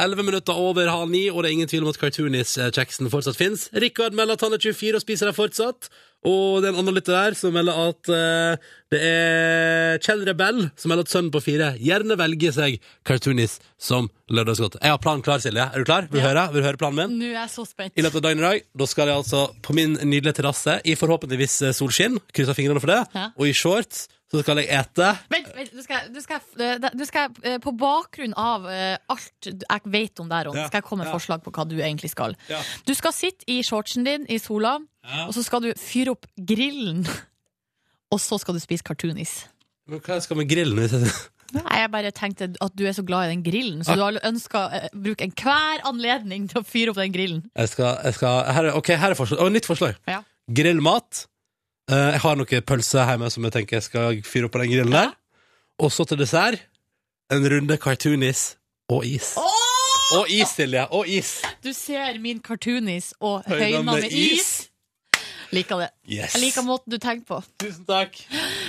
Elleve minutter over halv ni, og det er ingen tvil om at cartoonis-kjeksen fortsatt fins. Rikard melder at han er 24 og spiser det fortsatt. Og det er en annen lytter der som melder at eh, det er Kjell Rebell som melder at sønnen på fire gjerne velger seg cartoonis som lørdagsgodt. Jeg har planen klar, Silje. Er du klar? Vil du høre? Vil du høre planen min?
Nå er jeg så spent.
I løpet av dagen i dag Da skal jeg altså på min nydelige terrasse I forhåpentligvis eh, solskinn Krysser fingrene for det
Ja.
Og i shorts Så skal jeg ete
Vent, vent, du skal, du skal, eh, du skal eh, På bakgrunn av eh, alt jeg vet om deg, Ron,
Ja,
skal jeg komme med
ja.
forslag på hva du egentlig skal.
Ja.
Du skal sitte i shortsen din i sola, og så skal du fyre opp grillen. Og så skal du spise cartoonis.
Men hva skal jeg med grillen hvis jeg...
Nei, Jeg bare tenkte at du er så glad i den grillen, så du har ønska å bruke enhver anledning til å fyre opp den grillen.
Jeg skal, jeg skal her er, Ok, her er forslag Å, nytt forslag
Ja.
Grillmat Eh, Jeg har noen pølser hjemme Som jeg tenker jeg skal fyre opp på den grillen der Og så til dessert En runde cartoonis Og is Og is, Silje Og is
Du ser min cartoonis og
Høyna
høyna
med
med is. Liker det.
Yes
Jeg liker måten du tenker på.
Tusen takk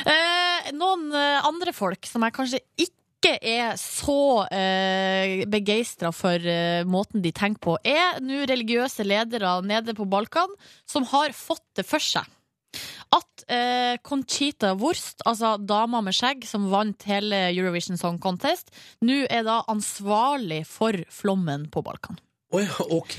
Eh, noen eh, andre folk som jeg kanskje ikke er så eh, begeistra for eh, måten de tenker på, er nå religiøse ledere nede på Balkan som har fått det for seg. At eh, Conchita Wurst, altså dama med skjegg som vant hele Eurovision Song Contest, nå er da ansvarlig for flommen på Balkan.
Oi, ok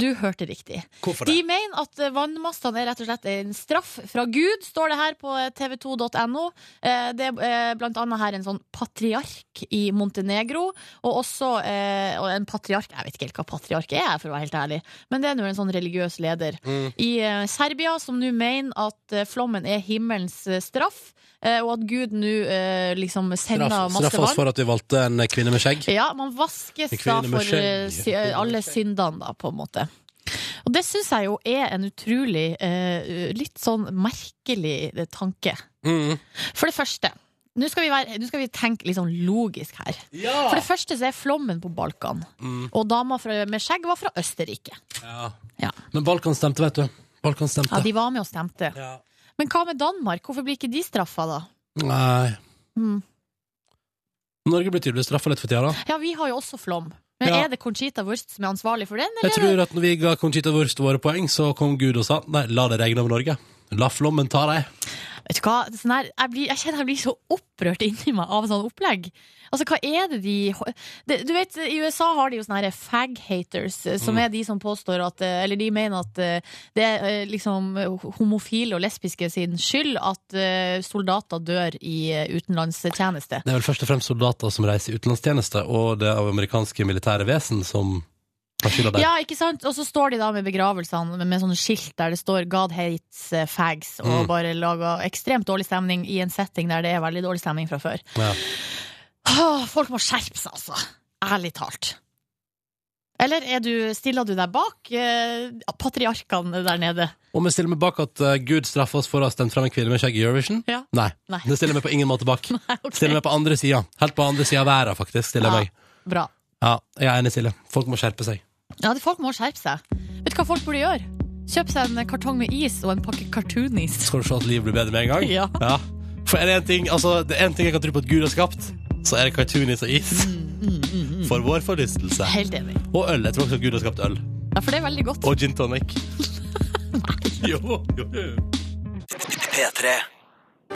Du hørte riktig.
Hvorfor
De
det?
mener at eh, vannmassene er rett og slett en straff fra Gud, står det her på eh, tv2.no. Eh, Det er eh, blant annet her en sånn patriark i Montenegro, og også eh, og en patriark Jeg vet ikke helt hva patriark er, for å være helt ærlig, men det er nå en sånn religiøs leder
Mm.
i eh, Serbia, som nå mener at eh, flommen er himmelens eh, straff, eh, og at Gud nå eh, liksom sender
Straff,
masse
straff oss
vann.
for at vi valgte en kvinne med skjegg
Ja, man vaskes
En
da
kvinne med
for eh,
skjegg.
sy alle syndene, da, på en måte. Og det syns jeg jo er en utrolig eh, litt sånn merkelig eh, tanke.
Mm.
For det første, nå skal, vi være, nå skal vi tenke litt sånn logisk her.
Ja!
For det første så er flommen på Balkan,
Mm.
og dama fra, med skjegg var fra Østerrike. Ja.
Men Balkan stemte, vet du. Balkan stemte.
Ja, de var med og stemte.
Ja.
Men hva med Danmark? Hvorfor blir ikke de straffa, da?
Nei.
Mm.
Norge blir tydeligvis straffa litt for tida, da.
Ja, vi har jo også flom. Men
Ja.
er det Conchita Wurst som er ansvarlig for den,
Jeg
eller?
tror at når vi ga Conchita Wurst våre poeng, så kom Gud og sa nei, la det regne over Norge. La flommen ta deg.
Vet du hva? Sånn her, jeg, blir, jeg kjenner jeg blir så opprørt inni meg av sånn opplegg. Altså, hva er det de det, Du vet, I USA har de jo sånne her fag-haters, eh, som er de som påstår at eh, Eller de mener at eh, det er eh, liksom eh, homofile og lesbiske sin skyld at eh, soldater dør i eh, utenlandstjeneste.
Det er vel først og fremst soldater som reiser i utenlandstjeneste, og det av amerikanske militære vesen som har skylda der.
Ja, ikke sant? Og så står de da med begravelsene med, med sånne skilt der det står 'God hates eh, fags', og
Mm.
bare lager ekstremt dårlig stemning i en setting der det er veldig dårlig stemning fra før.
Ja.
Åh, folk må skjerpe seg, altså. Ærlig talt. Eller er du, stiller du deg bak eh, patriarkene der nede?
Om vi stiller meg bak at eh, Gud straffer oss for å ha stemt fram en kvinne med skjegg i Eurovision?
Ja.
Nei.
Nei.
Det stiller meg på ingen måte bak.
Nei, ok.
Stiller meg på andre sida. Helt på andre sida av verden, faktisk. stiller jeg meg.
Bra.
Ja, jeg er enig, Silje. Folk må skjerpe seg.
Ja, det- folk må skjerpe seg. Vet du hva folk burde gjøre? Kjøpe seg en kartong med is og en pakke cartoonis.
Skal du se at livet blir bedre med en gang?
Ja.
For er det en ting, altså, det er en ting jeg kan tro på at Gud har skapt, så er det cartoonis og is.
Mm,
For vår forlystelse.
Helt enig.
Og øl. Jeg tror også Gud har skapt øl.
Ja, for det er veldig godt.
Og gin tonic. jo, jo, jo.
P3.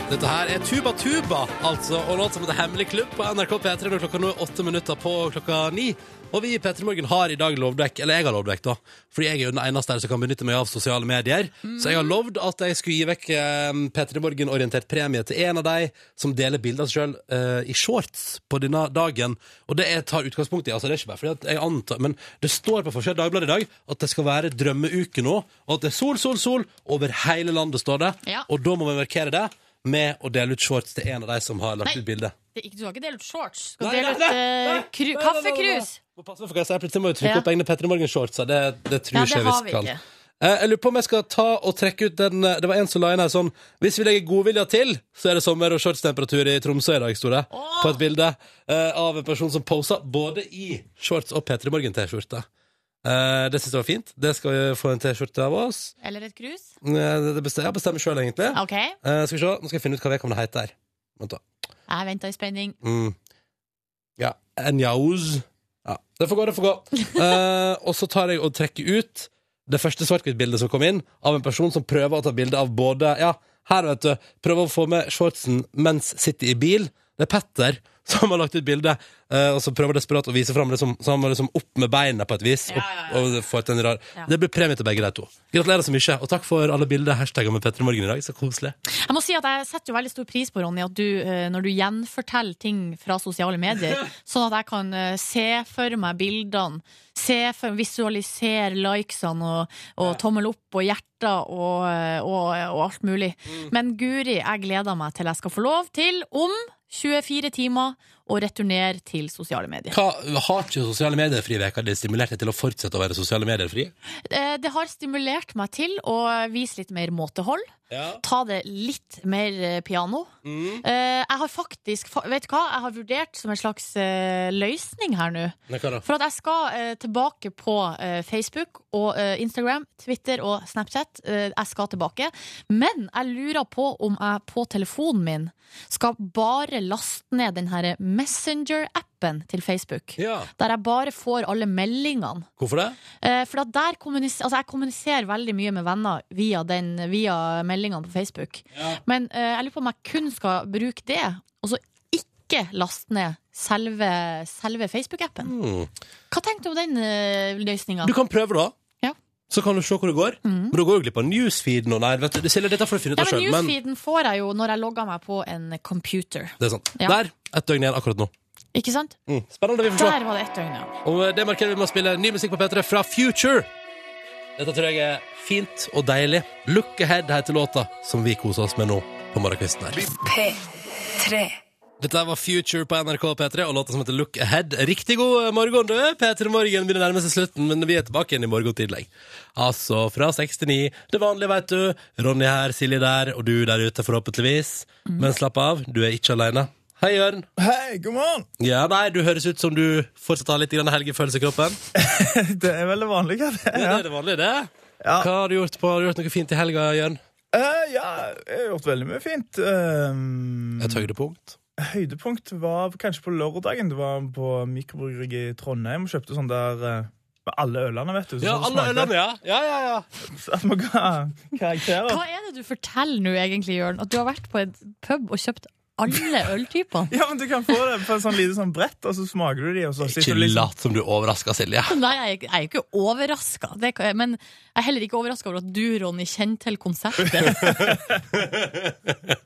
Dette her er Tuba Tuba, altså, og låt som heter Hemmelig klubb på NRK P3 når klokka nå er åtte minutter på klokka ni. Og vi i P3 Morgen har i dag lovdekk, eller jeg har lovdekk, da, fordi jeg er jo den eneste her som kan benytte meg av sosiale medier. Så jeg har lovd at jeg skulle gi vekk eh, P3 Morgen-orientert premie til en av de som deler bilder av seg sjøl eh, i shorts på denne dagen. Og det jeg tar utgangspunkt i, altså det er ikke bare fordi at jeg antar, men det står på forskjell Dagbladet i dag at det skal være drømmeuke nå, og at det er sol, sol, sol over hele landet, står det.
Ja.
Og da må vi markere det med å dele ut shorts til en av de som har lagt
Nei.
ut bilde.
Det, er ikke- du skal ikke dele ut shorts. Du skal
Nei,
dele
nei, nei, nei,
ut uh,
nei, nei, nei, nei.
kaffekrus.
Må passe meg for hva jeg sier, plutselig må jeg trykke
Ja.
opp egne Petter Morgen-shortser. Det, det tror
Ja,
ikke
det
jeg
har
vi
vi
kan.
ikke.
Eh, Jeg lurer på om jeg skal ta og trekke ut den eh, Det var en som la inn her sånn Hvis vi legger godvilja til, så er det sommer- og shortstemperatur i Tromsø i dag, sto det. På et bilde eh, av en person som posa både i shorts og Petter Morgen-T-skjorte. Eh, Det syns jeg var fint. Det skal vi få en T-skjorte av oss.
Eller et krus.
Eh, det bestem- Jeg bestemmer sjøl, egentlig.
OK, jeg
Eh, Skal vi se, nå skal jeg finne ut hva vedkommende heter her. Vent, da.
venter i spenning.
Mm. Ja, Njauz. Ja, det får gå, det får gå. Eh, og så tar jeg og trekker ut det første svart-hvitt-bildet som kom inn, av en person som prøver å ta bilde av både Ja, her, vet du. Prøver å få med shortsen mens sitter i bil. Det er Petter som har lagt ut bilde, eh, og så prøver desperat å vise fram det som Så han må liksom opp med beina på et vis. Opp, Og få til en rar
Ja.
Det blir premie til begge de to. Gratulerer så mye, og takk for alle bilder hashtagger med Petter i morgen i dag. Så koselig.
Jeg må si at jeg setter jo veldig stor pris på, Ronny, at du, eh, når du gjenforteller ting fra sosiale medier, sånn at jeg kan eh, se for meg bildene, se for, visualisere likesene og, og tommel opp og hjerter og, eh, og, og alt mulig. Men Guri, jeg gleder meg til jeg skal få lov til, om 24 timer, å returnere til sosiale medier.
Hva, har ikke sosiale medier fri veka? Det stimulerte til å fortsette å være sosiale medier fri?
Eh, Det har stimulert meg til å vise litt mer måtehold.
Ja.
ta det litt mer eh, piano. Eh, jeg har faktisk fa- Vet du hva? Jeg har vurdert som en slags eh, løsning her nå.
Nei, hva da?
For at jeg skal eh, tilbake på eh, Facebook og eh, Instagram, Twitter og Snapchat. Eh, jeg skal tilbake. Men jeg lurer på om jeg på telefonen min skal bare laste ned den her Messenger-appen til Facebook.
Ja.
Der jeg bare får alle meldingene.
Hvorfor det?
Eh, For at der kommuniser, altså jeg kommuniserer veldig mye med venner via, den, via meldingene på Facebook. Men eh, jeg lurer på om jeg kun skal bruke det, og så ikke laste ned selve, selve Facebook-appen.
Hmm.
Hva tenkte du om den uh, løsninga?
Du kan prøve, da.
Ja. Mm.
Så kan du se hvor det går. Men da går du glipp av newsfeeden og nei, vet du, Silje, dette får du finne ut
Ja,
av
men
sjøl. Men
Newsfeeden får jeg jo når jeg logger meg på en computer.
det er sant.
Ja.
Der. Ett døgn igjen akkurat nå.
Ikke sant?
Mm. Spennende. Vi får se.
Der var det ett døgn, ja.
Og eh, det markerer vi med å spille ny musikk på P3 fra Future. Dette tror jeg er fint og deilig. Look ahead heter låta som vi koser oss med nå på morgenkvisten her.
P3.
Dette var Future på NRK P3 og låta som heter Look Ahead. Riktig god eh, morgen, du. P3 Morgen begynner nærme seg slutten, men vi er tilbake igjen i morgen tidlig. Altså fra seks til ni. Det vanlige, veit du. Ronny her, Silje der, og du der ute, forhåpentligvis. Men slapp av, du er ikke aleine. Hei, Jørn.
Hei, god morgen!
Ja, nei, du høres ut som du fortsatt har litt grann helgefølelse i kroppen.
Det er veldig vanlig, ja. Det,
Ja.
ja.
Det er det vanlige, det.
Ja.
Hva har du gjort på? Har du gjort noe fint i helga, Jørn?
Eh, ja, jeg har gjort veldig mye fint. Eh,
Et høydepunkt.
høydepunkt var kanskje på lørdagen. Du var på mikrobryggeri i Trondheim og kjøpte sånn der eh, med alle ølene, vet du. sånn
Ja, alle ølene, ja. Ja, ja, ja.
At man ga karakterer.
Hva er det du forteller nå egentlig, Jørn? At du har vært på en pub og kjøpt alle øltypene?
Ja, men Du kan få det på et sånn lite sånn brett, og så smaker du de, og så
Ikke
sitter du liksom
lat som du er overraska, Silje.
Nei, jeg er ikke- jeg er jo ikke overraska. Men jeg er heller ikke overraska over at du, Ronny, kjenner til konseptet.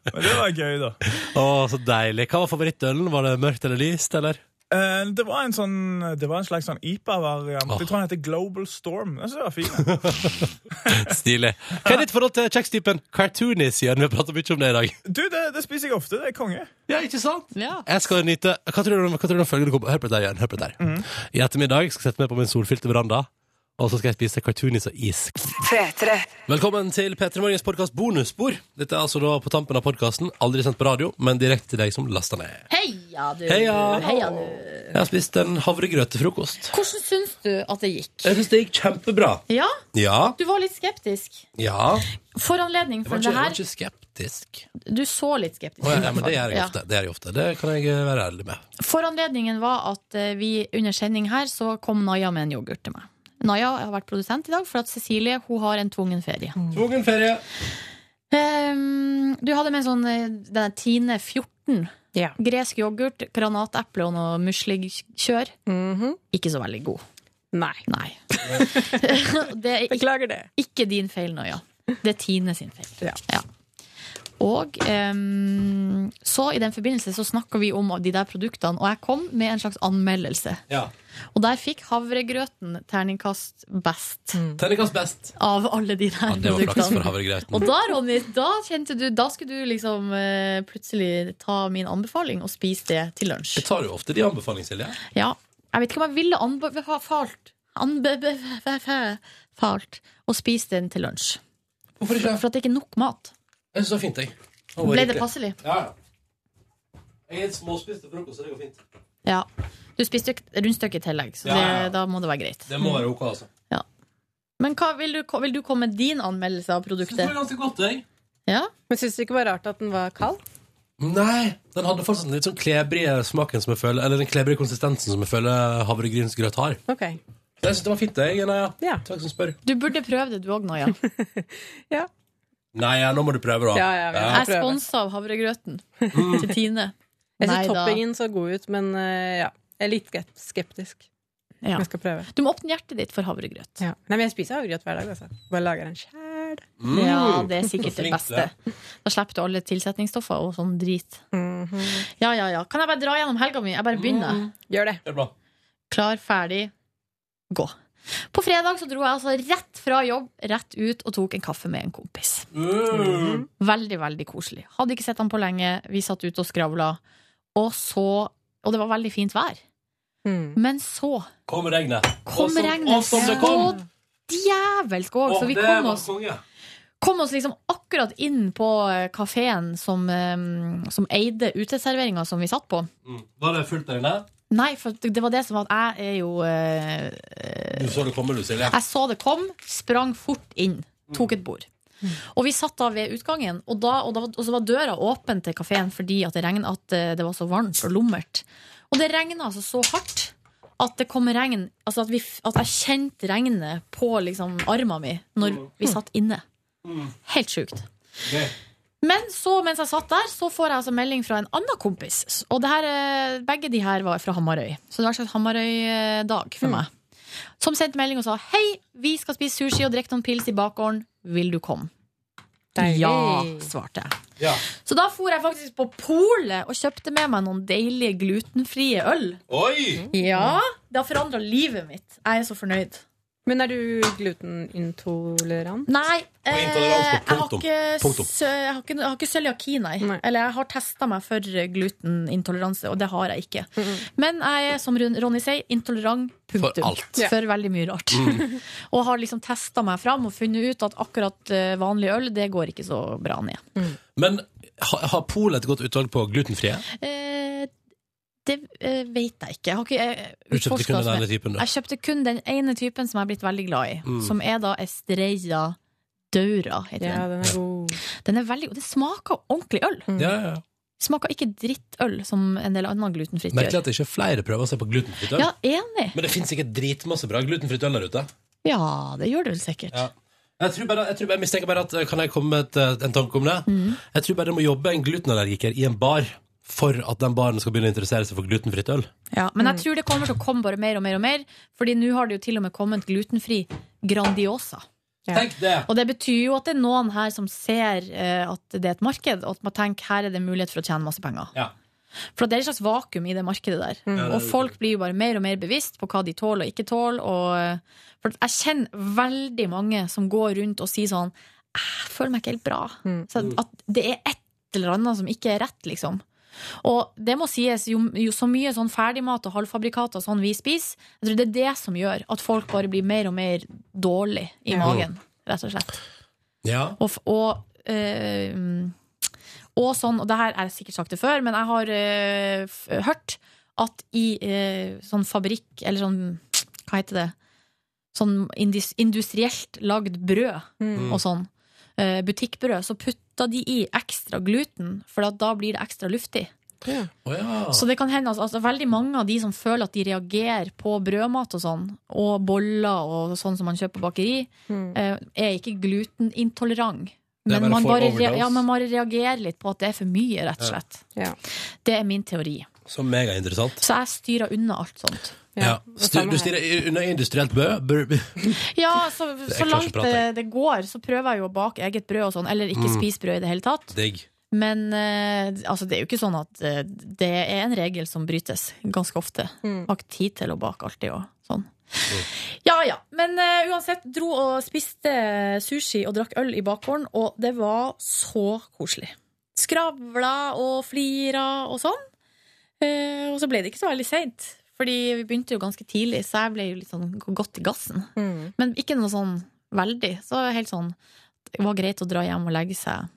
Men det var gøy, da.
Å, så deilig. Hva var favorittølen? Var det mørkt eller lyst, eller?
Eh, det var en sånn Det var en slags sånn IPA-variant.
Åh.
Jeg tror den heter Global Storm. Jeg synes det var fint.
Stilig. Hva er ditt forhold til kjekstypen cartoonies, Jørn? Vi har pratet mye om det i dag.
Du, det, det spiser jeg ofte. Det er konge.
Ja, ikke sant?
Ja.
Jeg skal nyte Hva tror du om, hva tror du om følgende kombo? Hør på det der, Jørn. Hør på det der. I ettermiddag skal jeg sette meg på min solfylte veranda, og så skal jeg spise cartoonies og is.
P3.
Velkommen til P3 Morgens podkast bonusspor. Dette er altså da på tampen av podkasten. Aldri sendt på radio, men direkte til deg som laster ned.
Heia, du!
Heia.
du!
Jeg har spist en havregrøt til frokost.
Hvordan syns du at det gikk?
Jeg syns det gikk kjempebra.
Ja,
Ja.
du var litt skeptisk.
Ja.
For anledning
Jeg
for
var
det
ikke, jeg var
her.
ikke skeptisk.
Du så litt skeptisk.
Å, ja, ja,
i hvert
men
fall.
det gjør jeg
Ja.
ofte. Det gjør jeg ofte. Det kan jeg eh, være ærlig med.
Foranledningen var at eh, vi under sending her så kom Naja med en yoghurt til meg. Naja har vært
Mm.
produsent i dag for at Cecilie hun har en tvungen ferie.
Tvungen ferie.
Ehm, Du hadde med en sånn eh, denne Tine 14. Gresk yoghurt, granateple og noe musligkjør. Ikke så veldig god.
Nei.
det er Beklager det. Ikke din feil nå, ja. Det er Tine sin feil. Ja. Og em, så i den forbindelse så snakka vi om de der produktene, og jeg kom med en slags anmeldelse.
Ja.
Og der fikk havregrøten terningkast best
Terningkast best.
av alle de der
Ja, det var flaks
produktene.
for havregrøten.
Og da, Ronny, da kjente du Da skulle du liksom eh, plutselig ta min anbefaling og spise det til lunsj.
Jeg tar jo ofte de anbefalingene, Silje.
Ja. Jeg vet ikke om jeg ville anbefalt Anbefalt å spise den til lunsj.
Hvorfor ikke?
For at det ikke er nok mat.
Jeg synes det var fint, jeg. var
Ble det
riktig.
passelig?
Ja. Jeg er småspist til frokost, så det går fint.
Ja. Du spiste jo et rundstykke i tillegg, så
Ja,
det,
ja, ja.
da må det være greit.
Det må være ok, altså.
Ja. Men hva, vil, du, vil du komme med din anmeldelse av produktet?
Det var ganske godt, jeg.
Men syns du ikke det var rart at den var kald?
Nei, den hadde fortsatt den litt sånn klebrige smaken som jeg føler, eller den klebrige konsistensen som jeg føler havregrynsgrøt har.
Ok.
Så jeg synes det var fint, jeg, Naja. Takk som spør.
Du burde prøve det, du òg, Naja.
Nei, ja, nå må du prøve, da.
Ja, ja, vi
Jeg er
prøver.
sponsa av havregrøten til Tine.
Jeg syns
Nei da.
toppingen så god ut, men eh, ja. Jeg er litt skep- skeptisk.
Ja.
Jeg skal prøve.
Du må åpne hjertet ditt for havregrøt.
Ja. Nei, men jeg spiser havregrøt hver dag, altså. Bare lager den sjæl.
Mm. Ja, det er sikkert det beste. Da slipper du alle tilsetningsstoffer og sånn drit. Ja, ja, ja. Kan jeg bare dra gjennom helga mi? Jeg bare begynner.
Gjør det.
Klar, ferdig, gå. På fredag så dro jeg altså rett fra jobb, rett ut og tok en kaffe med en kompis.
Mm.
Veldig, veldig koselig. Hadde ikke sett han på lenge. Vi satt ute og skravla. Og så Og det var veldig fint vær. Men så
Kom regnet.
kom
Og som-
regnet
og som det
så
kom.
djevelsk òg,
Å,
så vi
det
kom
var
oss
konge.
kom oss liksom akkurat inn på kafeen som, eh, som eide uteserveringa som vi satt på.
Mm. Var det fullt der inne?
Nei, for det var det som var at jeg er jo eh,
Du så det komme, du, Silje.
Jeg så det kom, sprang fort inn, tok et bord. Og vi satt da ved utgangen, og, da, og, da, og så var døra åpen til kafeen fordi at det, regnet, at eh, det var så varmt og lummert. Og det regna altså så hardt at det kom regn Altså at, vi, f- at jeg kjente regnet på liksom armen min når vi satt inne. Helt sjukt. Men så, mens jeg satt der, så får jeg altså melding fra en annen kompis. Og det her, eh, begge de her var fra Hamarøy. Så det var en slags Hamarøy-dag for meg. Som sendte melding og sa Hei, vi skal spise sushi og drikke noen pils i bakgården. Vil du komme?
Deilig.
Ja, svarte jeg. Så da for jeg faktisk på polet og kjøpte med meg noen deilige glutenfrie øl.
Oi!
Ja, Det har forandra livet mitt. Jeg er så fornøyd.
Men er du glutenintolerant?
Nei. Eh, jeg, har
punktum.
ikke,
Punktum.
sø- jeg, har ikke, jeg har ikke cøliaki, nei. Eller jeg har testa meg for glutenintoleranse, og det har jeg ikke. Men jeg er, som Ron- Ronny sier, intolerant punktum.
For alt.
For veldig mye rart.
Mm.
og har liksom testa meg fram og funnet ut at akkurat eh, vanlig øl, det går ikke så bra ned.
Men ha- har Polet et godt utvalg på glutenfrie?
Eh, det eh, vet jeg ikke. Jeg har ikke jeg,
Du kjøpte
utforsket
kun den
så mye.
ene typen, du?
Jeg kjøpte kun den ene typen som jeg har blitt veldig glad i.
Mm.
Som er da Estrella Daura, heter
Ja, den er god.
Den er veldig god. Det smaker ordentlig øl.
Ja, ja, ja.
Smaker ikke drittøl, som en del annen glutenfritt
Merkelig
gjør.
at ikke flere prøver seg på glutenfritt øl.
Ja, enig.
Men det finnes sikkert dritmasse bra glutenfritt øl der ute.
Ja, det gjør det vel sikkert.
Ja. Jeg, tror bare, jeg, tror bare, jeg mistenker bare at Kan jeg komme med et, eh, en tanke om det?
Mm.
Jeg tror bare det må jobbe en glutenallergiker i en bar for at den baren skal begynne å interessere seg for glutenfritt øl.
Ja, men jeg tror det kommer til å komme bare mer og mer og mer, Fordi nå har det jo til og med kommet glutenfri Grandiosa.
Tenk det!
Og det betyr jo at det er noen her som ser eh, at det er et marked, og at man tenker her er det mulighet for å tjene masse penger.
Ja.
For det er et slags vakuum i det markedet der.
Mm. Ja, det er
Og
det.
folk blir jo bare mer og mer bevisst på hva de tåler og ikke tåler. Og, for jeg kjenner veldig mange som går rundt og sier sånn Jeg føler meg ikke helt bra.
Mm.
Så at- at det er et eller annet som ikke er rett, liksom. Og det må sies, jo, jo så mye sånn ferdigmat og halvfabrikater og sånn vi spiser, jeg tror det er det som gjør at folk bare blir mer og mer dårlig i
Ja.
magen, rett og slett.
Ja.
Og, f- og, eh, mm, og sånn, og det her er sikkert sagt det før, men jeg har eh, f hørt at i eh, sånn fabrikk, eller sånn, hva heter det, sånn indus industrielt lagd brød
Mm.
og sånn, eh, butikkbrød, så putter de i ekstra gluten, for at da blir det ekstra luftig. Så det kan hende altså, altså, Veldig mange av de som føler at de reagerer på brødmat og sånn, og boller og sånn som man kjøper på bakeri, eh, er ikke glutenintolerant.
Hmm. Det er bare
Men man
for
bare,
overdose.
rea- ja, man bare reagerer litt på at det er for mye, rett og
Ja.
slett. Det er min teori.
Så megainteressant.
Så jeg styrer unna alt sånt.
Ja. Styr, du styrer i- unna industrielt bø? bø- bø-
Ja, så,
Det er
så
klart å
langt
prate.
det, det går, så prøver jeg jo å bake eget brød og sånn, eller ikke
Mm.
spise brød i det hele tatt.
Digg.
Men eh, altså, det er jo ikke sånn at eh, det er en regel som brytes ganske ofte. Mm. Har ikke tid til å bake alltid og sånn. Ja ja. Men eh, uansett, dro og spiste sushi og drakk øl i bakgården, og det var så koselig. Skravla og flira og sånn. Eh, og så ble det ikke så veldig seint, fordi vi begynte jo ganske tidlig, så jeg ble jo litt sånn godt i gassen. Men ikke noe sånn veldig. Så helt sånn Det var greit å dra hjem og legge seg.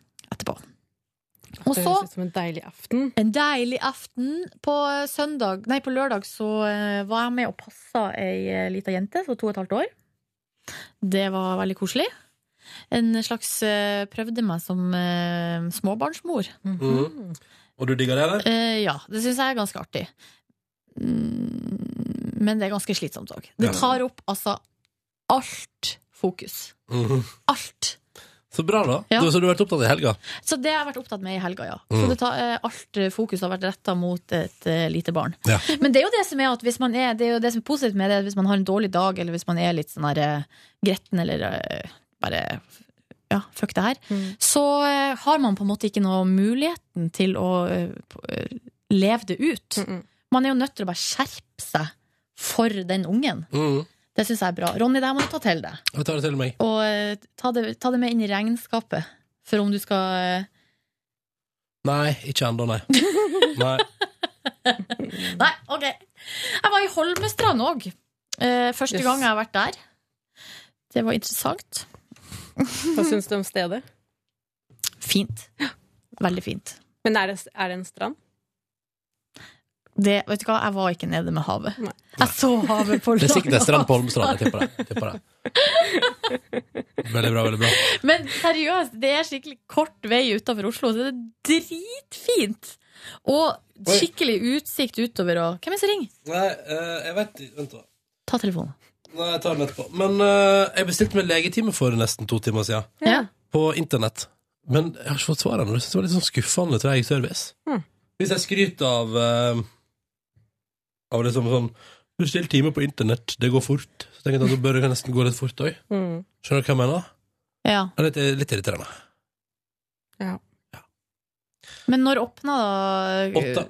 Og
Det
så-
høres ut som en deilig aften.
En deilig aften. På søndag, nei, på lørdag så eh, var jeg med og passa ei eh, lita jente på to og et halvt år. Det var veldig koselig. En slags eh, prøvde meg som eh, småbarnsmor.
Mm.
Mhm. Og du digger det, eller?
Eh, ja, det syns jeg er ganske artig. Mm, Men det er ganske slitsomt òg. Det
Ja.
tar opp altså alt fokus.
Mhm.
Alt.
Så bra, da.
Ja.
Du, så du har vært opptatt i helga?
Så det har jeg vært opptatt med i helga, ja.
Mm.
Så det tar, eh, alt eh, fokus har vært retta mot et eh, lite barn.
Ja.
Men det er jo det som er at hvis man er, det er jo det som er positivt med det, hvis man har en dårlig dag, eller hvis man er litt sånn her eh, gretten, eller eh, bare ja, fuck det her, så eh, har man på en måte ikke noe muligheten til å eh, på- eh, leve det ut. Man er jo nødt til å bare skjerpe seg for den ungen.
Mhm.
Det syns jeg er bra. Ronny, det her må du ta til deg.
Jeg tar det til meg.
Og eh, ta det, ta det med inn i regnskapet. For om du skal eh,
Nei, ikke ennå, nei. nei.
Nei, ok. Jeg var i Holmestrand òg. Eh, første
Yes.
gang jeg har vært der. Det var interessant.
Hva syns du om stedet?
Fint. Veldig fint.
Men er det, er det en strand?
Det, vet du hva, jeg var ikke nede med havet. Jeg så havet på
Det er sikkert en strand på Holmestrand.
avstand.
Jeg tipper det. Jeg tipper det. Veldig bra, veldig bra.
Men seriøst, det er skikkelig kort vei utenfor Oslo, så det er dritfint! Og skikkelig utsikt utover og Hvem er det som ringer?
Nei, eh, jeg vet ikke. Vent, da.
Ta telefonen.
Nei, jeg tar den etterpå. Men eh, jeg bestilte meg legetime for nesten to timer siden.
Ja.
På internett. Men jeg har ikke fått svar ennå. Det synes jeg var litt sånn skuffende treig service.
Hmm.
Hvis jeg skryter av eh, Av liksom sånn Bestill time på internett, det går fort. Så tenker jeg at da bør det nesten gå litt fort òg.
Mm.
Skjønner du hva jeg mener?
Ja.
Det er litt, litt irriterende.
Men når åpna da
Åtte.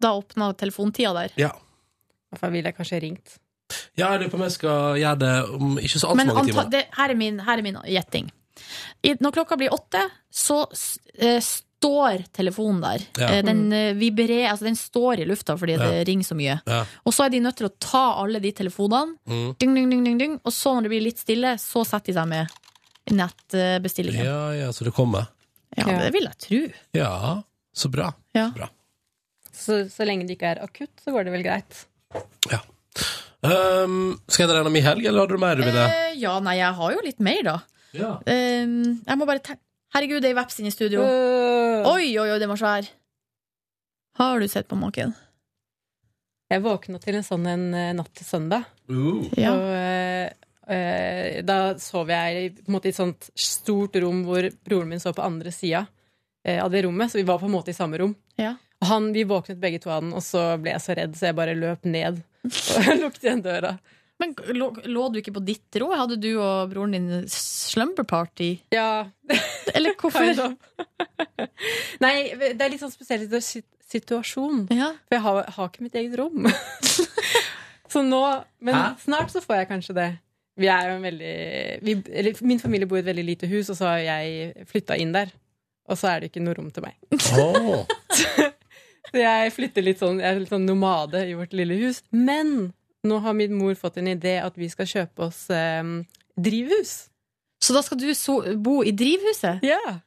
Da åpna telefontida der?
Ja.
Derfor ville jeg kanskje ringt.
Ja, jeg lurer på om jeg skal gjøre det om ikke så
Men
altfor mange
anta-
timer.
det, her, er min, her er min gjetting. I, når klokka blir åtte, så s- eh, står telefonen der.
Ja.
Eh, den eh, vibrerer, altså den står i lufta fordi
Ja.
det ringer så mye.
Ja.
Og så er de nødt til å ta alle de telefonene,
Mm.
ding, ding, ding, ding, ding, og så når det blir litt stille, så setter de seg med nettbestillingen.
Ja, ja, så det kommer.
Ja, det vil jeg tro.
Ja, så bra.
Ja.
Bra.
Så, så lenge det ikke er akutt, så går det vel greit.
Um, skal jeg dra gjennom i helg, eller har du mer du vil det?
Eh, ja, nei, jeg har jo litt mer, da.
Ja.
Eh, jeg må bare tenke Herregud, det er veps inne i studio.
Øh.
Øh,
Oi, oi, oi, den var svær. Har du sett på maken?
Jeg våkna til en sånn en eh, natt til søndag.
Uh.
Ja.
Og eh, eh, da sov jeg i, på en måte, i et sånt stort rom hvor broren min sov på andre sida eh, av det rommet, så vi var på en måte i samme rom.
Ja.
Og han, vi våknet begge to av den, og så ble jeg så redd, så jeg bare løp ned og lukket igjen døra.
Men lå, lå du ikke på ditt rom? Hadde du og broren din slumber party?
Ja.
Eller
Kind
hvorfor?
of. Nei, det er litt sånn spesiell situ- situasjon. For jeg har, har ikke mitt eget rom. så nå Men
Hæ?
snart så får jeg kanskje det. Vi er jo en veldig vi, eller, Min familie bor i et veldig lite hus, og så har jeg flytta inn der. Og så er det ikke noe rom til meg.
Åh.
Så jeg flytter litt sånn, jeg er litt sånn nomade i vårt lille hus. Men nå har min mor fått en idé at vi skal kjøpe oss eh, drivhus.
Så da skal du so bo i drivhuset?
Ja.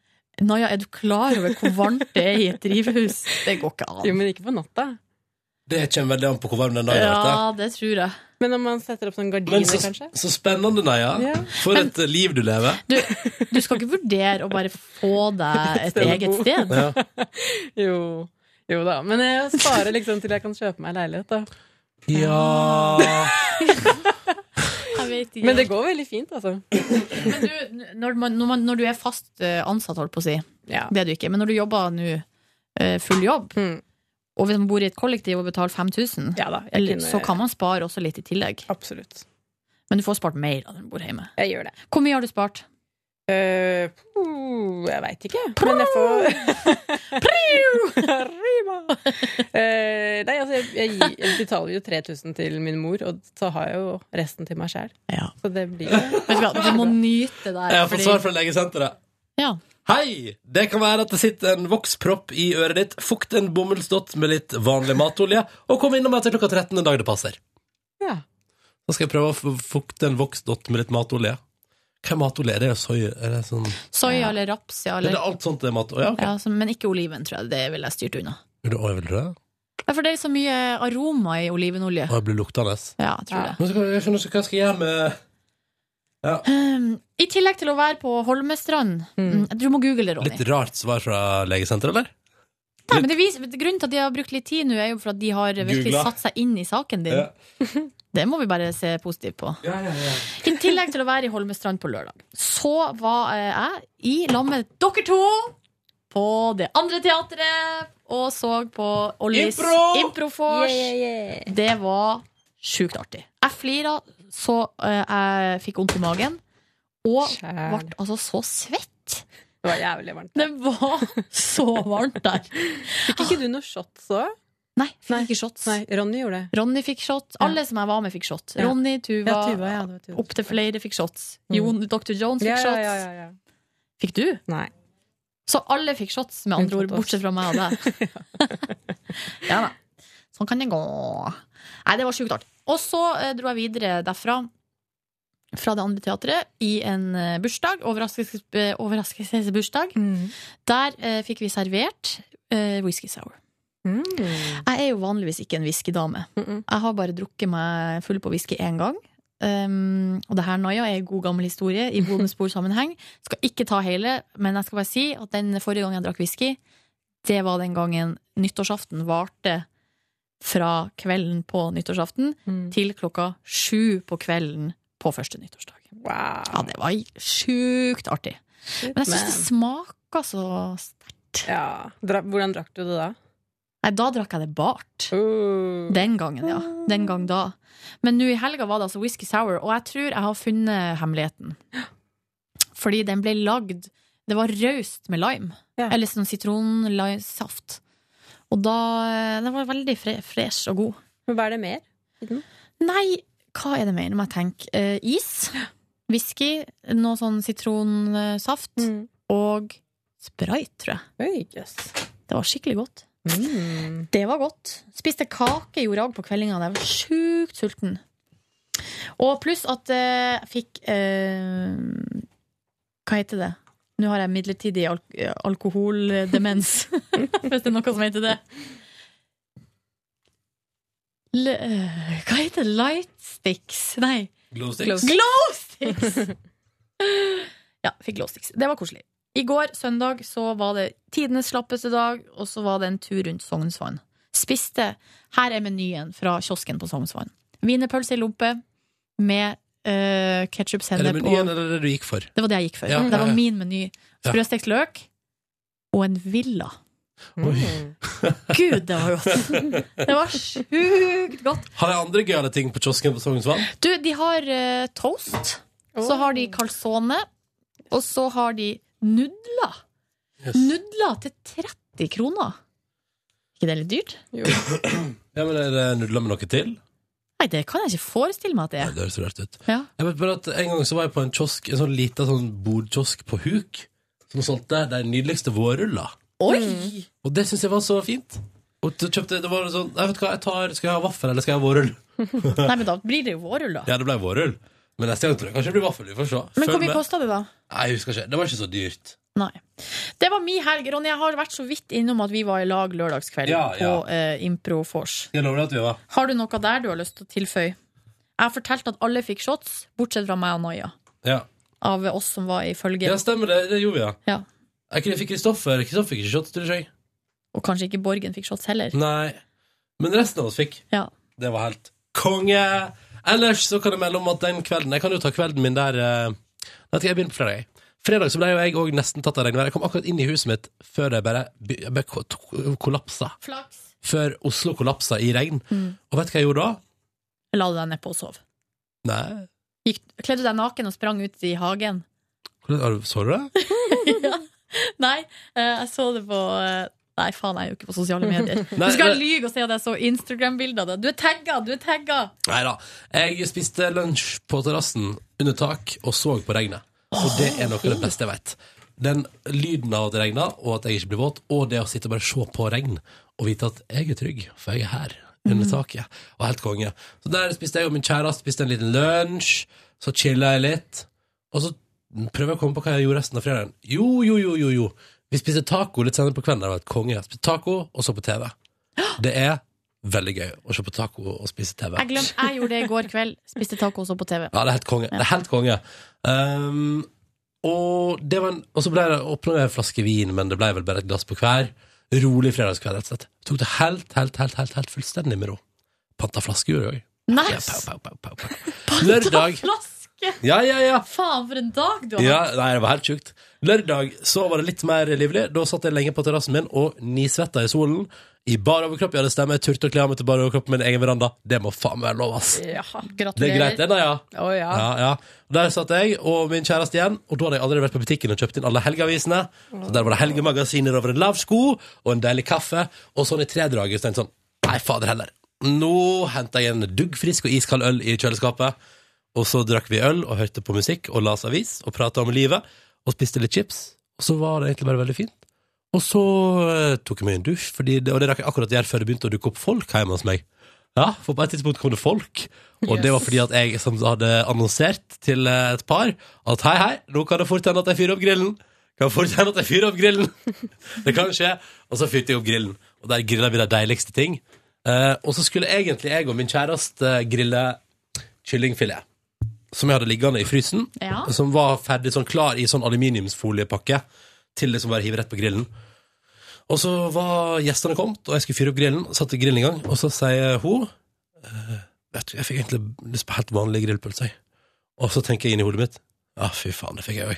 Naja, er du klar over hvor varmt det er i et drivhus? Det går ikke an.
Jo, men ikke på natta.
Det kommer veldig an på hvor varm den dagen har vært.
Ja, det tror jeg.
Men om man setter opp sånn
da.
gardiner,
Men så,
kanskje?
så spennende, Naja.
Ja.
For et eh, liv du lever.
Du, du skal ikke vurdere å bare få deg et
Sted å
eget
bo.
sted?
Ja.
Jo, jo da. Men jeg sparer liksom til jeg kan kjøpe meg leilighet, da.
ja.
Jeg jeg vet ikke.
Men det går veldig fint, altså.
Men du, når, man, når, man, når du er fast eh, ansatt, holdt på å si,
Ja. Mm.
det er du ikke, men når du jobber nå eh, full jobb, og hvis man bor i et kollektiv og betaler 5000,
jeg
eller-
kunne-
så kan man spare også litt i tillegg.
Absolutt.
Men du får spart mer da når du bor hjemme.
Jeg gjør det.
Hvor mye har du spart?
Eh, puh, jeg veit ikke. Men jeg får Rima! Eh, nei, altså, jeg, jeg, gir- jeg betaler jo 3000 til min mor, og så har jeg jo resten til meg sjæl. Så det blir jo
Vet du hva, Du må nyte det der.
Jeg har fått
fordi-
svar fra legesenteret.
Ja.
Hei! Det kan være at det sitter en vokspropp i øret ditt. Fukt en bomullsdott med litt vanlig matolje, og kom innom etter klokka 13 en dag det passer.
Ja.
Da skal jeg prøve å f- fukte en voksdott med litt matolje. Hva er matolje? Er det soya? Er det sånn
Soya eller raps, ja. Eller,
Er det alt sånt det er mat... Å, ja, ok.
ja, så, men ikke oliven, tror jeg. Det ville jeg styrt unna.
Er det- å, jeg vil dø.
Ja, for det er så mye aroma i olivenolje.
Å, jeg blir luktende.
Ja, jeg tror det.
Men så kan- jeg skjønner ikke hva jeg skal gjøre med ja.
Um, I tillegg til å være på Holmestrand mm. Du må google det, Ronny.
Litt rart svar fra legesenteret, eller?
Nei, men det viser, grunnen til at de har brukt litt tid nå, er jo for at de har virkelig
Googlet.
satt seg inn i saken din.
Ja.
Det må vi bare se positivt på.
Ja, ja, ja.
I tillegg til å være i Holmestrand på lørdag, så var eh, jeg i lag med dere to på det andre teatret og så på Ollis
Impro!
Improfors.
Yeah, yeah, yeah.
Det var sjukt artig. Jeg flira så eh, jeg fikk vondt i magen, og ble altså så svett.
Det var jævlig varmt.
Det var så varmt der.
Fikk ikke du noe shots òg?
Nei, fikk ikke shots.
Nei, Ronny gjorde det.
Ronny fikk shot. Alle som jeg var med, fikk shot.
Ja.
Ronny, Tuva,
Ja, Tuva, ja, det var Tuva.
opptil flere fikk shots.
Mm.
Jon, Dr. Jones fikk
Ja, ja,
shots.
ja, ja, ja.
Fikk du?
Nei.
Så alle fikk shots, med andre ord,
Unntatt oss.
bortsett fra meg og deg. ja da. Sånn kan det gå. Nei, det var sjukt artig. Og så eh, dro jeg videre derfra, fra det andre teatret, i en eh, bursdag. Overraskelses, eh, overraskelsesbursdag.
Mm.
Der eh, fikk vi servert eh, whisky sour.
Mm.
Jeg er jo vanligvis ikke en whiskydame. Jeg har bare drukket meg full på whisky én gang. Um, og det her noia er en god gammel historie i bonusbordsammenheng. Skal ikke ta hele, men jeg skal bare si at den forrige gangen jeg drakk whisky, det var den gangen nyttårsaften varte fra kvelden på nyttårsaften til klokka sju på kvelden på første nyttårsdag. Ja, det var sjukt artig. Men jeg syns det smaka så sterkt.
Dra, hvordan drakk du det da?
Nei, da drakk jeg det bart. Den gangen, ja. Den gang da. Men nå i helga var det altså whisky sour, og jeg tror jeg har funnet hemmeligheten. Fordi den ble lagd Det var raust med lime. Eller sånn sitronsaft. Og da eh, Den var veldig fre fresh og god.
Men hva er det mer? i den?
Nei, hva er det mer? Nå må jeg tenke. Eh, is. Whisky. Noe sånn sitronsaft. Og sprite, tror jeg. Det var skikkelig godt. Det var godt. Spiste kake, gjorde agg på kveldinga. Jeg var sjukt sulten. Og pluss at eh, jeg fikk eh, Hva heter det? Nå har jeg midlertidig alk alkoholdemens, hvis det er noe som heter det. Le, eh, hva heter det? Lightsticks? Nei.
Glow
Glow-
sticks.
Glowsticks! ja, fikk glowsticks. Det var koselig. I går, søndag, så var det tidenes slappeste dag, og så var det en tur rundt Sognsvann. Spiste Her er menyen fra kiosken på Sognsvann. Wienerpølse i lompe med uh,
Er
ketsjup,
det
sennep og
menyen eller er det du gikk for?
Det var det jeg gikk for.
Ja, ja,
Det
ja.
var min meny. Sprøstekt løk og en villa. Gud, det var godt! Det var sjukt godt.
Har de andre gøyale ting på kiosken på Sognsvann?
Du, de har eh, toast. Så har
Oh.
de calzone. Og så har de nudler. Nudler til 30 kroner. Ikke det litt dyrt?
Ja, men Er det nudler med noe til?
Nei, det kan jeg ikke forestille meg at det
Nei,
er.
det høres rart ut.
Ja.
Jeg vet bare at En gang så var jeg på en kiosk, en sånn liten sånn bordkiosk på huk, som solgte de nydeligste vårruller.
Oi!
Og det syns jeg var så fint. Og så kjøpte det var sånn, jeg vet hva, jeg tar, Skal jeg ha vaffel, eller skal jeg ha vårrull?
Nei, men da blir det jo vårrull, da.
Ja, det ble vårrull. Men neste gang tror jeg kanskje det blir vaffel. Vi får se.
Men hvor
Følg
mye
med.
kosta det, da?
Nei, jeg husker ikke. Det var ikke så dyrt.
Nei. Det var mi helg. Ronny, jeg har vært så vidt innom at vi var i lag lørdagskveld
Ja, ja.
på eh, Improfors.
Jeg lover deg at vi var
Har du noe der du har lyst til å tilføye? Jeg har fortalt at alle fikk shots, bortsett fra meg og Noia.
Ja,
Av oss som var i følget.
ja stemmer det. Det gjorde vi, ja.
Ja.
Jeg kunne- fikk Kristoffer. Kristoffer fikk ikke shots, tror jeg.
Og kanskje ikke Borgen fikk shots heller.
Nei. Men resten av oss fikk.
Ja.
Det var helt konge! Ellers så kan jeg melde om at den kvelden Jeg kan jo ta kvelden min der eh, Vet ikke, jeg begynner på fredag. jeg. Fredag så ble jo jeg òg nesten tatt av regnvær. Jeg kom akkurat inn i huset mitt før det bare, by- jeg bare ko- to- kollapsa. Før Oslo kollapsa i regn.
Mm.
Og vet du hva jeg gjorde da?
La du deg nedpå og sov?
Nei,
Gikk, kledde du deg naken og sprang ut i hagen?
Hvordan- har du- så du det?
Nei, eh, jeg så det på eh, Nei, faen, jeg er jo ikke på sosiale medier.
Nei,
du skal
det-
lyge og si at jeg så Instagram-bilder av det. Du er tagga! Du er tagga!
Nei da. Jeg spiste lunsj på terrassen under tak og så på regnet. Og det er noe av det beste jeg vet. Den lyden av at det regner, og at jeg ikke blir våt, og det å sitte og bare se på regn og vite at jeg er trygg, for jeg er her under
Mm.
taket, og helt konge. Så der spiste jeg og min kjæreste spiste en liten lunsj, så chilla jeg litt, og så prøver jeg å komme på hva jeg gjorde resten av fredagen. Jo, jo, jo, jo, jo. Vi spiste taco litt senere på kvelden, det var et konge. Spiste taco, og så på TV. Det er veldig gøy å se på taco og spise TV.
Jeg, glemte, jeg gjorde det i går kveld. Spiste taco og så på TV.
Ja, det er helt konge. Det er helt konge. Ehm, og, det var en, og så ble det åpnet en flaske vin, men det ble vel bare et glass på hver. Rolig fredagskveld, rett og slett. Tok det helt, helt, helt, helt, helt fullstendig med ro. Panta flaske gjorde jeg òg.
Nei,
Ja, pow, pow, pow, pow, pow. Lørdag.
flaske!
Ja, ja, ja.
Faen, for en dag du har
ja
hatt!
nei, det var helt sjukt. Lørdag så var det litt mer livlig. Da satt jeg lenge på terrassen min og nisvetta i solen. I bar overkropp. Ja, det stemmer. Jeg turte å kle av meg til bar overkropp på min egen veranda. Det må faen meg være lov, ass. Det er greit, det, da, ja.
Å, ja.
Ja, ja. Der satt jeg og min kjæreste igjen, og da hadde jeg allerede vært på butikken og kjøpt inn alle helgeavisene. Så der var det helgemagasiner over en lav sko og en deilig kaffe, og sånn i tredraget. Så tenkte jeg sånn, nei, fader heller. Nå henter jeg en duggfrisk og iskald øl i kjøleskapet. Og så drakk vi øl og hørte på musikk og las avis og prata om livet og spiste litt chips. Og så var det egentlig bare veldig fint. Og så eh, tok jeg meg en dusj, fordi det, og det rakk jeg akkurat gjøre før det begynte å dukke opp folk hjemme hos meg. Ja, for på et tidspunkt kom det folk, og det var fordi at jeg som hadde annonsert til eh, et par at hei, hei, nå kan det fort hende at jeg fyrer opp grillen. Kan fort hende at jeg fyrer opp grillen. Det kan skje. Og så fyrte jeg opp grillen, og der grilla vi de deiligste ting. Eh, og så skulle egentlig jeg og min kjæreste eh, grille kyllingfilet, som jeg hadde liggende i frysen
Ja.
som var ferdig sånn klar i sånn aluminiumsfoliepakke til liksom bare hive rett på grillen. Og så var gjestene kommet, og jeg skulle fyre opp grillen, satte grillen i gang, og så sier hun «Eh, Vet du, jeg fikk egentlig lyst på helt vanlig grillpølse, jeg. Og så tenker jeg inn i hodet mitt Ja, fy faen, det fikk jeg òg.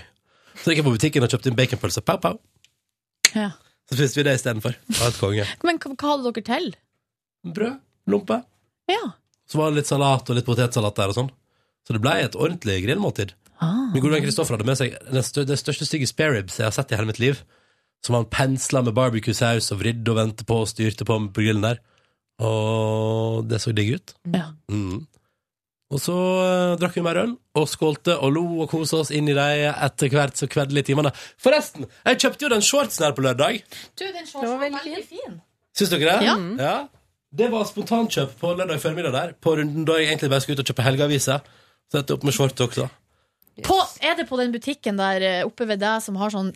Så gikk jeg på butikken og kjøpte inn baconpølse. Pow, pow.
Ja.
Så spiste vi det istedenfor. Det var helt konge.
Men hva hva hadde dere til?
Brød. Lompe.
Ja.
Så var det litt salat og litt potetsalat der og sånn. Så det ble et ordentlig grillmåltid.
Ah,
Min gode venn Kristoffer hadde med seg den stør- det største stygge spareribs jeg har sett i hele mitt liv. Som han pensla med barbecue-saus og vridde og vendte på og styrte på på grillen der. Og det så digg ut.
Ja.
Mm. Og så eh, drakk vi mer øl og skålte og lo og kosa oss inn i de etter hvert så kveldelig timene. Forresten, jeg kjøpte jo den shortsen her på lørdag.
Du, den shortsen var veldig fin.
Syns dere det?
Ja.
Det var spontankjøp på lørdag formiddag der, på runden da jeg egentlig bare skulle ut og kjøpe helgeaviser. Så endte jeg opp med shorts også.
På, er det på den butikken der eh, oppe ved deg som har sånn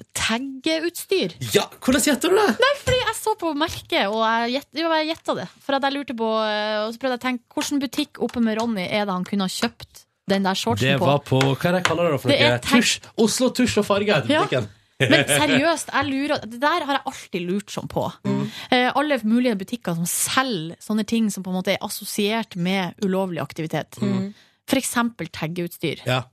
taggeutstyr?
Ja, hvordan gjetter du det?
Nei, fordi jeg så på merket, og jeg gjett- jo, jeg gjetta det. For at jeg lurte på, eh, og så prøvde jeg å tenke, hvilken butikk oppe med Ronny er det han kunne ha kjøpt den der shortsen
Det
på?
var på Hva er det jeg kaller det for
Det er
noe? Tusj. Oslo Tusj og Farge heter
Ja.
butikken.
Men seriøst, jeg lurer, det der har jeg alltid lurt sånn på. Eh, alle mulige butikker som selger sånne ting som på en måte er assosiert med ulovlig aktivitet. For eksempel taggeutstyr.
Ja.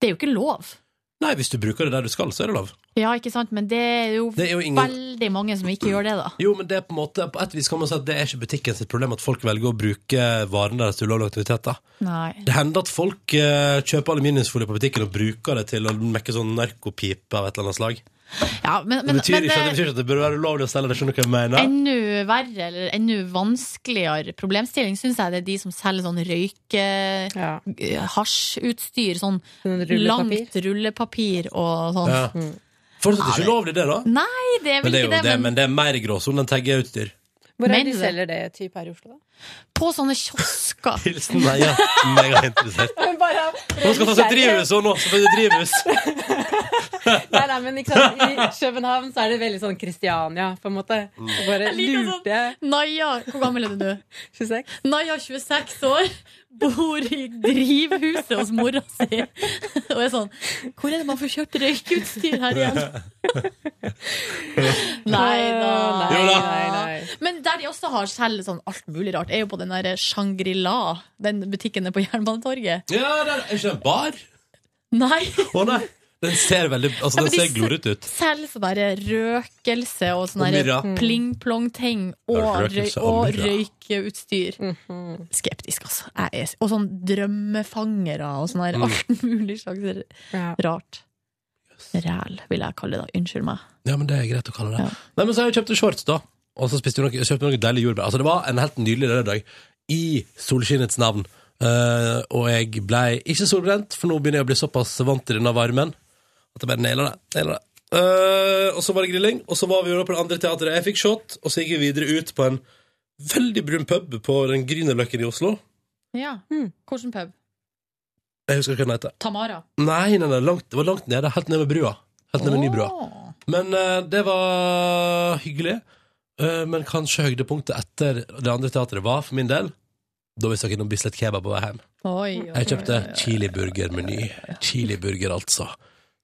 Det er jo ikke lov.
Nei, hvis du bruker det der du skal, så er det lov.
Ja, ikke sant? Men det er jo,
Det er jo ingen-
veldig mange som ikke gjør det, da.
Jo, men det er på en måte På et vis kan man si at det er ikke butikken sitt problem at folk velger å bruke varene deres til ulovlige aktiviteter.
Nei.
Det hender at folk eh, kjøper aluminiumsfolie på butikken og bruker det til å mekke sånn narkopipe av et eller annet slag.
Ja, men, men,
det, betyr
men eh,
ikke, det betyr ikke at det bør være ulovlig å selge det, skjønner du hva jeg mener?
Enda verre eller enda vanskeligere problemstilling syns jeg det er de som selger sånn røyke... g- Hasjutstyr. Sånn
rullepapir.
langt rullepapir og sånn.
Mm. Ja. Fortsatt ikke ulovlig, det, da.
Nei, det
Men
er vel
det er jo
ikke
det,
det, men
men det er mer i gråsonen enn taggeutstyr.
Hvor er
Mener
det de
du det?
selger det type her i Oslo, da?
på sånne kiosker.
Hilsen Meia. Megainteressert. Nå skal jeg ta seg drivhus, og nå skal jeg ta seg drivhus.
Nei, nei, men ikke sant? I København så er det veldig sånn Kristiania, på en måte. Og bare
Jeg liker sånn.
lurte jeg.
Naja, hvor gammel er du nå?
26.
Naja, 26 år, bor i drivhuset hos mora si. Og er sånn Hvor er det man får kjøpt røykeutstyr her igjen? Nei da.
Nei, nei, nei.
Men der de også har selv sånn alt mulig rart, er jo på den der Shangri-La, den butikken der på Jernbanetorget.
Ja, det er ikke en bar.
Nei.
Å nei. Den ser veldig Altså,
Ja, men
den
de
ser
s-
glorete ut.
Selv sånn der røkelse og sånn
Og
der
myrra.
pling-plong-ting
Ja,
og, røy
røkelse og
og
myrra.
røykeutstyr. Skeptisk, altså. Jeg er, og sånn drømmefangere og sånn der
Mm.
alt mulig slags rart. Ræl, vil jeg kalle det da. Unnskyld meg.
Ja, men det er greit å kalle det. Nei, men så har jeg kjøpt shorts, da. Og så spiste vi noe, kjøpte vi noe deilig jordbær. Altså, det var en helt nydelig lørdag i solskinnets navn. Eh, og jeg blei ikke solbrent, for nå begynner jeg å bli såpass vant til denne varmen at jeg bare nailer det. Nailer det. Eh, og så var det grilling, og så var vi jo da på det andre teatret. Jeg fikk shot, og så gikk vi videre ut på en veldig brun pub på den Grünerløkken i Oslo.
Ja. Hvilken pub?
Jeg husker ikke hva den heter.
Tamara.
Nei, nei, nei langt, det var langt nede. Helt nede ved brua. Helt nede ved Nybrua. Men eh, det var hyggelig. Eh, men kanskje høydepunktet etter det andre teatret var, for min del, da vi stakk innom Bislett Kebab på vei hjem.
Oi, oi,
Jeg kjøpte
oi, oi.
chiliburgermeny. Chiliburger, altså.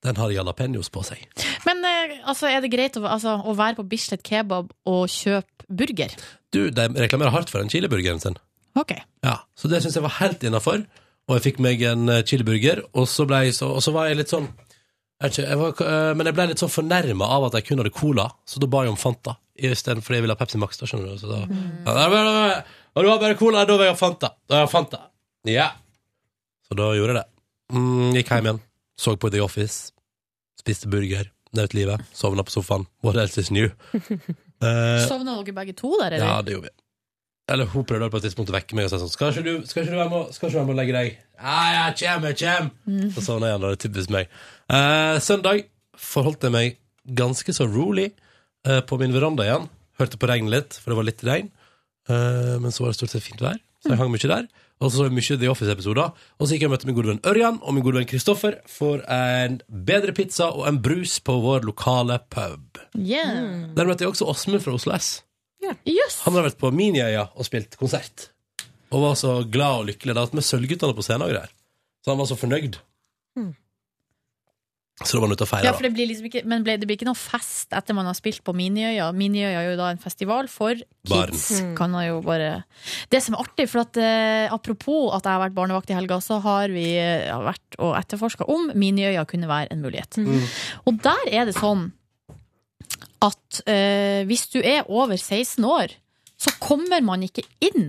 Den har jalapeños på seg.
Men eh, altså, er det greit å, altså, å være på Bislett Kebab og kjøpe burger?
Du, de reklamerer hardt for den chiliburgeren sin.
Ok.
Ja, så det syns jeg var helt innafor. Og jeg fikk meg en eh, chiliburger, og så, ble jeg så, og så var jeg litt sånn jeg vet ikke, jeg var, eh, Men jeg ble litt sånn fornærma av at jeg kun hadde cola, så da ba jeg om Fanta istedenfor jeg ville ha Pepsi Max. da, skjønner du. Så da, ja, da, da, da, og du har bare cola, da vil jeg ha Fanta. Da vil jeg ha Fanta. Ja. Så da gjorde jeg det. Mm, gikk hjem igjen, så på The Office, spiste burger, nøt livet, sovna på sofaen. What else is new? Eh,
Sovna dere begge to
ja,
der, eller?
det gjorde vi. Eller hun prøvde på et tidspunkt å vekke meg og si sånn Skal ikke du, skal ikke du være med, og- skal ikke du være med og legge deg? Ja, ja, kjem, jeg kjem!
Mm.
Og sovna igjen, da. Det er typisk meg. Eh, søndag forholdt jeg meg ganske så rolig eh, på min veranda igjen. Hørte på regnet litt, for det var litt regn. Eh, men så var det stort sett fint vær, så jeg hang mye der. Og så så jeg mye The Office-episoder. Og så gikk jeg og møtte min gode venn Ørjan og min gode venn Kristoffer for en bedre pizza og en brus på vår lokale pub.
Yeah.
Der møtte jeg også Åsmund fra Oslo S.
Jøss.
Han har vært på Miniøya og spilt konsert. Og var så glad og lykkelig. Det har hatt med Sølvguttene på scenen og greier. Så han var så fornøyd.
Mm.
Så da var han ute og feira.
Ja, for det blir liksom ikke, men ble, det blir ikke noe fest etter man har spilt på Miniøya. Miniøya er jo da en festival for
Barn.
kids.
Mm.
Kan man jo bare... Det som er artig, for at, eh, apropos at jeg har vært barnevakt i helga, så har vi eh, vært og etterforska om Miniøya kunne være en mulighet.
Mm.
Og der er det sånn at eh, hvis du er over 16 år, så kommer man ikke inn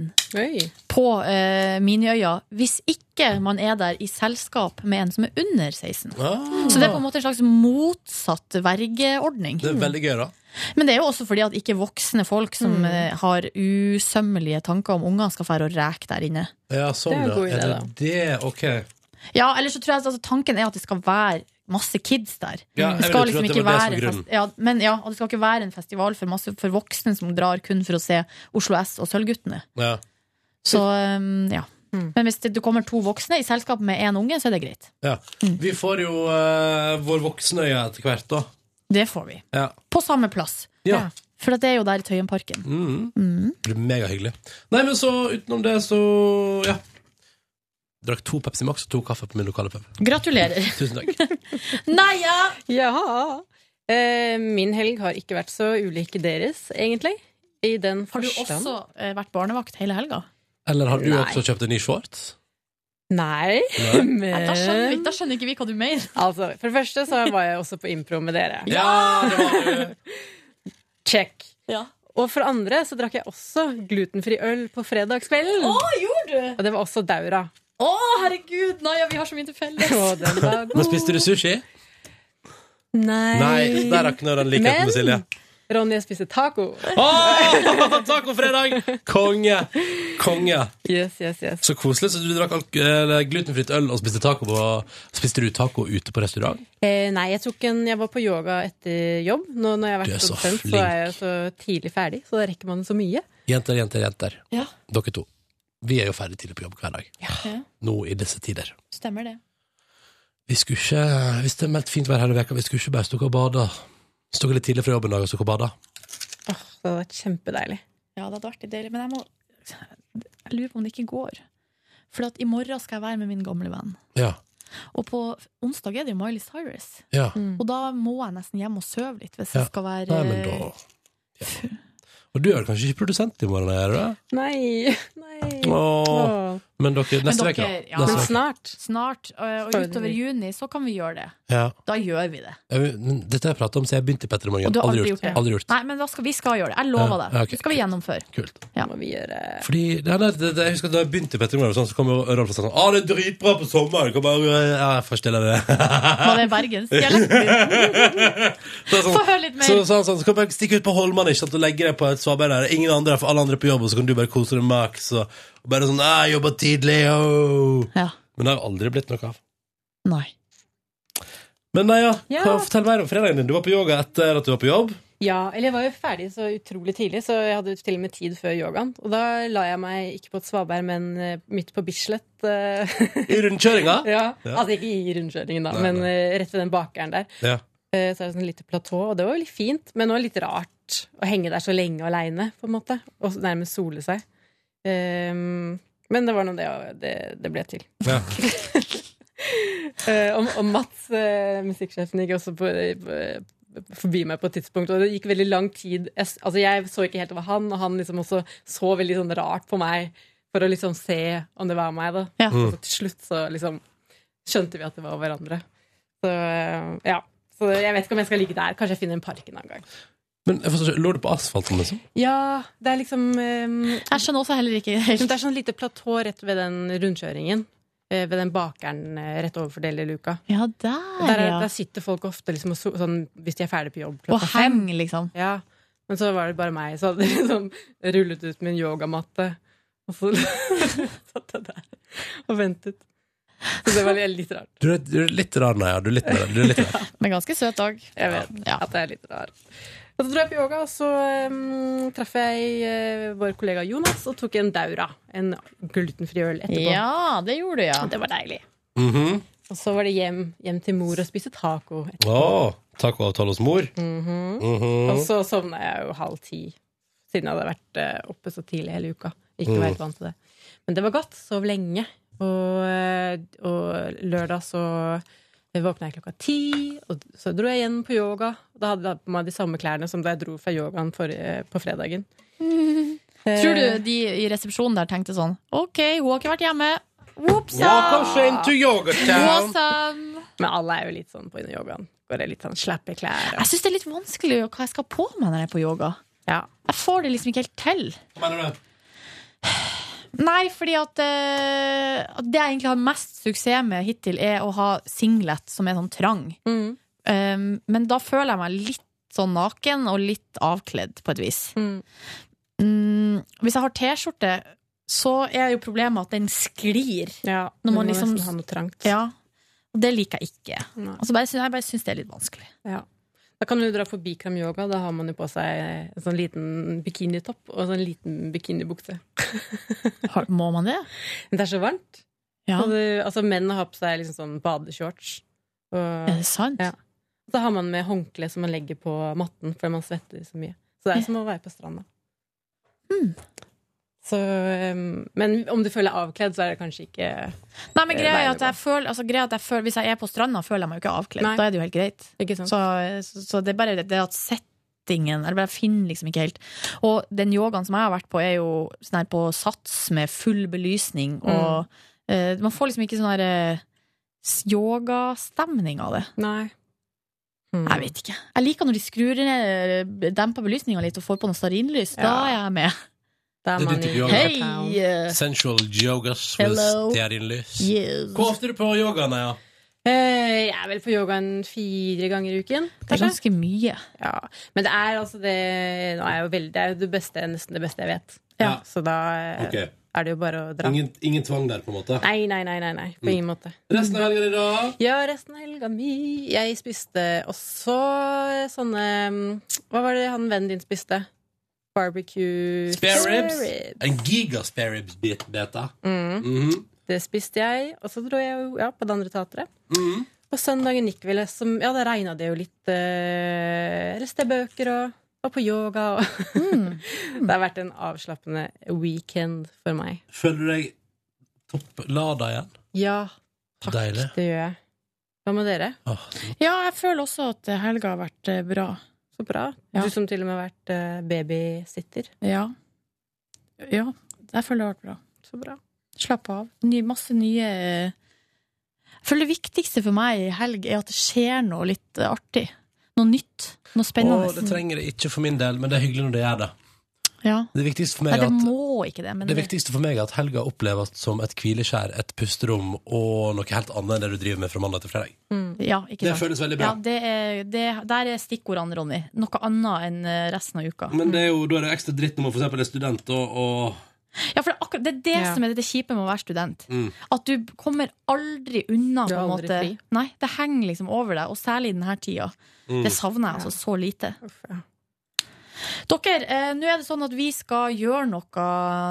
på eh, Miniøya hvis ikke man er der i selskap med en som er under 16.
Ah.
Så det er på en måte en slags motsatt vergeordning.
Det er Mm. veldig gøy, da.
Men det er jo også fordi at ikke voksne folk som eh, har usømmelige tanker om unger, skal fære og reke der inne.
Ja, sånn,
Det er en god
ja.
idé,
Er det det? Ok.
Ja, eller så tror jeg at, altså, Tanken er at det skal være masse kids der.
Ja, jeg
det skal liksom
ville tro at det
ikke
var det
være
som
en
grunnen.
fest- ja, men ja, og det skal ikke være en festival for, masse, for voksne som drar kun for å se Oslo S og Sølvguttene.
Ja.
Så um, ja.
Mm.
Men hvis det, det kommer to voksne i selskap med én unge, så er det greit.
ja.
Hmm.
Vi får jo eh, vår voksenøya etter hvert, da.
Det får vi.
Ja.
På samme plass.
Ja.
For at det er jo der i Tøyenparken.
Mm.
Mm.
Det blir megahyggelig. Nei, men så utenom det, så ja. Drakk to Pepsi Max og to kaffe på min lokale pub.
Gratulerer.
Tusen takk.
Naja!
Ja. Eh, min helg har ikke vært så ulik deres, egentlig. I den
Har du
forstand.
også eh, vært barnevakt hele helga?
Eller har du
Nei.
også kjøpt en ny shorts?
Nei,
Nei.
Nei, da skjønner vi-
men
da skjønner ikke vi hva du mener.
Altså, for det første så var jeg også på impro med dere.
Ja, det var
Check. Og for det andre så drakk jeg også glutenfri øl på fredagskvelden.
Å, gjorde du?
Og det var også Daura.
Å, herregud! Naja, vi har så mye til felles.
Og den var
Men spiste du sushi?
Nei.
Nei, der rakner den likheten
Men-
med Silje.
Ronny, jeg spiste taco.
Åh, Tacofredag! Konge! Konge!
Yes, yes, yes.
Så koselig. Så du drakk alk- eller glutenfritt øl og spiste taco på Spiste du taco ute på restaurant?
Eh, nei, jeg tok en Jeg var på yoga etter jobb. Nå når jeg har
Du er
vært
så
produsent, så,
flink.
er jeg så tidlig ferdig, så da rekker man så mye.
Jenter, jenter, jenter.
Ja.
Dere to. Vi er jo ferdig tidlig på jobb hver dag. Nå i disse tider.
Stemmer det.
Vi skulle ikke Hvis det er meldt fint vær hele veka, vi skulle ikke bare stukket og bada. Stukket litt tidlig fra jobb en dag og stukket og bada.
Så det hadde vært kjempedeilig.
Ja, det hadde vært litt deilig, men jeg må Jeg lurer på om det ikke går. For at i morgen skal jeg være med min gamle venn.
Ja.
Og på onsdag er det jo Miley Cyrus.
Ja.
Og da må jeg eh, nesten hjem og sove litt, hvis
Ja.
jeg skal være
Nei, men da
eh,
Og du er kanskje ikke produsent i morgen, er du det?
Nei. Nei.
Åh.
Åh.
Men dere,
Men
neste
dere-
uke.
ja.
Neste
Men
vek.
snart. Snart, og og
Før
utover
jul.
juni så kan vi gjøre det.
Ja.
Da gjør vi det.
Jeg vil- men Dette har jeg pratet om siden jeg begynte i Petter i morgen.
Og du har
Aldri gjort. Aldri gjort.
Nei, men da skal, vi skal gjøre det. Jeg lover
Ja,
det.
ja, ok,
det skal vi gjennomføre.
Kult.
Ja.
Må vi gjøre
Fordi, nei, nei, det, det, jeg husker at Da jeg begynte i Petter i morgen, sånn, så kom jo Rolf og sa sånn Å, det er dritbra på sommeren! Kan bare, ja, jeg forstiller det.
Var det bergensdialekten din?
Så, sånn,
Få høre litt mer.
Så, så, han sånn, så kan du bare stikke ut på Holmene ikke sant, og legge deg på et svaberg der. Ingen andre, for alle andre er på jobb, og så kan du bare kose deg maks. Og, og bare sånn «Ah, 'Jeg jobber tidlig', oh.
Ja.
Men det har aldri blitt noe av.
Nei.
Men nei, ja.
Ja.
Hva, fortell mer om fredagen din. Du var på yoga etter at du var på jobb.
Ja, eller jeg var jo ferdig så utrolig tidlig, så jeg hadde til og med tid før yogaen. Og da la jeg meg ikke på et svaberg, men eh, midt på Bislett. eh.
I rundkjøringa?
ja.
Ja.
Altså ikke i rundkjøringen, da,
Nei,
men eh, rett ved den bakeren der.
Ja.
Eh, Så er det sånn lite platå, og det var veldig fint, men det var litt rart å henge der så lenge aleine, på en måte. Og nærmest sole seg. Ehm, men det var nå det, og det det ble til.
Ja.
Eh, og, og Mats, eh, musikksjefen, gikk også på, på- forbi meg på et tidspunkt, og det gikk veldig lang tid. Jeg, s- altså, jeg så ikke helt over han, og han liksom også så veldig sånn rart på meg for å liksom se om det var meg, da.
Ja.
Og
Mm.
så til slutt så liksom skjønte vi at det var hverandre. Så eh, ja. Så jeg vet ikke om jeg skal ligge der. Kanskje jeg finner en park en annen gang.
Men jeg forstår ikke, lå du på asfalten, liksom?
Ja, det er liksom Jeg
skjønner også heller ikke
Det er sånn lite platå rett ved den rundkjøringen. eh, Ved den bakeren eh, rett overfor Deli-luka.
Ja, der,
Der, er-
ja.
der sitter folk ofte liksom, og so sånn, hvis de er ferdig på jobb
Og
klokka fem.
heng, liksom.
Ja. Men så var det bare meg, så hadde jeg liksom rullet ut min yogamatte. Og så satt jeg der og ventet. Så det var litt- litt rart.
Du er, du er litt rar, nei. Ja. Du er litt rar. Du er litt rar.
Men ganske søt dag.
Jeg vet at jeg er litt rar. Og så dro jeg på yoga, og så um, traff jeg eh, vår kollega Jonas og tok en Daura. En glutenfri øl etterpå.
Ja, det gjorde du, ja.
Det var deilig.
Mhm.
Og så var det hjem, hjem til mor og spise taco.
Å, tacoavtale hos mor.
Mhm.
Mhm.
Og så sovna jeg jo halv ti, siden jeg hadde vært eh, oppe så tidlig hele uka. Ikke
Mm.
var helt vant til det. Men det var godt. Sov lenge. Og, eh, og lørdag så eh, våkna jeg klokka ti, og så dro jeg igjen på yoga. Da hadde jeg på meg de samme klærne som da jeg dro fra yogaen forrige, på fredagen.
Tror du de i resepsjonen der tenkte sånn OK, hun har ikke vært hjemme. Whoops! Awesome.
Men alle er jo litt sånn på yogaen. Går det litt sånn slappe klær. og-
Jeg syns det er litt vanskelig hva jeg skal på meg når jeg er på yoga. Jeg får det liksom ikke helt til.
Hva mener du?
Nei, fordi at eh, at det jeg egentlig har mest suksess med hittil, er å ha singlet som er sånn trang.
Mm,
Um, men da føler jeg meg litt sånn naken og litt avkledd, på et vis. Mm, hvis jeg har T-skjorte, så er jo problemet at den sklir.
du
når man
må
liksom
nesten ha noe trangt.
Ja, og det liker jeg ikke.
Nei.
Altså bare, jeg bare syns det er litt vanskelig.
Ja. Da kan du dra på Bikram yoga. Da har man jo på seg en sånn liten bikinitopp og en sånn liten bikinibukse.
Må man det?
Men det er så varmt.
Ja.
Så du, altså, menn har på seg liksom sånn badeshorts. Og,
Er det sant?
Ja. Så har man med håndkle som man legger på matten fordi man svetter så mye. Så det er som å være på stranda. Hmm. Så, um, men om du føler deg avkledd, så er det kanskje ikke
Nei, men greia er
veien å
at jeg føler, altså, greia er at jeg føler Hvis jeg er på stranda, føler jeg meg jo ikke avkledd.
Nei.
Da er det jo helt greit.
Ikke sant?
Så, så, så det er bare det at settingen Eller bare jeg finner liksom ikke helt Og den yogaen som jeg har vært på, er jo sånn her på sats med full belysning, og
Mm.
eh, man får liksom ikke sånn her eh, yogastemning av det.
Nei. Hmm.
Jeg vet ikke. Jeg liker når de skrur ned demper belysninga litt og får på noe stearinlys. Da er jeg med.
Da
Det er du type yoga.
Hei! eh,
Sensual yogas with
Hello.
stearinlys.
Yes.
Hvor ofte er du på yoga, Naja?
Eh, Jeg er vel på yogaen fire ganger i uken.
Det er ganske mye.
Ja, Men det er altså det Nå er jeg jo veldig, Det er jo det beste, nesten det beste jeg vet.
Ja.
Så da eh,
Ok.
er det jo bare å dra.
Ingen, Mm. ingen tvang der, på en måte?
Nei, nei, nei, nei, nei. På ingen måte.
Resten av helgen i dag?
Ja, resten av helga mi. Jeg spiste også sånne mm, Hva var det han vennen din spiste? Barbecue
Spare ribs.
Spare rib.
En giga spare ribs-beta.
Mm.
Mhm.
Det spiste jeg, og så dro jeg jo ja, på det andre teatret.
Mhm.
På søndagen gikk vi liksom Ja, da regna det jo litt. Eh, leste bøker og var på yoga og Det har vært en avslappende weekend for meg.
Føler du deg topplada igjen?
Ja,
Deilig.
det gjør jeg. Hva med dere?
Åh,
Ja, jeg føler også at helga har vært eh, bra.
Så bra.
Ja.
Du som til og med har vært eh, babysitter.
Ja. Ja, jeg føler det har vært bra.
Så bra.
Slapp av. Ny, masse nye eh, Jeg føler det viktigste for meg i helg er at det skjer noe litt eh, artig. Noe nytt. Noe spennende.
Å, det trenger det ikke for min del, men det er hyggelig når det gjør det.
ja.
Det viktigste for
Nei,
meg er
det
at
må ikke det, men
Det viktigste for meg er at helga oppleves som et hvileskjær, et pusterom og noe helt annet enn det du driver med fra mandag til fredag.
Mm, ja, ikke
Det
sant.
føles veldig bra.
Ja, det er, det, der er stikkordene, Ronny. Noe annet enn eh, resten av uka.
Men det er jo, da er det ekstra dritt når man for eksempel er student og, og
Ja, for det, er akkurat, det er det
Ja.
som er det, det kjipe med å være student.
mm.
At du kommer aldri unna.
Du
på
er
en
aldri
måte.
fri.
Nei, det henger liksom over deg, og særlig i denne tida.
Mm.
Det savner jeg altså så lite. Dere, eh, nå er det sånn at vi skal gjøre noe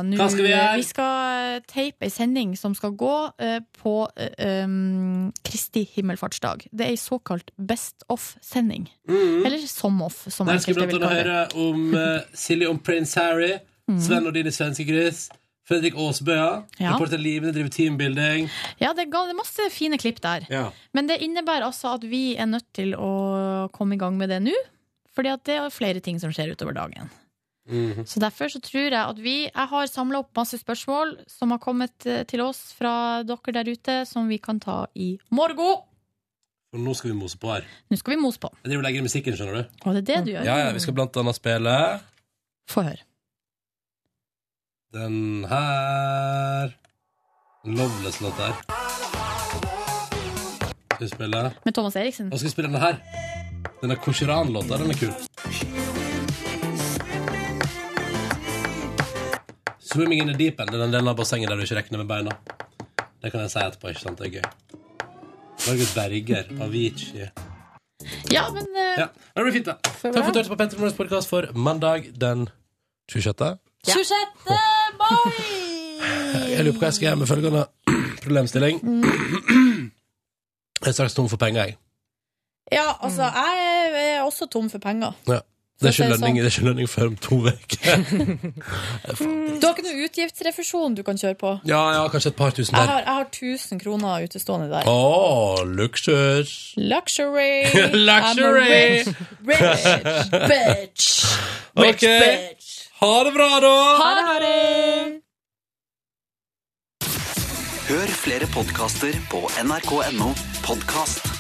nå.
Hva skal vi gjøre?
Vi skal eh, teipe ei sending som skal gå eh, på eh, um, Kristi himmelfartsdag. Det er ei såkalt best of-sending.
Mhm.
Eller som off, som
Der skal vi
enkelte
blant
vil
annet
kalle det. Mhm.
høre om eh, Silje om prins Harry, Sven og dine svenske gris, Fredrik Aasbøa,
Ja.
reporter Livene driver teambuilding.
Ja, det, ga, det er masse fine klipp der.
Ja.
Men det innebærer altså at vi er nødt til å komme i gang med det nå. Fordi at det er flere ting som skjer utover dagen. Så derfor så tror jeg at vi Jeg har samla opp masse spørsmål som har kommet eh, til oss fra dere der ute, som vi kan ta i morgen.
Og nå skal vi mose på her.
Nå skal vi mose på.
Jeg driver og legger i musikken, skjønner du.
Og det er det du gjør.
Ja, ja, vi skal blant annet spille
Få høre.
den her Loveless-låt der. Skal vi spille
Med Thomas Eriksen.
Og skal vi spille denne her. Denne Kosheran-låta, den er kul. Swimming in the deep end, det er den delen av bassenget der du ikke regner med beina. Det kan jeg si etterpå, ikke sant? Det er gøy. Margot Berger, Avicii.
Ja, men eh,
Ja, det blir fint, da. Takk for at du hørte på Petter Morgens podkast for mandag den 26.
26.
Jeg lurer på hva jeg skal gjøre med følgende problemstilling.
Mm.
Jeg er straks tom for penger, jeg.
ja, altså, jeg er også tom for penger.
Ja. Det er
For å si
ikke
det
lønning,
sånn.
det er ikke lønning før om to uker.
Du har ikke noe utgiftsrefusjon du kan kjøre på?
Ja, ja, kanskje et par tusen
Jeg
der.
har, jeg har 1000 kroner utestående der.
Å, luksus!
Luxury!
Luxury!
I'm a rich, rich bitch! Rich
Ok.
bitch!
Ha det bra, da!
Ha det, ha det!
Hør flere podkaster på nrk.no podkast.